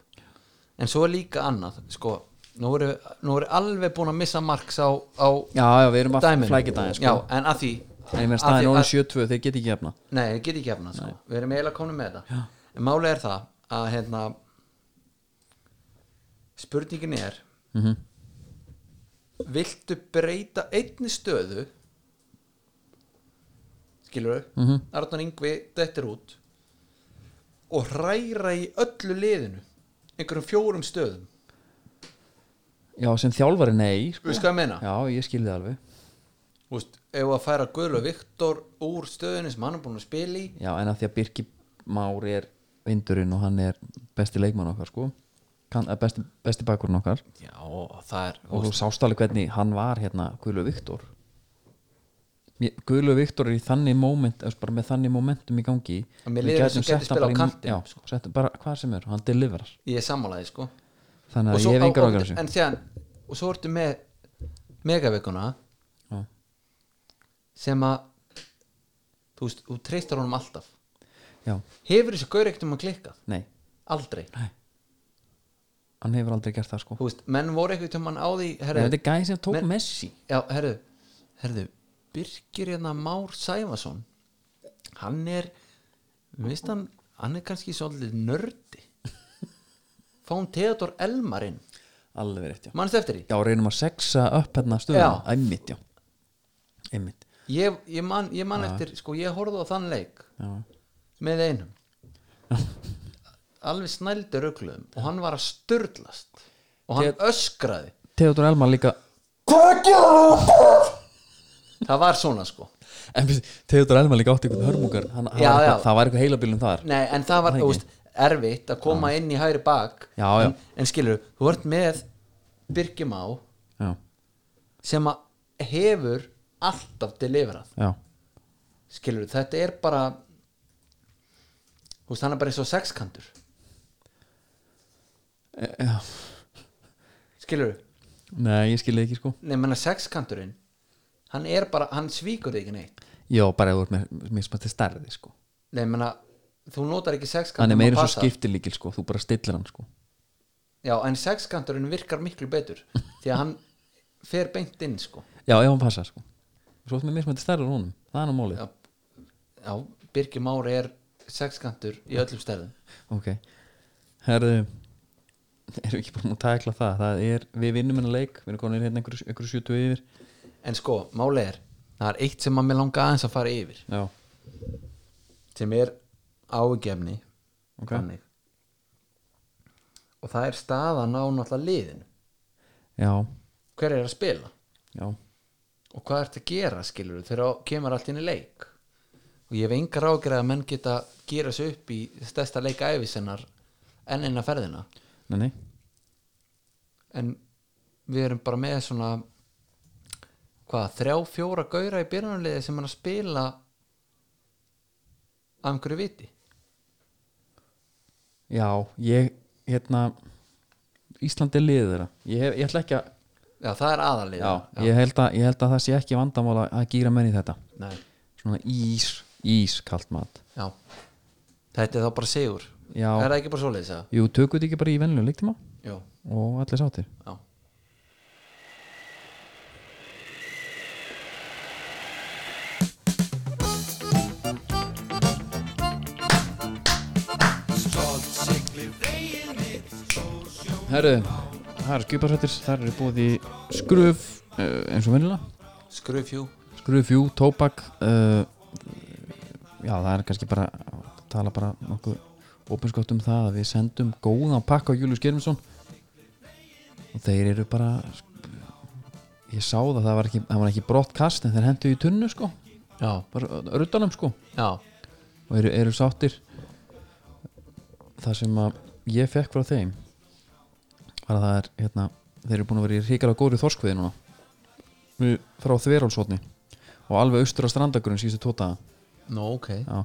[SPEAKER 2] en svo er líka annað sko, nú erum við- nú erum við alveg búin að missa marks á, á
[SPEAKER 1] já, já, við erum að
[SPEAKER 2] dæminu
[SPEAKER 1] flækja dæmi
[SPEAKER 2] Já,
[SPEAKER 1] sko.
[SPEAKER 2] en að því
[SPEAKER 1] Nei, mér
[SPEAKER 2] að því-
[SPEAKER 1] staðin
[SPEAKER 2] að-
[SPEAKER 1] orðin 72, þeir geti ekki jafna
[SPEAKER 2] Nei, við getum ekki efna sko. Við erum eiginlega komin með þetta En málið er það að hérna, spurningin er
[SPEAKER 1] Mhm.
[SPEAKER 2] Viltu breyta einni stöðu skilur þau
[SPEAKER 1] Mhm.
[SPEAKER 2] Arnar Ingvi, þetta er út og hræra í öllu liðinu einhverjum fjórum stöðum
[SPEAKER 1] Já, sem þjálfari nei
[SPEAKER 2] Þú
[SPEAKER 1] sko.
[SPEAKER 2] veist hvað ég meina?
[SPEAKER 1] Já, ég skilði alveg
[SPEAKER 2] Þú veist, ef að færa Guðlu Viktor úr stöðinu sem hann er búin að spila í
[SPEAKER 1] Já, en að því að Birki Már er vindurinn og hann er besti leikmann okkar sko. kan, eh, besti, besti bakurinn okkar
[SPEAKER 2] Já, og það er
[SPEAKER 1] og þú sást alveg hvernig hann var hérna Guðlu Viktor Guðlu Viktor er í þannig moment eða bara með þannig momentum í gangi
[SPEAKER 2] En mér
[SPEAKER 1] við
[SPEAKER 2] líður
[SPEAKER 1] gætum
[SPEAKER 2] eins og hann
[SPEAKER 1] sett
[SPEAKER 2] gæti
[SPEAKER 1] hann
[SPEAKER 2] spilað
[SPEAKER 1] bara
[SPEAKER 2] á
[SPEAKER 1] í-
[SPEAKER 2] kantinum,
[SPEAKER 1] Já,
[SPEAKER 2] sko.
[SPEAKER 1] sett bara hvað sem er, hann deliverar
[SPEAKER 2] Ég er sammálaði sko
[SPEAKER 1] þannig
[SPEAKER 2] Og
[SPEAKER 1] að
[SPEAKER 2] svo-
[SPEAKER 1] ég hef engar
[SPEAKER 2] og-
[SPEAKER 1] ágjörn
[SPEAKER 2] En síðan, og svo ertu með megaveikuna
[SPEAKER 1] Já.
[SPEAKER 2] sem að þú veist, þú treystar honum alltaf
[SPEAKER 1] Já,
[SPEAKER 2] Hefur þessi gaur ekkert um að klikkað?
[SPEAKER 1] nei,
[SPEAKER 2] Aldrei
[SPEAKER 1] hann hefur aldrei gert það sko
[SPEAKER 2] Þú veist, menn voru ekkert um hann á því
[SPEAKER 1] Nei,
[SPEAKER 2] herðu,
[SPEAKER 1] Þetta er gæði sem tók
[SPEAKER 2] Men-
[SPEAKER 1] Messi
[SPEAKER 2] Já, herðu, herðu Birgir hérna Már Sæfason hann er við veist hann, hann er kannski svolítið nördi Fáum Theodor Elmarinn
[SPEAKER 1] Alveg rétt, já
[SPEAKER 2] Manstu eftir því?
[SPEAKER 1] Já, reynum að sexa upp hérna stöðuna
[SPEAKER 2] Já.
[SPEAKER 1] Einmitt, já Einmitt
[SPEAKER 2] Ég, ég man, ég man eftir, sko, ég horfði á þann leik
[SPEAKER 1] já.
[SPEAKER 2] með einum alveg snældi röggluðum og hann var að störlast og hann öskraði
[SPEAKER 1] Theodor Elmar líka
[SPEAKER 2] það var svona sko
[SPEAKER 1] en, við- Theodor Elmar líka átti ykkur hörmungar hann, hann
[SPEAKER 2] Já,
[SPEAKER 1] var,
[SPEAKER 2] já.
[SPEAKER 1] eitthvað- Það var eitthvað heilabílum þar
[SPEAKER 2] Nei, en það var þú veist, erfitt að koma inn í hægri bak
[SPEAKER 1] Já, já.
[SPEAKER 2] En, en skilur, þú ert með Birgjumá
[SPEAKER 1] Já,
[SPEAKER 2] sem að hefur alltaf deliverað
[SPEAKER 1] já,
[SPEAKER 2] skilur, þetta er bara þú veist, hann er bara eins og sexkantur
[SPEAKER 1] E- já.
[SPEAKER 2] skilur,
[SPEAKER 1] Nei, ég skilði ekki sko
[SPEAKER 2] nefnir sexkanturinn hann er bara, hann svíkur þig ekki neitt
[SPEAKER 1] Já, bara ef þú ert með mismætti stærði sko
[SPEAKER 2] Nei, ég meina, þú notar ekki sexkant
[SPEAKER 1] Hann er meira svo skiptilíkil sko, þú bara stillir hann sko
[SPEAKER 2] Já, en sexkanturinn virkar miklu
[SPEAKER 1] (laughs)
[SPEAKER 2] betur Því að hann fer beint inn, sko
[SPEAKER 1] Já, ef hann passar sko Svo ert með mismætti stærði honum, það er nú málið
[SPEAKER 2] Já, já Birgir Már er sexkantur í öllum stærðum
[SPEAKER 1] Ok Herðu Erum við ekki búin að tækla það Það er, við vinnum hennar leik Við erum komin hérna einhverju, einhverju 70 yfir
[SPEAKER 2] En sko, máli er Það er eitt sem að mér langa aðeins að fara yfir
[SPEAKER 1] Já,
[SPEAKER 2] Sem er ágefni
[SPEAKER 1] Ok.
[SPEAKER 2] Og það er staðan á náttúrulega liðinu
[SPEAKER 1] já,
[SPEAKER 2] Hver er að spila?
[SPEAKER 1] já
[SPEAKER 2] og hvað ertu að gera skilur þegar kemur allt inn í leik og ég hef engar ágjörð að menn geta gera sig upp í stærsta leik æfisennar enn inn að ferðina
[SPEAKER 1] Nei, nei,
[SPEAKER 2] en við erum bara með svona hvað, þrjá, fjóra gaura í byrjunarliði sem er að spila af einhverju viti
[SPEAKER 1] já, ég Hérna Ísland er liðið þeirra Ég, hef, ég ætla ekki að
[SPEAKER 2] já, það er aðalið
[SPEAKER 1] Já, Ég, held að, ég held að það sé ekki vandamál að- að gýra menn í þetta
[SPEAKER 2] Nei,
[SPEAKER 1] Svona ís, ís kalt mat
[SPEAKER 2] já. þetta er þá bara sigur
[SPEAKER 1] Já.
[SPEAKER 2] er það ekki bara svoleiðis að
[SPEAKER 1] Jú, tökum þetta ekki bara í venlu leiktíma
[SPEAKER 2] já,
[SPEAKER 1] Og allir sáttir
[SPEAKER 2] já
[SPEAKER 1] Herðu, það eru skiparsættir Það eru búið í skröf uh, eins og venjulega
[SPEAKER 2] Skröfjú
[SPEAKER 1] skröfjú, tóbak uh, já það er kannski bara tala bara nokkuð opinskátt um það að við sendum góðan pakka á Július Germinsson og þeir eru bara ég sá það, það var ekki, það var ekki brottkast en þeir hendu í tunnu sko
[SPEAKER 2] Já,
[SPEAKER 1] bara ruttanum sko
[SPEAKER 2] já,
[SPEAKER 1] og eru, eru sáttir það sem að ég fekk frá þeim var að það er hérna, þeir eru búin að vera í ríkara góri þorskveði núna Nú, frá þverálsotni og alveg austur á strandagurinn síðustu tóta
[SPEAKER 2] nú ok
[SPEAKER 1] já,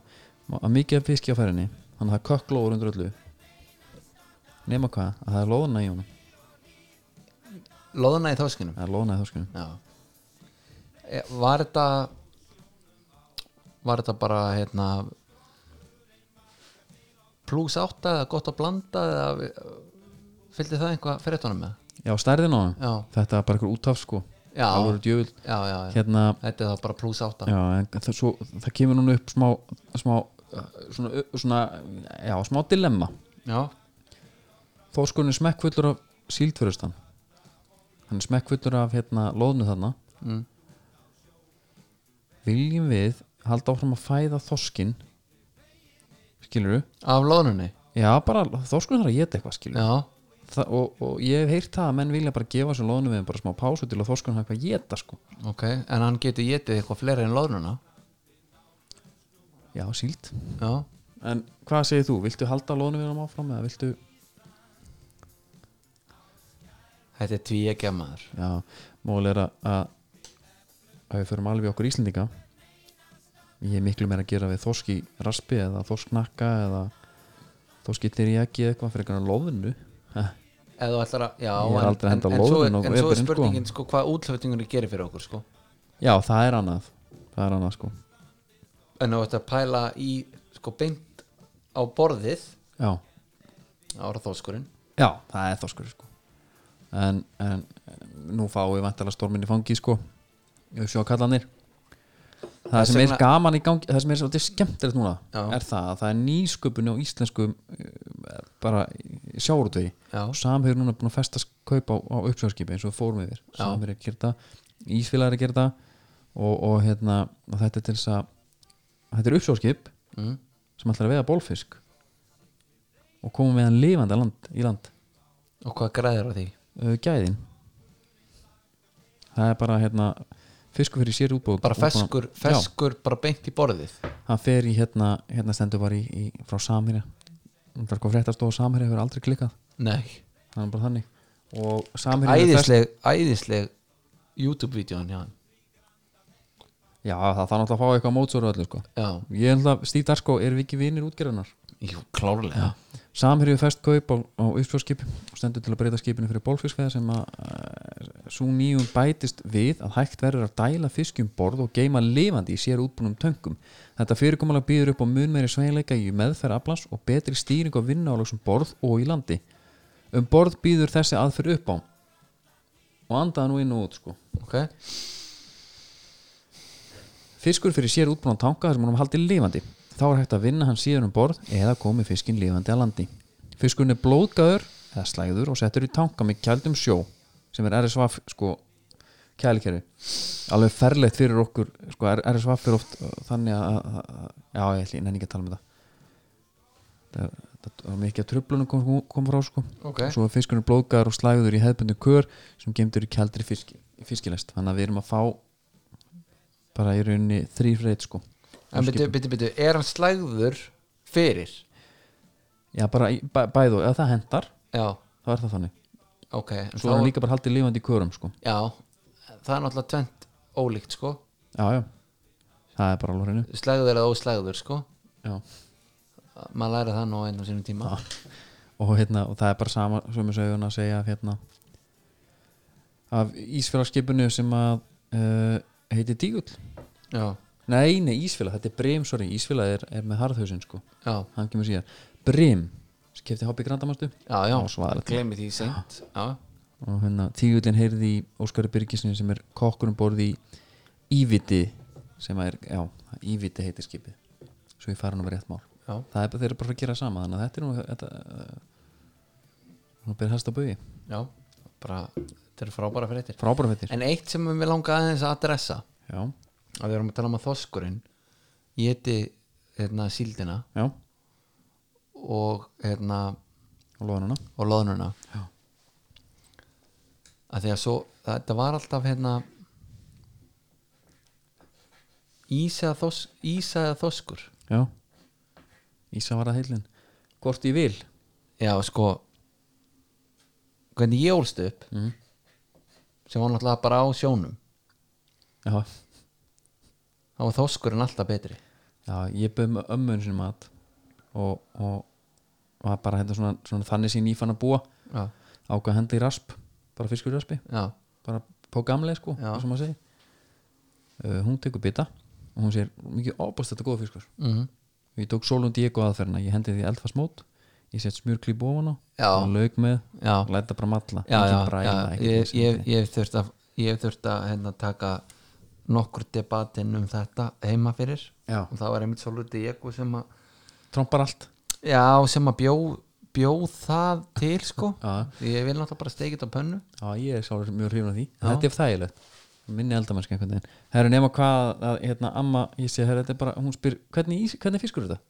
[SPEAKER 1] að mikið af fiski á færinni þannig að það kökklóður undir öllu nema hvað, að það er loðna í honum
[SPEAKER 2] Lóðuna í þorskinum
[SPEAKER 1] það er loðna í þorskunum
[SPEAKER 2] Já E, Var þetta Var þetta bara hérna plus átta eða gott að blanda eða við- fylgdi það einhvað fyrirtónum með?
[SPEAKER 1] já, stærðin á honum,
[SPEAKER 2] Já,
[SPEAKER 1] þetta er bara ykkur útaf sko
[SPEAKER 2] já,
[SPEAKER 1] alveg djöfull,
[SPEAKER 2] já, já, já.
[SPEAKER 1] hérna
[SPEAKER 2] Þetta er þá bara plus átta
[SPEAKER 1] já, en það, svo, það kemur núna upp smá, smá uh, svona, uh, svona já, smá dilemma
[SPEAKER 2] já,
[SPEAKER 1] Þórskurinn er smekkfullur af síldfyrustan hann er smekkfullur af hérna loðnu þarna
[SPEAKER 2] Mm.
[SPEAKER 1] viljum við halda áfram að fæða þorskin skilur við
[SPEAKER 2] af lóðunni
[SPEAKER 1] já bara þorskurinn þarf að geta eitthvað skilur
[SPEAKER 2] Já,
[SPEAKER 1] Þa, og, og ég hef heyrt það að menn vilja bara gefa sér loðnu við bara smá pásu til að þorskurinn hafa eitthvað að geta sko
[SPEAKER 2] ok, en hann getur getið eitthvað fleiri en lóðununa
[SPEAKER 1] já síld
[SPEAKER 2] Já,
[SPEAKER 1] en hvað segir þú, viltu halda loðnu við áfram eða viltu
[SPEAKER 2] þetta er tví ekki að maður
[SPEAKER 1] Já, mál er að, að að við förum alveg í okkur Íslendinga ég er miklu meira að gera við þorski raspi eða þorsknakka eða þorski terjaki eða eitthvað fyrir eitthvað loðnu Ha,
[SPEAKER 2] Eða þú ætlar að, já,
[SPEAKER 1] Ég er
[SPEAKER 2] en,
[SPEAKER 1] aldrei að
[SPEAKER 2] en,
[SPEAKER 1] henda
[SPEAKER 2] en, svo,
[SPEAKER 1] lóðinu
[SPEAKER 2] er-
[SPEAKER 1] á
[SPEAKER 2] en svo er
[SPEAKER 1] veturinn, sko.
[SPEAKER 2] spurningin sko, hvað útlöftingunni gerir fyrir okkur sko.
[SPEAKER 1] Já, það er annað það er annað sko
[SPEAKER 2] en þú ætti að pæla í sko, beint á borðið
[SPEAKER 1] Já,
[SPEAKER 2] ára þóskurinn
[SPEAKER 1] Já það er þorskur sko en, en nú fáum við vantilega stormin í fangi sko sjókallanir Það
[SPEAKER 2] Þess
[SPEAKER 1] sem er
[SPEAKER 2] vegna-
[SPEAKER 1] gaman í gangi, það sem er svolítið skemmtilegt núna
[SPEAKER 2] Já.
[SPEAKER 1] er það að það er nýsköpun á íslenskum eh, bara sjáurtvegi
[SPEAKER 2] já,
[SPEAKER 1] og Samherjur núna búin að festa kaup á, á uppsjóðskipi eins og við fórum yfir
[SPEAKER 2] Já.
[SPEAKER 1] Samherjur er að gera það Ísfélagar er að gera það og, og, hérna, og þetta er til þess að þetta er uppsjóðskip
[SPEAKER 2] mm,
[SPEAKER 1] sem ætlar að veiða bólfisk og koma með hann lifandi að land, í land
[SPEAKER 2] og hvað græðir á því
[SPEAKER 1] uh, gæðin það er bara hérna fiskur fyrir sér útbúð
[SPEAKER 2] bara feskur, feskur bara beint í borðið
[SPEAKER 1] hann fer í hérna, hérna stendur bara í, í frá Samherja það er hvað fréttastofa Samherja hefur aldrei klikkað
[SPEAKER 2] nei,
[SPEAKER 1] það er bara þannig og Samherja hefur fest-
[SPEAKER 2] æðisleg æðisleg YouTube-vídeóan já,
[SPEAKER 1] Já, það þarf náttúrulega að fá eitthvað mótsóru öllu sko.
[SPEAKER 2] já,
[SPEAKER 1] Ég held að Stíf Darsko er við ekki vinir útgerðunar
[SPEAKER 2] jú, klárlega
[SPEAKER 1] Samherju fest kaup á, á uppsfjórskip og stendur til að breyta skipinu fyrir bólfiskveða sem að uh, svo nýjum bætist við að hægt verður að dæla fiskjum borð og geima lifandi í sér útbúnum töngum. Þetta fyrirkomulega býður upp á mun meiri sveinleika í meðferð aflans og betri stýring á vinnuálöksum borð og í landi. Um borð býður þessi aðferð upp á og andaða nú inn og út sko.
[SPEAKER 2] ok,
[SPEAKER 1] Fiskur fyrir sér útbúin á tanka þar sem hann er haldið lifandi. Þá er hægt að vinna hann síðan um borð eða komi fiskinn lifandi að landi. Fiskurinn er blóðgæður eða slægður og settur í tanka með kjældum sjó sem er RSV sko kælikerfi. Alveg ferlegt fyrir okkur sko RSV fyrir oft uh, þannig að, að, að já ég ætli, ég nenni ekki að tala um þetta. Það, það var mikið af tröflunum kom, kom frá sko
[SPEAKER 2] ok
[SPEAKER 1] svo er fiskurinn blóðgar og slæður í hefðbundu kör sem gemdur í kjaldri fisk, fiskilest þannig að við erum að fá bara í rauninni þrýfreit sko
[SPEAKER 2] en byrju, byrju, byrju, er hann slægður fyrir
[SPEAKER 1] já bara í- bæ, bæðu, ef það hendar
[SPEAKER 2] já,
[SPEAKER 1] þá er það þannig,
[SPEAKER 2] ok en
[SPEAKER 1] svo
[SPEAKER 2] þá-
[SPEAKER 1] er hann líka bara haldið lifandi í körum sko,
[SPEAKER 2] já, það er náttúrulega tvent ólíkt sko,
[SPEAKER 1] já já það er bara alveg á hreinu
[SPEAKER 2] slægður eða óslægður sko
[SPEAKER 1] Já.
[SPEAKER 2] maður læra það nú einn og sínum tíma
[SPEAKER 1] og, hérna, og það er bara sama sem við sögum að segja af, hérna, af ísfélagskipinu sem að uh, heiti Dígull
[SPEAKER 2] já,
[SPEAKER 1] nei, nei, Ísfélag, þetta er Brim, sorry, Ísfélag er, er með harðhausin sko
[SPEAKER 2] já,
[SPEAKER 1] hann kemur síðar Brim, sem kefti Hobby Grandamastu
[SPEAKER 2] já, já
[SPEAKER 1] Á svaðalegt.
[SPEAKER 2] gleymi því seint já,
[SPEAKER 1] og hérna tígullin heyrði í Óskari Byrgisni sem er kokkur um borði í Íviti sem er, já, Íviti heitir skipið svo ég fara nú með rétt mál
[SPEAKER 2] já,
[SPEAKER 1] það er bara þeirra bara að gera sama þannig að þetta er nú þetta, uh, Nú byrja hæsta bugi
[SPEAKER 2] já, bara, þetta eru frábæra fréttir
[SPEAKER 1] Frábæra fettir
[SPEAKER 2] en eitt sem við langaði aðeins að adressa
[SPEAKER 1] Já,
[SPEAKER 2] að við erum að tala um að þoskurinn geti hérna, síldina
[SPEAKER 1] já,
[SPEAKER 2] og, hérna,
[SPEAKER 1] og loðan hana
[SPEAKER 2] og loðnuna
[SPEAKER 1] Já.
[SPEAKER 2] að því að svo þetta var alltaf hérna ísa eða þos, ísa eða þoskur
[SPEAKER 1] Já, Ísa var að heilin Hvort ég vil
[SPEAKER 2] já sko hvernig ég ólst upp
[SPEAKER 1] Mhm.
[SPEAKER 2] sem var náttúrulega bara á sjónum
[SPEAKER 1] Já,
[SPEAKER 2] þá var þoskurinn alltaf betri
[SPEAKER 1] já ég byrði með ömmun sinni mat og, og var bara hérna svona, svona þannig sín ég fann að búa
[SPEAKER 2] já,
[SPEAKER 1] ákvað hendi í rasp, bara fiskur í raspi
[SPEAKER 2] já,
[SPEAKER 1] bara på gamlega sko,
[SPEAKER 2] Já.
[SPEAKER 1] sem maður segi uh, hún tekur bita og hún sér mikið ábúst þetta góða fiskur
[SPEAKER 2] mm
[SPEAKER 1] ég tók Solund Diego aðferðina, ég hendi því eldfarsmót ég sett smjörklíp ofan á
[SPEAKER 2] Já.
[SPEAKER 1] og lauk með,
[SPEAKER 2] já,
[SPEAKER 1] læta bara matla
[SPEAKER 2] já, já,
[SPEAKER 1] ekki bræla,
[SPEAKER 2] já.
[SPEAKER 1] ekki um
[SPEAKER 2] Ég,
[SPEAKER 1] þessi,
[SPEAKER 2] ég,
[SPEAKER 1] ekki-
[SPEAKER 2] ég hef þurft að ég hef þurft að hérna, taka nokkur debatinn um þetta heima fyrir
[SPEAKER 1] já,
[SPEAKER 2] og það var einmitt svolítið ég sem að
[SPEAKER 1] trompar allt
[SPEAKER 2] Já, sem að bjó, bjó það til sko
[SPEAKER 1] Já.
[SPEAKER 2] Ég vil náttúrulega bara steikið á pönnu
[SPEAKER 1] já, ég er sálega mjög hrifin af því en þetta er þægilegt, minni eldamennska einhvern veginn herru nema hvað að, hérna, amma, ég sé, herru, þetta er bara, hún spyr hvernig, ís, hvernig fiskur er þetta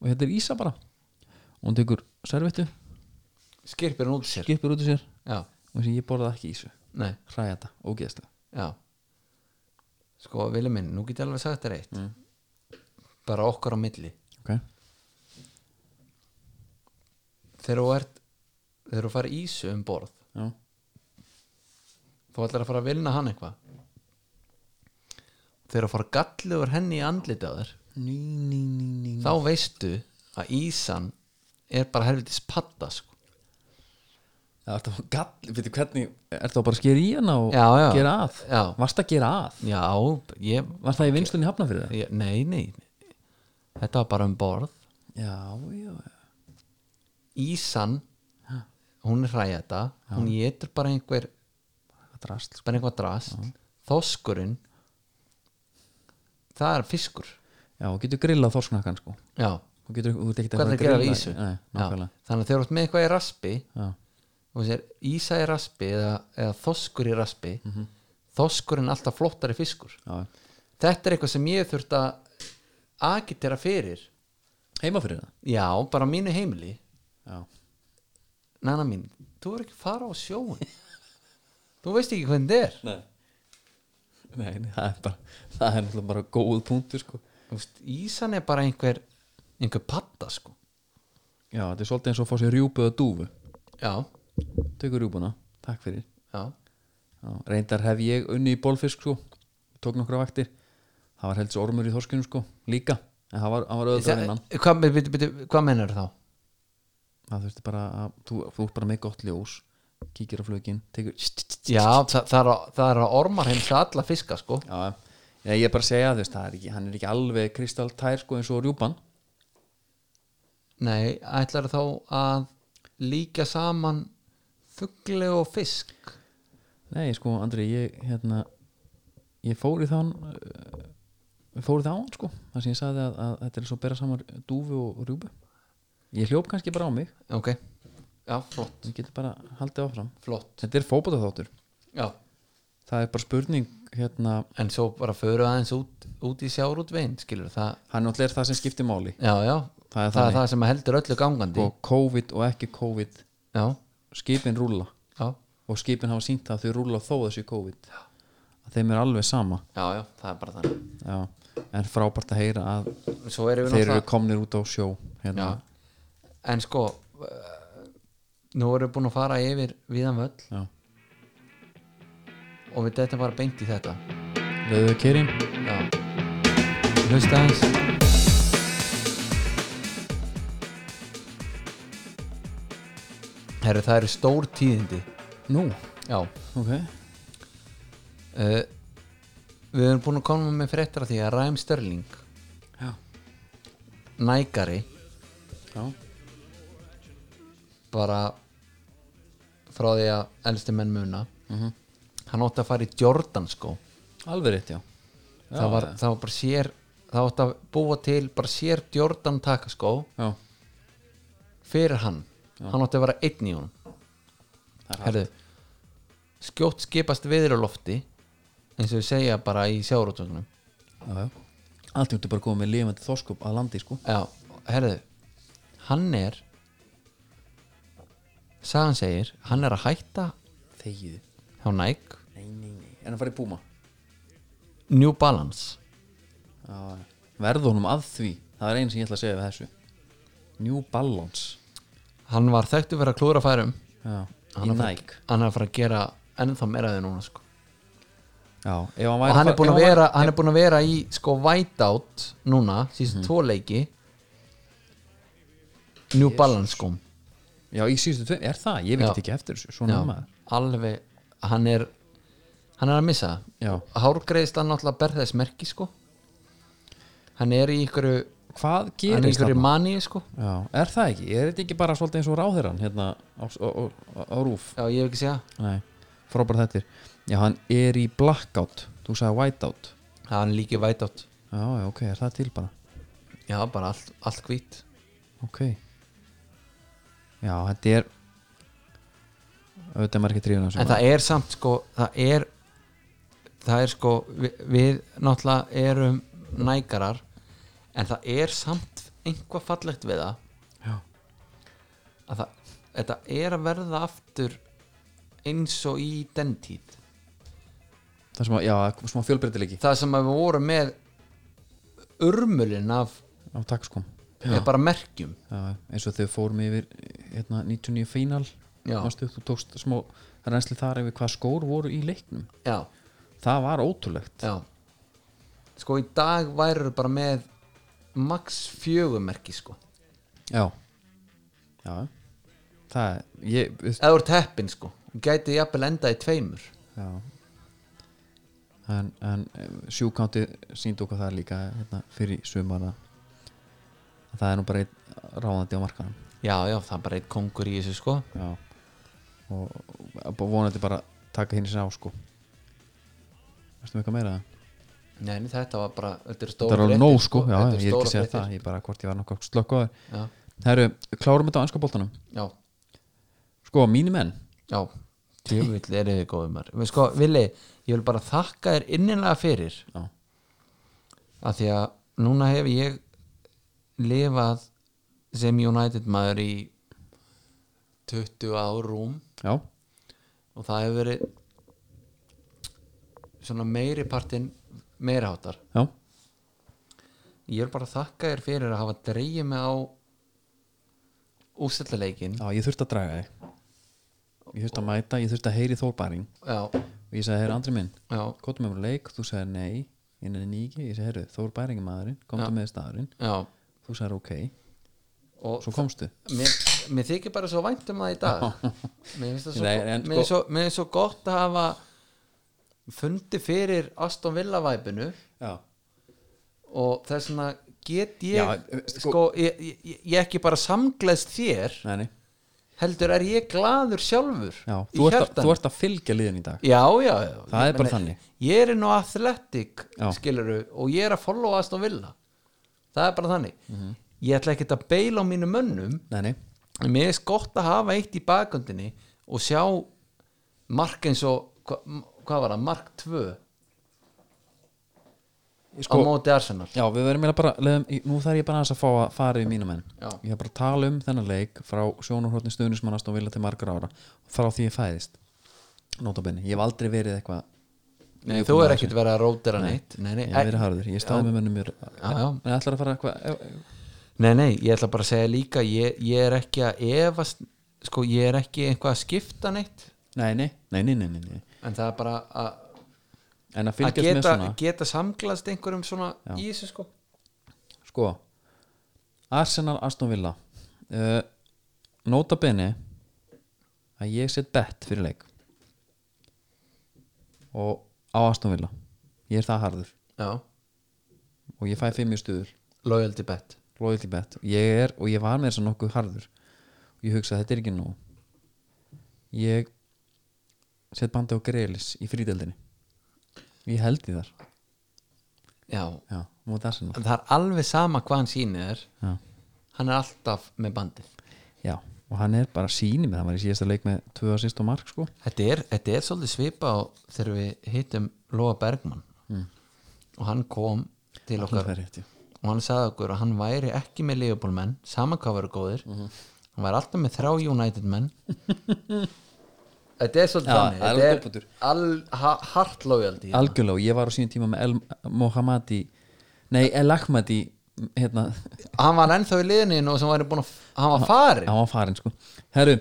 [SPEAKER 1] og þetta er ísa bara og hún tekur servettu,
[SPEAKER 2] Skirpir hún út úr sér
[SPEAKER 1] skipir út úr sér
[SPEAKER 2] Já,
[SPEAKER 1] og þessi ég borða ekki ísu,
[SPEAKER 2] nei,
[SPEAKER 1] hræða þetta, ógeðslega
[SPEAKER 2] já Sko, vilja minn, nú get ég alveg sagt þér eitt Bara okkar á milli
[SPEAKER 1] ok,
[SPEAKER 2] Þegar þú ert Þegar þú farið ísu um borð
[SPEAKER 1] já,
[SPEAKER 2] Þú ætlar að fara að vinna hann eitthvað Þegar þú farið gallið úr henni í andliti á þér
[SPEAKER 1] ný, ný, ný, ný
[SPEAKER 2] Þá veistu að ísan er bara helvitis padda sko
[SPEAKER 1] Já, ertu að gall, veitu hvernig Ertu að bara skera í hana og
[SPEAKER 2] Já, já.
[SPEAKER 1] gera að
[SPEAKER 2] Já.
[SPEAKER 1] Varst að gera að
[SPEAKER 2] Já, ég
[SPEAKER 1] Var það í vinstunni hafna fyrir það?
[SPEAKER 2] Já, nei, nei Þetta var bara um borð
[SPEAKER 1] Já, já,
[SPEAKER 2] Ísan, hún er hræða hún getur bara einhver
[SPEAKER 1] það drast
[SPEAKER 2] bara einhver drast þoskurinn það er fiskur
[SPEAKER 1] Já, og getur grillað þorsknakkan sko
[SPEAKER 2] já,
[SPEAKER 1] Þú getur, þú getur ekkert
[SPEAKER 2] hvernig
[SPEAKER 1] fara
[SPEAKER 2] gerir það ísu
[SPEAKER 1] Nei,
[SPEAKER 2] Já,
[SPEAKER 1] nákvæmlega
[SPEAKER 2] þannig að þegar þú ert með eitthvað í raspi
[SPEAKER 1] Já,
[SPEAKER 2] og þessir ísa í raspi eða, eða þoskur í raspi þoskurinn alltaf flottari fiskur
[SPEAKER 1] já,
[SPEAKER 2] þetta er eitthvað sem ég hef þurft að agitera fyrir
[SPEAKER 1] heima fyrir það
[SPEAKER 2] já, bara á mínu heimili
[SPEAKER 1] Já,
[SPEAKER 2] Nanna mín, þú er ekki að fara á sjóin (laughs) Þú veist ekki hvernig það er
[SPEAKER 1] nei Nei, nei, það er bara Það er náttúrulega bara góð punktur sko
[SPEAKER 2] Þú veist, Ísan er bara einhver einhver patta sko
[SPEAKER 1] Já, þetta er svolítið eins og að fá sér rjúpu eða dúfu
[SPEAKER 2] Já,
[SPEAKER 1] Tökur rjúpuna, takk fyrir
[SPEAKER 2] já,
[SPEAKER 1] Já, reyndar hef ég unni í bólfisk sko, tók nokkra vaktir það var helds ormur í þorskunum sko, líka en það var, það var öðvöld að vinna hann.
[SPEAKER 2] hvað, byrju, byrju, hvað mennur þá?
[SPEAKER 1] það þurfti bara að, þú, þú ert bara með gott ljós kíkir á flugin, tekur
[SPEAKER 2] Já, það, það, er, að- það er að ormar heimsa alla fiska sko
[SPEAKER 1] já, já, ég er bara að segja þú veist, það er ekki, hann er ekki alveg kristaltær sko eins og rjúpan
[SPEAKER 2] Nei, ætlar þá að líka saman fugli og fisk
[SPEAKER 1] nei sko Andri, ég hérna ég fór í þann uh, fór í það á hann sko þar sem ég sagði að, að þetta er svo að bera saman dúfu og rjúbu ég hljóp kannski bara á mig
[SPEAKER 2] Ok, já, flott,
[SPEAKER 1] ég getur bara haldið áfram
[SPEAKER 2] flott
[SPEAKER 1] þetta er fótboltaþáttur
[SPEAKER 2] Já,
[SPEAKER 1] það er bara spurning hérna,
[SPEAKER 2] en svo bara föru aðeins út, út í sjárútvegin skilur það
[SPEAKER 1] hann náttúrulega er það sem skiptir máli
[SPEAKER 2] Já, já,
[SPEAKER 1] Það er
[SPEAKER 2] það,
[SPEAKER 1] þannig.
[SPEAKER 2] það sem heldur öllu gangandi
[SPEAKER 1] og COVID og ekki COVID
[SPEAKER 2] Já,
[SPEAKER 1] skipin rúla
[SPEAKER 2] já,
[SPEAKER 1] og skipin hafa sínt það að þau rúla þó þessu COVID að þeim er alveg sama
[SPEAKER 2] já, já, það er bara þannig
[SPEAKER 1] Já. en frábært að heyra að
[SPEAKER 2] Svo erum við
[SPEAKER 1] þeir eru
[SPEAKER 2] náttúrulega
[SPEAKER 1] komnir út á sjó hérna.
[SPEAKER 2] Já. En sko uh, Nú erum við búin að fara yfir viðan völl
[SPEAKER 1] Já.
[SPEAKER 2] og við þetta bara beint í þetta
[SPEAKER 1] Leðu Kerim
[SPEAKER 2] Já Hlusta aðeins Herru, það eru stór tíðindi
[SPEAKER 1] Nú,
[SPEAKER 2] Já
[SPEAKER 1] ok
[SPEAKER 2] uh, Við erum búin að koma með fréttir af því að Ræm Störling
[SPEAKER 1] Já.
[SPEAKER 2] Nægari
[SPEAKER 1] Já.
[SPEAKER 2] bara frá því að elsti menn muna hann átti að fara í Jordan sko
[SPEAKER 1] Mhm. Alveg rétt, já
[SPEAKER 2] það var, það var bara sér það sko. átti að búa til bara sér Jordan takaskó
[SPEAKER 1] Já,
[SPEAKER 2] fyrir hann hann átti að vera einn í honum
[SPEAKER 1] Það er
[SPEAKER 2] Herðu, skjótt skipast viður á lofti eins og við segja bara í sjárótunum
[SPEAKER 1] já, já. allt júntu bara komið með lifandi þorskup að landi sko.
[SPEAKER 2] Já, herðu hann er sagan segir, hann er að hætta
[SPEAKER 1] þegið
[SPEAKER 2] hjá Nike
[SPEAKER 1] nei, nei, nei. en að fara í Puma
[SPEAKER 2] New Balance
[SPEAKER 1] já, verð honum að því það er einn sem ég ætla að segja við þessu New Balance
[SPEAKER 2] hann var þekktu fyrir að klúra færum
[SPEAKER 1] já, í
[SPEAKER 2] hann er, að fara-
[SPEAKER 1] Nike
[SPEAKER 2] hann er að fara að gera ennþá meira því núna sko.
[SPEAKER 1] já, ef hann
[SPEAKER 2] og
[SPEAKER 1] væri
[SPEAKER 2] hann er
[SPEAKER 1] fara-
[SPEAKER 2] búin
[SPEAKER 1] ef hann
[SPEAKER 2] að
[SPEAKER 1] væri-
[SPEAKER 2] vera hann er búin að vera í sko whiteout núna, síðan tvo leiki New Balance sko
[SPEAKER 1] já, í síðustu tveim, er það, ég veit
[SPEAKER 2] Já.
[SPEAKER 1] ekki eftir þessu
[SPEAKER 2] Já,
[SPEAKER 1] svona er maður
[SPEAKER 2] alveg, hann er hann er að missa
[SPEAKER 1] Já.
[SPEAKER 2] hárgreðist hann náttúrulega ber þess merki sko hann er í ykkur hann
[SPEAKER 1] hvað
[SPEAKER 2] er í
[SPEAKER 1] gerist
[SPEAKER 2] ykkur
[SPEAKER 1] þarna?
[SPEAKER 2] maníu sko
[SPEAKER 1] já, er það ekki, er þetta ekki bara svolítið eins og ráðherran hérna á, á, á, á rúf
[SPEAKER 2] já, ég hef ekki segja,
[SPEAKER 1] Nei, frábæra þettir Já, hann er í blackout Þú sagði whiteout
[SPEAKER 2] hann er líki whiteout
[SPEAKER 1] Já, já, ok, er það til bara
[SPEAKER 2] já, bara allt, allt hvít
[SPEAKER 1] Ok Já, þetta er auðvitað er maður ekki tríðan
[SPEAKER 2] en það er samt sko það er, það er sko við, við náttúrulega erum nægarar en það er samt einhvað fallegt við það
[SPEAKER 1] Já,
[SPEAKER 2] að það, þetta er að verða aftur eins og í den tíð
[SPEAKER 1] það er smá, já, smá fjölbreytileiki
[SPEAKER 2] það sem að við vorum með urmulin af
[SPEAKER 1] á takskom
[SPEAKER 2] er bara merkjum
[SPEAKER 1] sko. Já, eins og þau fórum yfir hérna, 99 final
[SPEAKER 2] Já.
[SPEAKER 1] Manstu, þú tókst smá reynsli þar yfir hvað skór voru í leiknum
[SPEAKER 2] já,
[SPEAKER 1] Það var ótrúlegt
[SPEAKER 2] já sko í dag væru bara með max fjögumerki sko
[SPEAKER 1] Já, já. Það, er- ég, við-
[SPEAKER 2] eða úr teppin sko gæti jafnvel endað í tveimur
[SPEAKER 1] Já En, en sjúkántið síndi okkur það líka hérna, fyrir sumar að að það er nú bara einn ráðandi á markaðan
[SPEAKER 2] já, já, það er bara eitt kongur í þessu sko
[SPEAKER 1] Já og og vonandi bara taka hinn sér á sko Veistu með eitthvað meira?
[SPEAKER 2] Nei, nei, þetta var bara, þetta er
[SPEAKER 1] Þetta
[SPEAKER 2] stóra
[SPEAKER 1] er alveg nóg sko, já, ég
[SPEAKER 2] þetta
[SPEAKER 1] er ekki að segja
[SPEAKER 2] fréttir.
[SPEAKER 1] það ég bara hvort ég var nokkuð slökkaður
[SPEAKER 2] já,
[SPEAKER 1] Herru, klárum þetta á ennska boltanum
[SPEAKER 2] já,
[SPEAKER 1] Sko, mínu menn
[SPEAKER 2] já, tjöfull er þið góðum maður sko, Vili, ég vil bara þakka þér innilega fyrir
[SPEAKER 1] Já,
[SPEAKER 2] að því að núna hef ég lifað sem United maður í 20 ár rúm
[SPEAKER 1] já,
[SPEAKER 2] og það hefur verið svona meiri partinn meirháttar
[SPEAKER 1] já,
[SPEAKER 2] ég vil bara þakka þér fyrir að hafa dreigið mig á úsætlaleikin
[SPEAKER 1] já ég þurfti að draga þig Ég þurfti að mæta, ég þurfti að heyri þólbæring
[SPEAKER 2] já,
[SPEAKER 1] og ég sagði, herru, andri minn
[SPEAKER 2] já,
[SPEAKER 1] komdu með mér á leik, þú sagðir nei ég nefnir ekki, ég sagði herru, Þór Bæringi maðurinn komdu með staðurinn,
[SPEAKER 2] já
[SPEAKER 1] þú sagðir ok
[SPEAKER 2] og
[SPEAKER 1] svo komstu
[SPEAKER 2] mér, mér þykir bara svo vænt um það í dag mér finnst það svo,
[SPEAKER 1] Nei, en
[SPEAKER 2] mér
[SPEAKER 1] sko-
[SPEAKER 2] finnst svo, mér finnst svo gott að hafa fundið fyrir Aston Villa væpinu
[SPEAKER 1] já,
[SPEAKER 2] og þess vegna get ég
[SPEAKER 1] Já,
[SPEAKER 2] sko,
[SPEAKER 1] sko-
[SPEAKER 2] ég, ég, ég ekki bara samgleðst þér
[SPEAKER 1] nei, nei.
[SPEAKER 2] heldur er ég glaður sjálfur
[SPEAKER 1] já
[SPEAKER 2] í
[SPEAKER 1] þú, ert að,
[SPEAKER 2] hjartanu.
[SPEAKER 1] þú ert að fylgja liðin í dag
[SPEAKER 2] já, já, já
[SPEAKER 1] Það
[SPEAKER 2] Ég
[SPEAKER 1] er bara
[SPEAKER 2] meina,
[SPEAKER 1] þannig.
[SPEAKER 2] ég er inn á athletic
[SPEAKER 1] Já.
[SPEAKER 2] skiluru og ég er að followa Aston Villa það er bara þannig
[SPEAKER 1] Mhm.
[SPEAKER 2] ég ætla ekkert að beila á mínu mönnum
[SPEAKER 1] nei, nei,
[SPEAKER 2] en mér er gott að hafa eitt í bakundinni og sjá mark eins og hva, hvað var það, mark 2 á
[SPEAKER 1] sko,
[SPEAKER 2] móti Arsenal
[SPEAKER 1] já, við verðum eiginlega bara leiðum, nú þarf ég bara aðeins að fá að fara í mínu menn
[SPEAKER 2] Já.
[SPEAKER 1] ég er bara að tala um þennan leik frá sjónarhóttin stuðnismannast og vilja til margra ára frá því ég fæðist notabenni, ég hef aldrei verið eitthvað
[SPEAKER 2] Nei, þú er ekkert verið að rótira neitt nei, nei,
[SPEAKER 1] ég hef verið harður, ég staði með mönnum mér
[SPEAKER 2] Já, já.
[SPEAKER 1] en ætlar að fara eitthvað
[SPEAKER 2] Nei, nei, ég ætla bara að segja líka ég, ég er ekki að efast sko, ég er ekki eitthvað að skipta neitt
[SPEAKER 1] nei, nei, nei, nei, nei, nei, nei.
[SPEAKER 2] en það er bara að,
[SPEAKER 1] en að
[SPEAKER 2] að
[SPEAKER 1] fylgjast með
[SPEAKER 2] geta,
[SPEAKER 1] svona
[SPEAKER 2] geta samglast einhverjum svona í þessu sko
[SPEAKER 1] sko Arsenal Aston Villa uh, nota bene að ég set bett fyrir leik og á Aston Villa ég er það harður
[SPEAKER 2] Já,
[SPEAKER 1] og ég fæ fimm í stuður
[SPEAKER 2] loyalty bet
[SPEAKER 1] loyalty bet ég er og ég var með þess að nokkuð harður og ég hugsa að þetta er ekki nóg ég set bandi á Grealis í frídeldinni ég held í þar
[SPEAKER 2] Já,
[SPEAKER 1] já, múið Arsenal
[SPEAKER 2] en það er alveg sama hvað hann sýnir þér
[SPEAKER 1] já,
[SPEAKER 2] hann er alltaf með bandið
[SPEAKER 1] já og hann er bara síni með hann var í síðasta leik með tvö assist og mark sko
[SPEAKER 2] þetta er, þetta er svolítið svipa á þegar við hittum Lóa Bergmann og hann kom til okkar
[SPEAKER 1] Alveg rétt, já.
[SPEAKER 2] og hann sagði okkur að hann væri ekki með Liverpool menn saman hvað verið góðir hann væri alltaf með þrá United (laughs) menn þetta er svolítið
[SPEAKER 1] Já, það er
[SPEAKER 2] þannig þetta
[SPEAKER 1] alveg góð punktur.
[SPEAKER 2] al, ha, hart lójaldi
[SPEAKER 1] algjörlega og ég var á sínum tíma með El Mohamadi nei El Ahmadi hérna,
[SPEAKER 2] hann var ennþá í liðinu og sem væri búin að hann var farin
[SPEAKER 1] hann var farinn sko herru,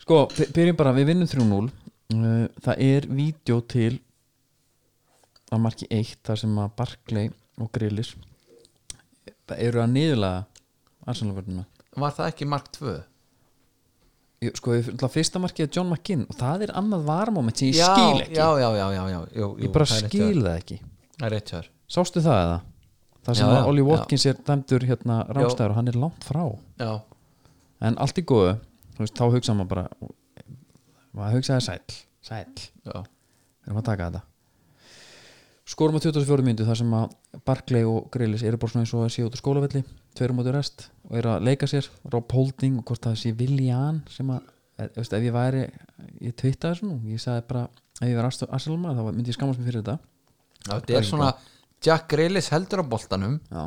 [SPEAKER 1] sko, by- byrjum bara við vinnum 3-0 Uh, það er vídeo til að marki 1 þar sem að Barclay og Grillis það eru að niðurlega Arsenalvörnuna
[SPEAKER 2] var það ekki mark 2
[SPEAKER 1] Jú, sko, ég- náttúrulega fyrsta markið er John McKinn og það er annað varmoment sem ég
[SPEAKER 2] já,
[SPEAKER 1] skil ekki
[SPEAKER 2] já, já, já, já, já jú, jú,
[SPEAKER 1] ég bara
[SPEAKER 2] það er rétt hjá
[SPEAKER 1] skil
[SPEAKER 2] þér.
[SPEAKER 1] það ekki
[SPEAKER 2] það er rétt hjá þér.
[SPEAKER 1] sástu það eða? það sem
[SPEAKER 2] Já,
[SPEAKER 1] að
[SPEAKER 2] já,
[SPEAKER 1] Ollie
[SPEAKER 2] já.
[SPEAKER 1] Watkins er dæmdur hérna rámstæður og hann er langt frá
[SPEAKER 2] já,
[SPEAKER 1] en allt í góðu þú veist, þá hugsa maður bara maður hugsaði sæll sæll,
[SPEAKER 2] já,
[SPEAKER 1] við erum að taka þetta skorum á 24 myndu þar sem að Barclay og Grealis eru bara svona eins og að séu út á skólavelli tverum út í rest og eru að leika sér Rob Holding og hvort það sé Viljan sem að, eð, veist, ef ég væri ég twittaði svona, ég sagði bara ef ég væri Arsenalma þá myndi ég skammast mér fyrir þetta
[SPEAKER 2] já þetta er svona Jack Grealis heldur á boltanum
[SPEAKER 1] já,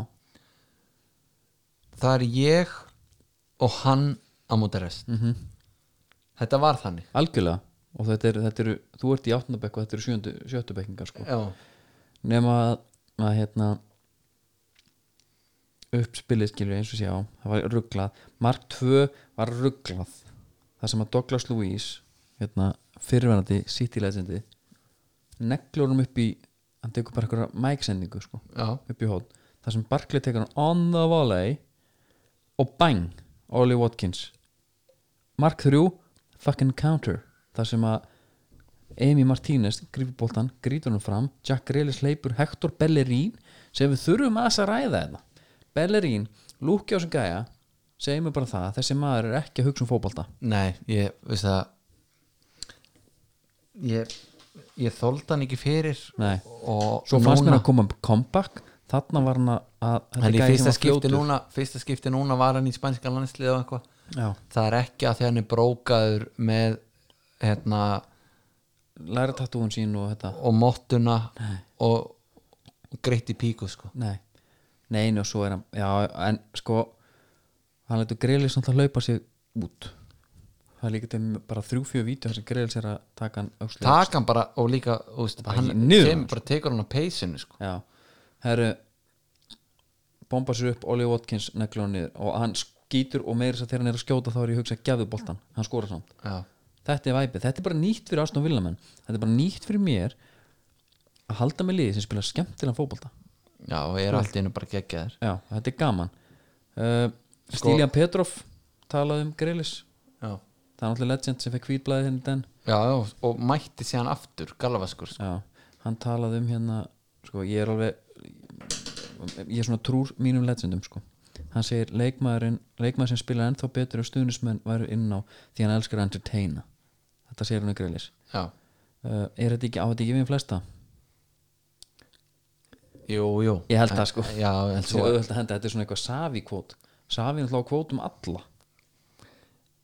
[SPEAKER 2] það er ég og hann á móti rest
[SPEAKER 1] Mhm.
[SPEAKER 2] -hmm. þetta var þannig
[SPEAKER 1] algjörlega og þetta eru, þetta eru, þú ert í áttundabekk og þetta eru sjöndu, sjöttu bekkingar sko
[SPEAKER 2] já,
[SPEAKER 1] nema að, að hérna uppspilið skilur eins og sé á það var rugglað, mark 2 var rugglað það sem að Douglas Lewis hérna, fyrirverandi City legendi neglur hann upp í hann tekur bara eitthvað mæksendingu sko,
[SPEAKER 2] já,
[SPEAKER 1] upp í hótt það sem Barkley tekur hann on the volley og bang Ollie Watkins mark 3, fucking counter það sem að Amy Martínez grífur boltan, grítur hann fram Jack Grealish leipur Hector Bellerín sem við þurfum að þess að ræða þetta Bellerín, lúkja á sem gæja segjum við bara það, þessi maður er ekki að hugsa um fótbolta
[SPEAKER 2] nei, ég veist það ég ég þóld hann ekki fyrir
[SPEAKER 1] Nei.
[SPEAKER 2] og
[SPEAKER 1] svo fannst mér
[SPEAKER 2] núna
[SPEAKER 1] að koma um comeback þarna var hann að þetta
[SPEAKER 2] en í
[SPEAKER 1] gæi sem
[SPEAKER 2] fyrsta
[SPEAKER 1] var
[SPEAKER 2] skipti,
[SPEAKER 1] fljótur.
[SPEAKER 2] núna, fyrsta skipti núna var hann í spænska landslið og eitthvað
[SPEAKER 1] Já,
[SPEAKER 2] það er ekki að því hann er brókaður með hérna
[SPEAKER 1] læra tattúin sín og þetta
[SPEAKER 2] og mottuna og, og greitt í píku sko
[SPEAKER 1] Nei, nein og svo er hann Já, en sko hann letur Grelis náttúrulega hlaupa sig út það er líka til bara þrjú, fjö vídeo þar sem Grelis er að taka hann öxlu
[SPEAKER 2] taka hann bara og líka þú veist, hann
[SPEAKER 1] í- niður,
[SPEAKER 2] kemur bara tekur hann á peysinu sko
[SPEAKER 1] Já, herru bomba sér upp Ollie Watkins negla hann niður og hann skýtur og meira þess að þegar hann er að skjóta þá er ég að hugsa að gefðu boltan, hann skora samt
[SPEAKER 2] já,
[SPEAKER 1] þetta er væpið, þetta er bara nýtt fyrir Aston Villamenn þetta er bara nýtt fyrir mér að halda með liði sem spila skemmtilega fótbolta
[SPEAKER 2] já og er allt í einu bara geggjaður
[SPEAKER 1] Já, þetta er gaman uh, Stílian Petrov talaði um Grelis
[SPEAKER 2] já.
[SPEAKER 1] það er náttúrulega legend sem fekk hvítblæði henni den
[SPEAKER 2] já, já, og mætti síðan aftur Galavaskur sko.
[SPEAKER 1] Já, hann talaði um hérna sko, ég er alveg ég er svona trúr mínum legendum sko. hann segir leikmaðurinn leikmaður sem spilar ennþá betur og stuðnismenn væru inn á því hann elskar að entertaina þetta segir hann um Grelis
[SPEAKER 2] já,
[SPEAKER 1] uh, er þetta ekki á þetta ekki við flesta?
[SPEAKER 2] jú, jú
[SPEAKER 1] Ég held það sko
[SPEAKER 2] já, en
[SPEAKER 1] Þetta er
[SPEAKER 2] svo
[SPEAKER 1] auðvelt að henda, þetta er svona eitthvað savi kvót savi er náttúrulega á kvótum alla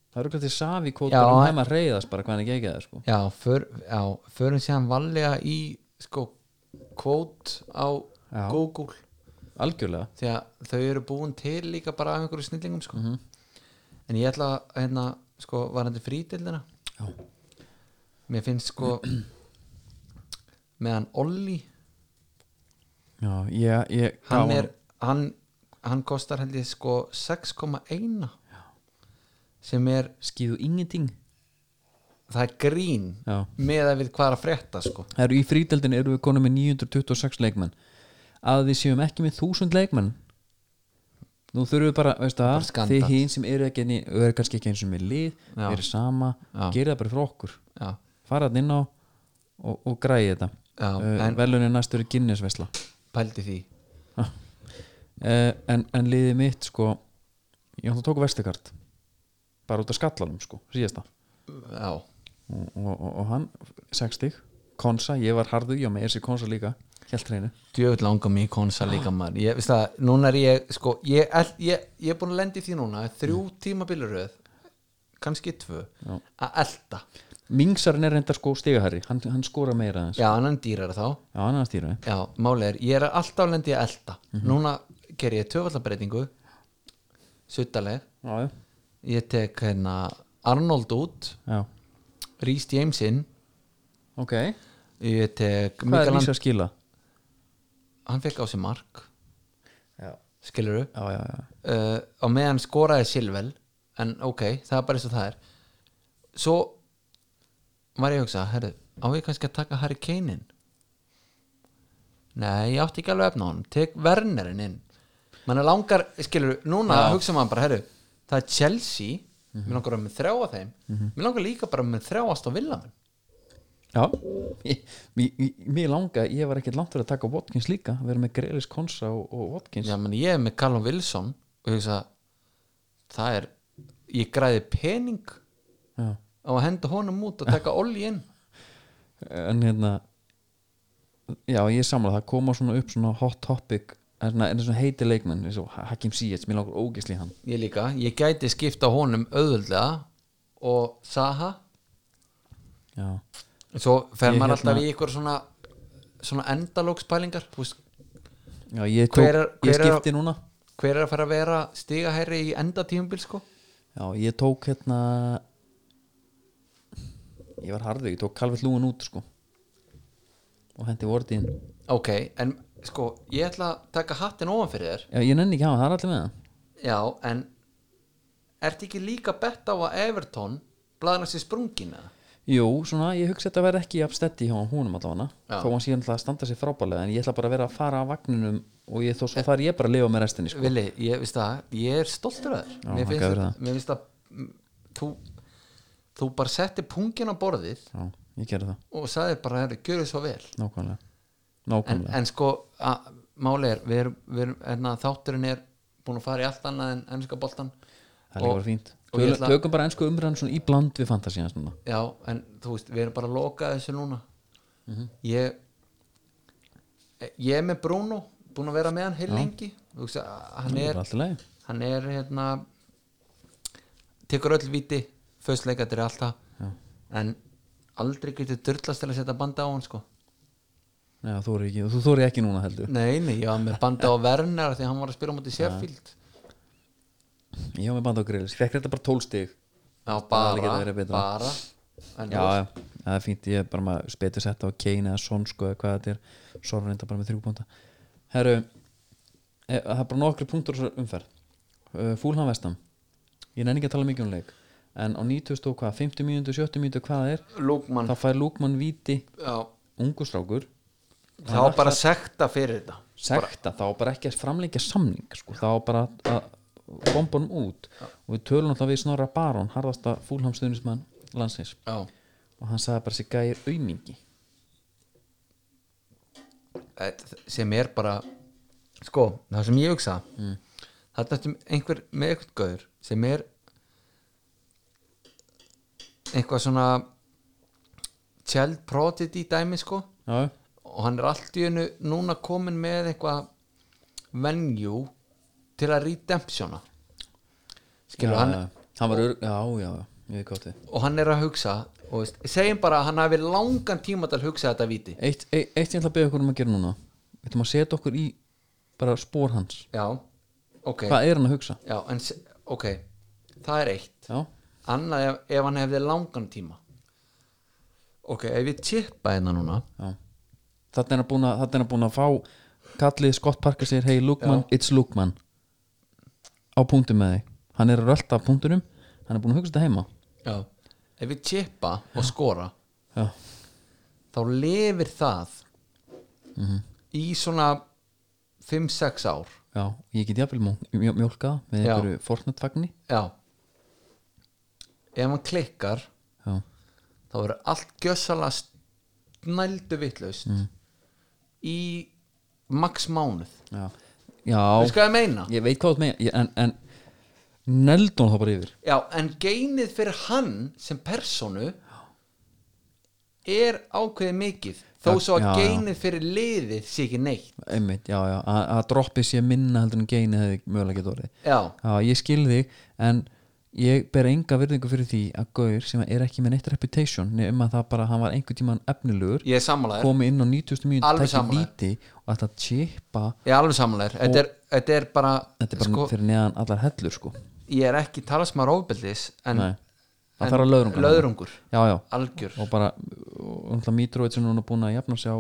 [SPEAKER 1] það eru hvað til savi kvót
[SPEAKER 2] Já,
[SPEAKER 1] bara um
[SPEAKER 2] en-
[SPEAKER 1] heima að reyðast bara hvað hann er ekki það sko
[SPEAKER 2] já, för, já, förum síðan valega í sko kvót á
[SPEAKER 1] Já.
[SPEAKER 2] Google
[SPEAKER 1] algjörlega
[SPEAKER 2] því að þau eru búin til líka bara af einhverju snillingum sko. en ég ætla að hérna, sko, varandi frítildina
[SPEAKER 1] Já.
[SPEAKER 2] mér finnst sko meðan Olli
[SPEAKER 1] Já, ég, ég gaf
[SPEAKER 2] hann, er, hann, hann kostar held ég sko 6,1 sem er
[SPEAKER 1] skýðu ingenting
[SPEAKER 2] það er grín
[SPEAKER 1] Já.
[SPEAKER 2] með að við hvað er að frétta sko
[SPEAKER 1] Það eru í frídeldin eru við konum með 926 leikmenn að við séum ekki með 1000 leikmenn nú þurfum við bara, veist
[SPEAKER 2] Bara
[SPEAKER 1] það
[SPEAKER 2] skandall.
[SPEAKER 1] þið hín sem eru ekki, inni- eru kannski ekki eins og með lið
[SPEAKER 2] Já.
[SPEAKER 1] eru sama,
[SPEAKER 2] Já.
[SPEAKER 1] gera það bara frá okkur
[SPEAKER 2] já,
[SPEAKER 1] fara þann inn á og, og græði þetta
[SPEAKER 2] Já,
[SPEAKER 1] uh,
[SPEAKER 2] en-
[SPEAKER 1] velunin næstur er Guinness vesla
[SPEAKER 2] pældi því
[SPEAKER 1] uh, Eh, en, en liðið mitt sko ég hann tók vestikart bara út af skallanum sko, síðasta
[SPEAKER 2] já,
[SPEAKER 1] og, og, og, og hann, 60 Konsa, ég var harður, já með þessi Konsa líka helt hreinu
[SPEAKER 2] djöfull langar mig í konsa
[SPEAKER 1] Ah.
[SPEAKER 2] líka maður ég, veist það, núna er ég sko ég, ég, ég, ég er búin að lendi því núna þrjú tíma bíluröð kannski tvö
[SPEAKER 1] Mm. Já.
[SPEAKER 2] að elta
[SPEAKER 1] Mingsarinn er reyndar sko stigahæri hann, hann skora meira aðeins
[SPEAKER 2] já, en hann dýrar þá
[SPEAKER 1] Já, hann er að stýra þeim.
[SPEAKER 2] já, máli er, ég er alltaf lendi að elta
[SPEAKER 1] Mhm.
[SPEAKER 2] núna ger ég tvöfallabreitingu suttaleg
[SPEAKER 1] Já, já,
[SPEAKER 2] ég tek hérna Arnold út
[SPEAKER 1] já
[SPEAKER 2] Rhys James inn
[SPEAKER 1] Ok, hvað
[SPEAKER 2] ég tek
[SPEAKER 1] er
[SPEAKER 2] Mikael
[SPEAKER 1] Lís að skila?
[SPEAKER 2] hann fekk á sig mark
[SPEAKER 1] Já,
[SPEAKER 2] skilur upp
[SPEAKER 1] já, já, já.
[SPEAKER 2] uh, á meðan skoraði Silvel en ok, það er bara eins og það er svo var ég að hugsa, herri, á ég kannski að taka Harry Kane inn nei, ég átti ekki alveg efna honum tek Wernerin inn mann er langar, skilur, núna
[SPEAKER 1] Já.
[SPEAKER 2] hugsa maður bara, herri, það er Chelsea mér langar að vera með þrjá af þeim mér langar líka bara með þrjáast á Villamin
[SPEAKER 1] Já, Ég- mér- mér mér langa ég var ekkert langt fyrir að taka Watkins líka að vera með Grelis Konsa og, og Watkins
[SPEAKER 2] já, menn ég er með Callum Wilson og ég hugsa, það er ég græði pening
[SPEAKER 1] Já.
[SPEAKER 2] á að henda honum út og taka Olli inn
[SPEAKER 1] en hérna já, ég samla það koma svona upp svona hot topic en svona, en svona heiti leikmenn eins og Hakim Ziyech, mér langar ógisli hann
[SPEAKER 2] Ég líka, ég gæti skipta honum auðvöldlega og Saha
[SPEAKER 1] já,
[SPEAKER 2] svo fer
[SPEAKER 1] Ég hérna-
[SPEAKER 2] maður alltaf í ykkur svona svona endalókspælingar Þú veist,
[SPEAKER 1] já ég, tók,
[SPEAKER 2] Hver er-
[SPEAKER 1] ég
[SPEAKER 2] hver er-
[SPEAKER 1] skipti núna
[SPEAKER 2] hver er að fara að vera stigahæri í endatíumbil sko
[SPEAKER 1] já, ég tók hérna ég var harður, ég tók Calvert Lúin út sko og hendi vortin já,
[SPEAKER 2] ok, en sko, ég ætla að taka hattin ofan fyrir þér
[SPEAKER 1] ég nenni ekki hafa, það er allir með það
[SPEAKER 2] já, en ertu ekki líka bett á að Everton blaðna sér sprungina
[SPEAKER 1] Jú, svona, ég hugsa þetta verði ekki afstætti hjá húnum allavega,
[SPEAKER 2] Já.
[SPEAKER 1] þó hann síðan ætla að standa sér frábælega en ég ætla bara að vera að fara af vagninum og ég, þó svo þar ég bara að lifa með restinni sko.
[SPEAKER 2] Vili, ég veist það, ég er stoltur
[SPEAKER 1] Já,
[SPEAKER 2] að þér mér
[SPEAKER 1] þakka
[SPEAKER 2] finnst,
[SPEAKER 1] fyrir
[SPEAKER 2] þetta-
[SPEAKER 1] það.
[SPEAKER 2] mér finnst það mm, þú, þú bara setti pungin á borðið
[SPEAKER 1] Já, ég gerði það,
[SPEAKER 2] og sagði bara, herri, gjöru svo vel
[SPEAKER 1] nákvæmlega
[SPEAKER 2] en,
[SPEAKER 1] Nákvæmlega,
[SPEAKER 2] en sko, að- máli er við erum, við erum, hérna, þátturinn er búin að fara í allt annað en ennska boltan
[SPEAKER 1] það er líka bara fínt
[SPEAKER 2] og ég
[SPEAKER 1] Tölum,
[SPEAKER 2] ætla-
[SPEAKER 1] Tökum bara ennsku umræðan svona í bland við fantasíans núna
[SPEAKER 2] já, en þú veist, við erum bara að loka þessu núna
[SPEAKER 1] Mhm.
[SPEAKER 2] ég ég er með Bruno búin að vera með hann heil lengi þú veist, að- hann
[SPEAKER 1] Það er
[SPEAKER 2] er,
[SPEAKER 1] bara allt í lagi
[SPEAKER 2] hann er hérna tekur öll viti föðsleikat er alltaf
[SPEAKER 1] Já.
[SPEAKER 2] en aldrei getur dörlast til að setja banda á hann
[SPEAKER 1] (laughs)
[SPEAKER 2] sko
[SPEAKER 1] Já, þú þorir ekki, þú þorir ekki núna heldur
[SPEAKER 2] nei, nei, ég var með banda á Werner því að hann var að spila á móti Sheffield Mm.
[SPEAKER 1] Ég var með band á grillis, fekk þetta bara 12 stig
[SPEAKER 2] Já,
[SPEAKER 1] hefði getað
[SPEAKER 2] bara,
[SPEAKER 1] verið betra.
[SPEAKER 2] bara en,
[SPEAKER 1] Já, já, það er fínt, ég er bara maður spetið sett á Kane eða Son sko eða hvað þetta er Son reynda bara með þrjúbónda Herru, e, það er bara nokkri punktur á þessari umferð Fúlhan Vestam Ég nenni ekki að tala mikið um leik En á 90 og hvað, 50 mínútu, 70 mínútu, hvað það er
[SPEAKER 2] Lúkmann
[SPEAKER 1] Þá fær Lúkmann viti
[SPEAKER 2] já,
[SPEAKER 1] ungustrákur
[SPEAKER 2] þá bara sekta fyrir þetta
[SPEAKER 1] Sekta, þá bara ekki að framleikja samning sko. Þá bara að- að bomba hann út Og við tölum alltaf við Snorra Baron Harðasta Fúlham stuðnismann landsins
[SPEAKER 2] já.
[SPEAKER 1] Og hann sagði bara sér gæir aumingi
[SPEAKER 2] Eh, sem er bara sko, það sem ég hugsa mm. það er einhver með einhvern gaur sem er eitthvað svona child prodigy dæmi sko
[SPEAKER 1] Já, já
[SPEAKER 2] og hann er allt í hennu núna komin með eitthvað venue til að redemptiona skilur
[SPEAKER 1] já,
[SPEAKER 2] hann,
[SPEAKER 1] já. hann var örg, já, já, já, ég veit hvað átti
[SPEAKER 2] og hann er að hugsa og veist, segjum bara að hann hafi langan tíma til að hugsa þetta viti
[SPEAKER 1] eitt, eitt, eitt ég ætla að beða okkur um að gera núna við ætlum að setja okkur í bara spór hans
[SPEAKER 2] já, ok,
[SPEAKER 1] hvað er hann að hugsa
[SPEAKER 2] já, en, se- ok það er eitt
[SPEAKER 1] já,
[SPEAKER 2] annað ef, ef hann hefði langan tíma ok, ef ég tippa hérna núna
[SPEAKER 1] já. þarna er hann búin að, þarna er hann búin að fá kallið Scott Parker segir hey Lukman, it's Lukman á punktum með þig hann er að rölda af punktunum hann er búin að hugsa þetta heima
[SPEAKER 2] já. ef ég tippa og skora
[SPEAKER 1] já,
[SPEAKER 2] þá lifir það í svona 5-6 ár
[SPEAKER 1] já, ég get jafnvel mjó- mjó- mjólkað með
[SPEAKER 2] Já.
[SPEAKER 1] einhverju fortnættfagni
[SPEAKER 2] já ef hann klikkar
[SPEAKER 1] já,
[SPEAKER 2] þá verður allt gjössalega snældu vitlaust
[SPEAKER 1] Mm.
[SPEAKER 2] í max mánuð
[SPEAKER 1] já, já
[SPEAKER 2] við skoðum meina
[SPEAKER 1] ég veit hvað þú ert með ég- en, en neldun þá bara yfir
[SPEAKER 2] já, en geinið fyrir hann sem personu er ákveðið mikið þó
[SPEAKER 1] Það-
[SPEAKER 2] svo að
[SPEAKER 1] já, já.
[SPEAKER 2] geinið fyrir liðið sé ekki neitt
[SPEAKER 1] einmitt, já, já, að að droppið sé minna heldur en geini hefði mögulega getur orðið
[SPEAKER 2] já,
[SPEAKER 1] já, ég skil þig, en ég ber enga virðingu fyrir því að Gaur sem er ekki með neitt reputation nefnum að það bara, hann var einhvern tímann efnilegur
[SPEAKER 2] ég er sammálaður
[SPEAKER 1] komi inn á 90. mínúti,
[SPEAKER 2] Alveg
[SPEAKER 1] tæki
[SPEAKER 2] sammála.
[SPEAKER 1] víti og ætla að chipa
[SPEAKER 2] ég er alveg sammálaður þetta, er- þetta er bara,
[SPEAKER 1] þetta er bara
[SPEAKER 2] sko,
[SPEAKER 1] fyrir neðan allar hellur sko
[SPEAKER 2] ég er ekki talasmar ofbeldis en,
[SPEAKER 1] Nei,
[SPEAKER 2] en
[SPEAKER 1] það þarf að löðrunga
[SPEAKER 2] löðrungur
[SPEAKER 1] já, já,
[SPEAKER 2] algjör
[SPEAKER 1] og bara og náttúrulega Mitrovic er núna búin að jafna sig á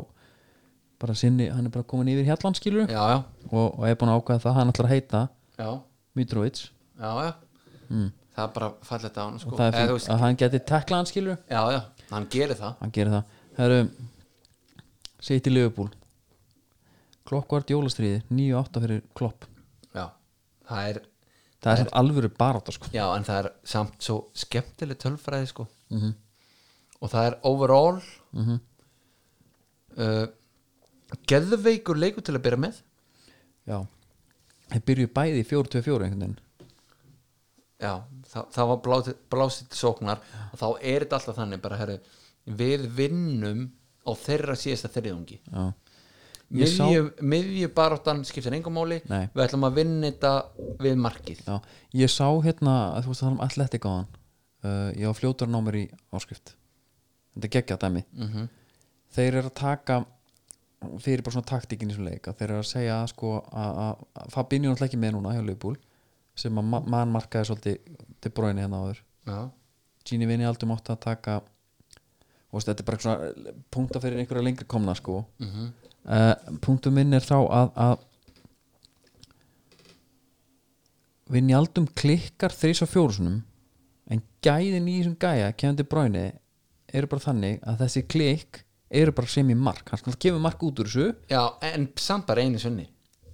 [SPEAKER 1] bara sinni, hann er bara komin yfir hjallan skilur
[SPEAKER 2] já, já,
[SPEAKER 1] og, og er búin að ákveða það, hann ætlar að heita
[SPEAKER 2] já,
[SPEAKER 1] Mitrovic
[SPEAKER 2] já, já. það er bara fallet á hann sko.
[SPEAKER 1] Mm. og það er
[SPEAKER 2] Eða, þú
[SPEAKER 1] fyrir
[SPEAKER 2] veist,
[SPEAKER 1] að hann geti tekla hann skilur
[SPEAKER 2] já, já, hann gerir það
[SPEAKER 1] hann gerir það Herru, sitt í Liverpool klokkvart jólastríði 9-8 fyrir klopp
[SPEAKER 2] já, það er
[SPEAKER 1] það er samt alvöru baráta sko
[SPEAKER 2] Já, en það er samt svo skemmtileg tölfræði sko
[SPEAKER 1] Mhm.
[SPEAKER 2] og það er overall mm -hmm. uh, geðveikur leikur til að byrja með
[SPEAKER 1] já, þeir byrju bæði í 4-2-4 einhvern veginn
[SPEAKER 2] Já, það, það var blásið, blásið til sóknar og þá er þetta alltaf þannig bara, herri, við vinnum á þeirra síðasta þriðungi
[SPEAKER 1] já, Ég sá-
[SPEAKER 2] miðju, miðju baráttan skiptir engum máli
[SPEAKER 1] Nei.
[SPEAKER 2] við ætlum að vinna þetta við markið
[SPEAKER 1] já, ég sá hérna að þú veist að tala um atletik á hann uh, ég á fljótur námur í áskrift þetta er geggjað dæmi -hmm. þeir eru að taka fyrir bara svona taktíkin í þessum leik að þeir eru að segja sko að að- að Fabinho er náttúrulega ekki með núna hjá Liverpool sem að ma- mann markaði svolítið til bróinu hérna áður
[SPEAKER 2] Já,
[SPEAKER 1] Gini vinni aldrei mátt að taka og veist, þetta er bara svona punktar fyrir einhverja lengri komna sko mm -hmm. punktum minn er þá að, að vinni aldum klikkar þrís á fjórusunum en gæðin í þessum gæja kemandi bráinu eru bara þannig að þessi klikk eru bara sem í mark hann skal kemur mark út úr þessu
[SPEAKER 2] já en samt bara einu sunni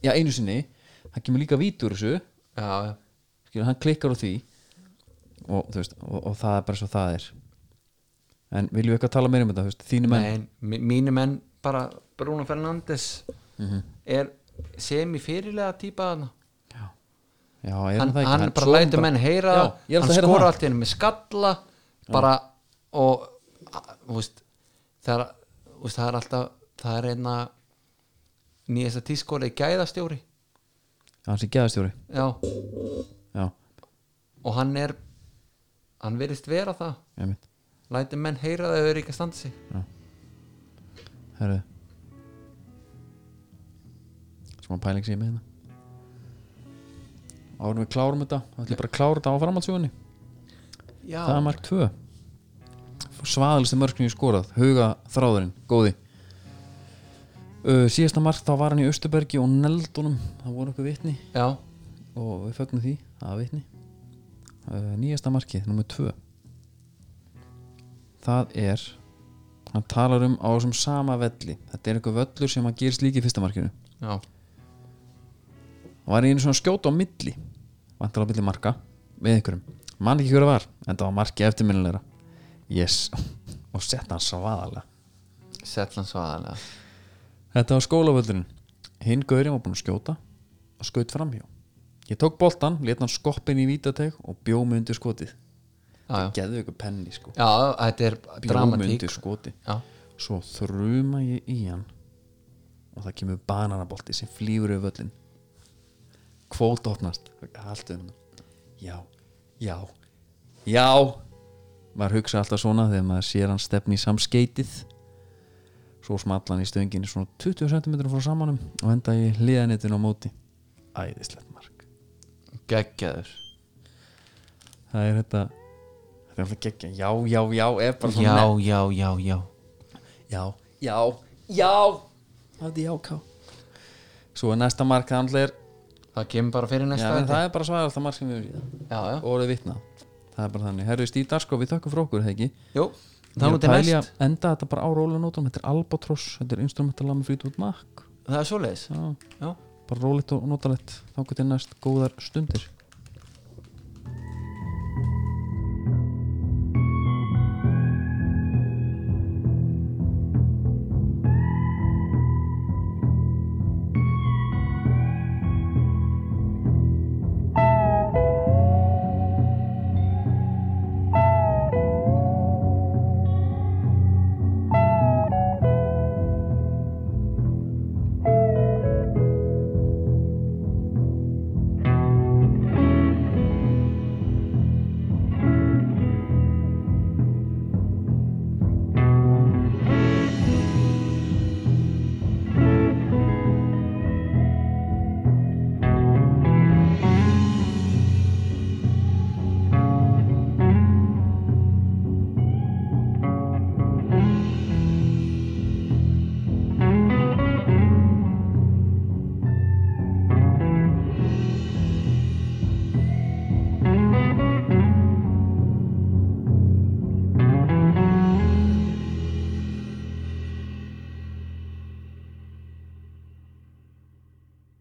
[SPEAKER 1] já einu sinni, hann kemur líka vít úr þessu
[SPEAKER 2] Já, já
[SPEAKER 1] skilur, hann klikkar á því og, þú veist, og, og það er bara svo það er en viljum við eitthvað tala meira um þetta þú veist, þínu menn
[SPEAKER 2] Nei, mí- mínu menn bara Bruno Fernandes
[SPEAKER 1] Mhm.
[SPEAKER 2] er sem í fyrirlega típa þarna.
[SPEAKER 1] já, er
[SPEAKER 2] hann,
[SPEAKER 1] það ekki,
[SPEAKER 2] hann bara
[SPEAKER 1] svo
[SPEAKER 2] lætur menn heyra
[SPEAKER 1] Já,
[SPEAKER 2] það,
[SPEAKER 1] ég er alltaf
[SPEAKER 2] hann
[SPEAKER 1] að heyra
[SPEAKER 2] skora
[SPEAKER 1] það.
[SPEAKER 2] allt í henni með skalla bara og a- þú veist, það er, þú veist, það er alltaf það er einna nýjasta tískóli gæðastjóri
[SPEAKER 1] hann sé geðastjóri
[SPEAKER 2] já,
[SPEAKER 1] já,
[SPEAKER 2] og hann er hann verðist vera það
[SPEAKER 1] einmitt
[SPEAKER 2] lætur menn heyra það ef þau eru ekki að standa sig
[SPEAKER 1] herru smá pæling sem ég með hérna árum við klárum þetta þá ætlum ég bara að klára þetta á framhaldsjóðunni
[SPEAKER 2] já,
[SPEAKER 1] það er mark 2 svaðalista mörg sem ég skorað huga þráðurinn, góði uh, síðasta mark þá var hann í Östubergi og Neldunum það voru okkur vitni
[SPEAKER 2] já,
[SPEAKER 1] og við fögnum því að vitni uh, nýjasta markið, nummer 2 það er hann talar um á þessum sama velli þetta er einhver völlur sem hann gerist líka í fyrsta markinu
[SPEAKER 2] já,
[SPEAKER 1] hann var einu svona skjóta á milli vantar á milli marka með einhverjum man ekki hverja var, en það var markið eftirminnilegra yes, (laughs) og setta hann svaðalega
[SPEAKER 2] Settland svaðalega
[SPEAKER 1] þetta var skólavöllurinn hinn gaurinn var búinn að skjóta og skaut framhjá ég tók boltan, let hann skoppin í vítateg og bjó mig undir skotið
[SPEAKER 2] já, já.
[SPEAKER 1] geðu ykkur penni sko
[SPEAKER 2] já, þetta er dramatík
[SPEAKER 1] undir skoti
[SPEAKER 2] já,
[SPEAKER 1] svo þruma ég í hann og það kemur bananabolti sem flýfur yfir völlin kvót opnast haltu hann já, já, já maður hugsa alltaf svona þegar maður sér hann stefni í samskeitið svo smallan í stönginni svona 20 cm frá samanum og enda í hliðanetin á móti æðislegt mark
[SPEAKER 2] geggjaður
[SPEAKER 1] það er þetta þetta er alltaf geggja, já, já, já er bara svona
[SPEAKER 2] já, já, já, já
[SPEAKER 1] já, já, já hafði jáká svo er næsta mark það náttúrulega er,
[SPEAKER 2] það kemur bara fyrir
[SPEAKER 1] já,
[SPEAKER 2] næsta
[SPEAKER 1] en
[SPEAKER 2] þetta.
[SPEAKER 1] það er bara svagalta mark sem við erum síðan
[SPEAKER 2] já, já,
[SPEAKER 1] og orðið vitna það er bara þannig, herru Stíð Darsko við þökkum frá okkur er það ekki
[SPEAKER 2] jú það er nú
[SPEAKER 1] Ég að
[SPEAKER 2] til
[SPEAKER 1] pæla í
[SPEAKER 2] næst,
[SPEAKER 1] að enda þetta bara á rólanótum þetta er Albatross, þetta er instrumentalami frýt út makk
[SPEAKER 2] það er svoleiðis
[SPEAKER 1] já,
[SPEAKER 2] já
[SPEAKER 1] bara rólegt og notalegt þá getur næst góðar stundir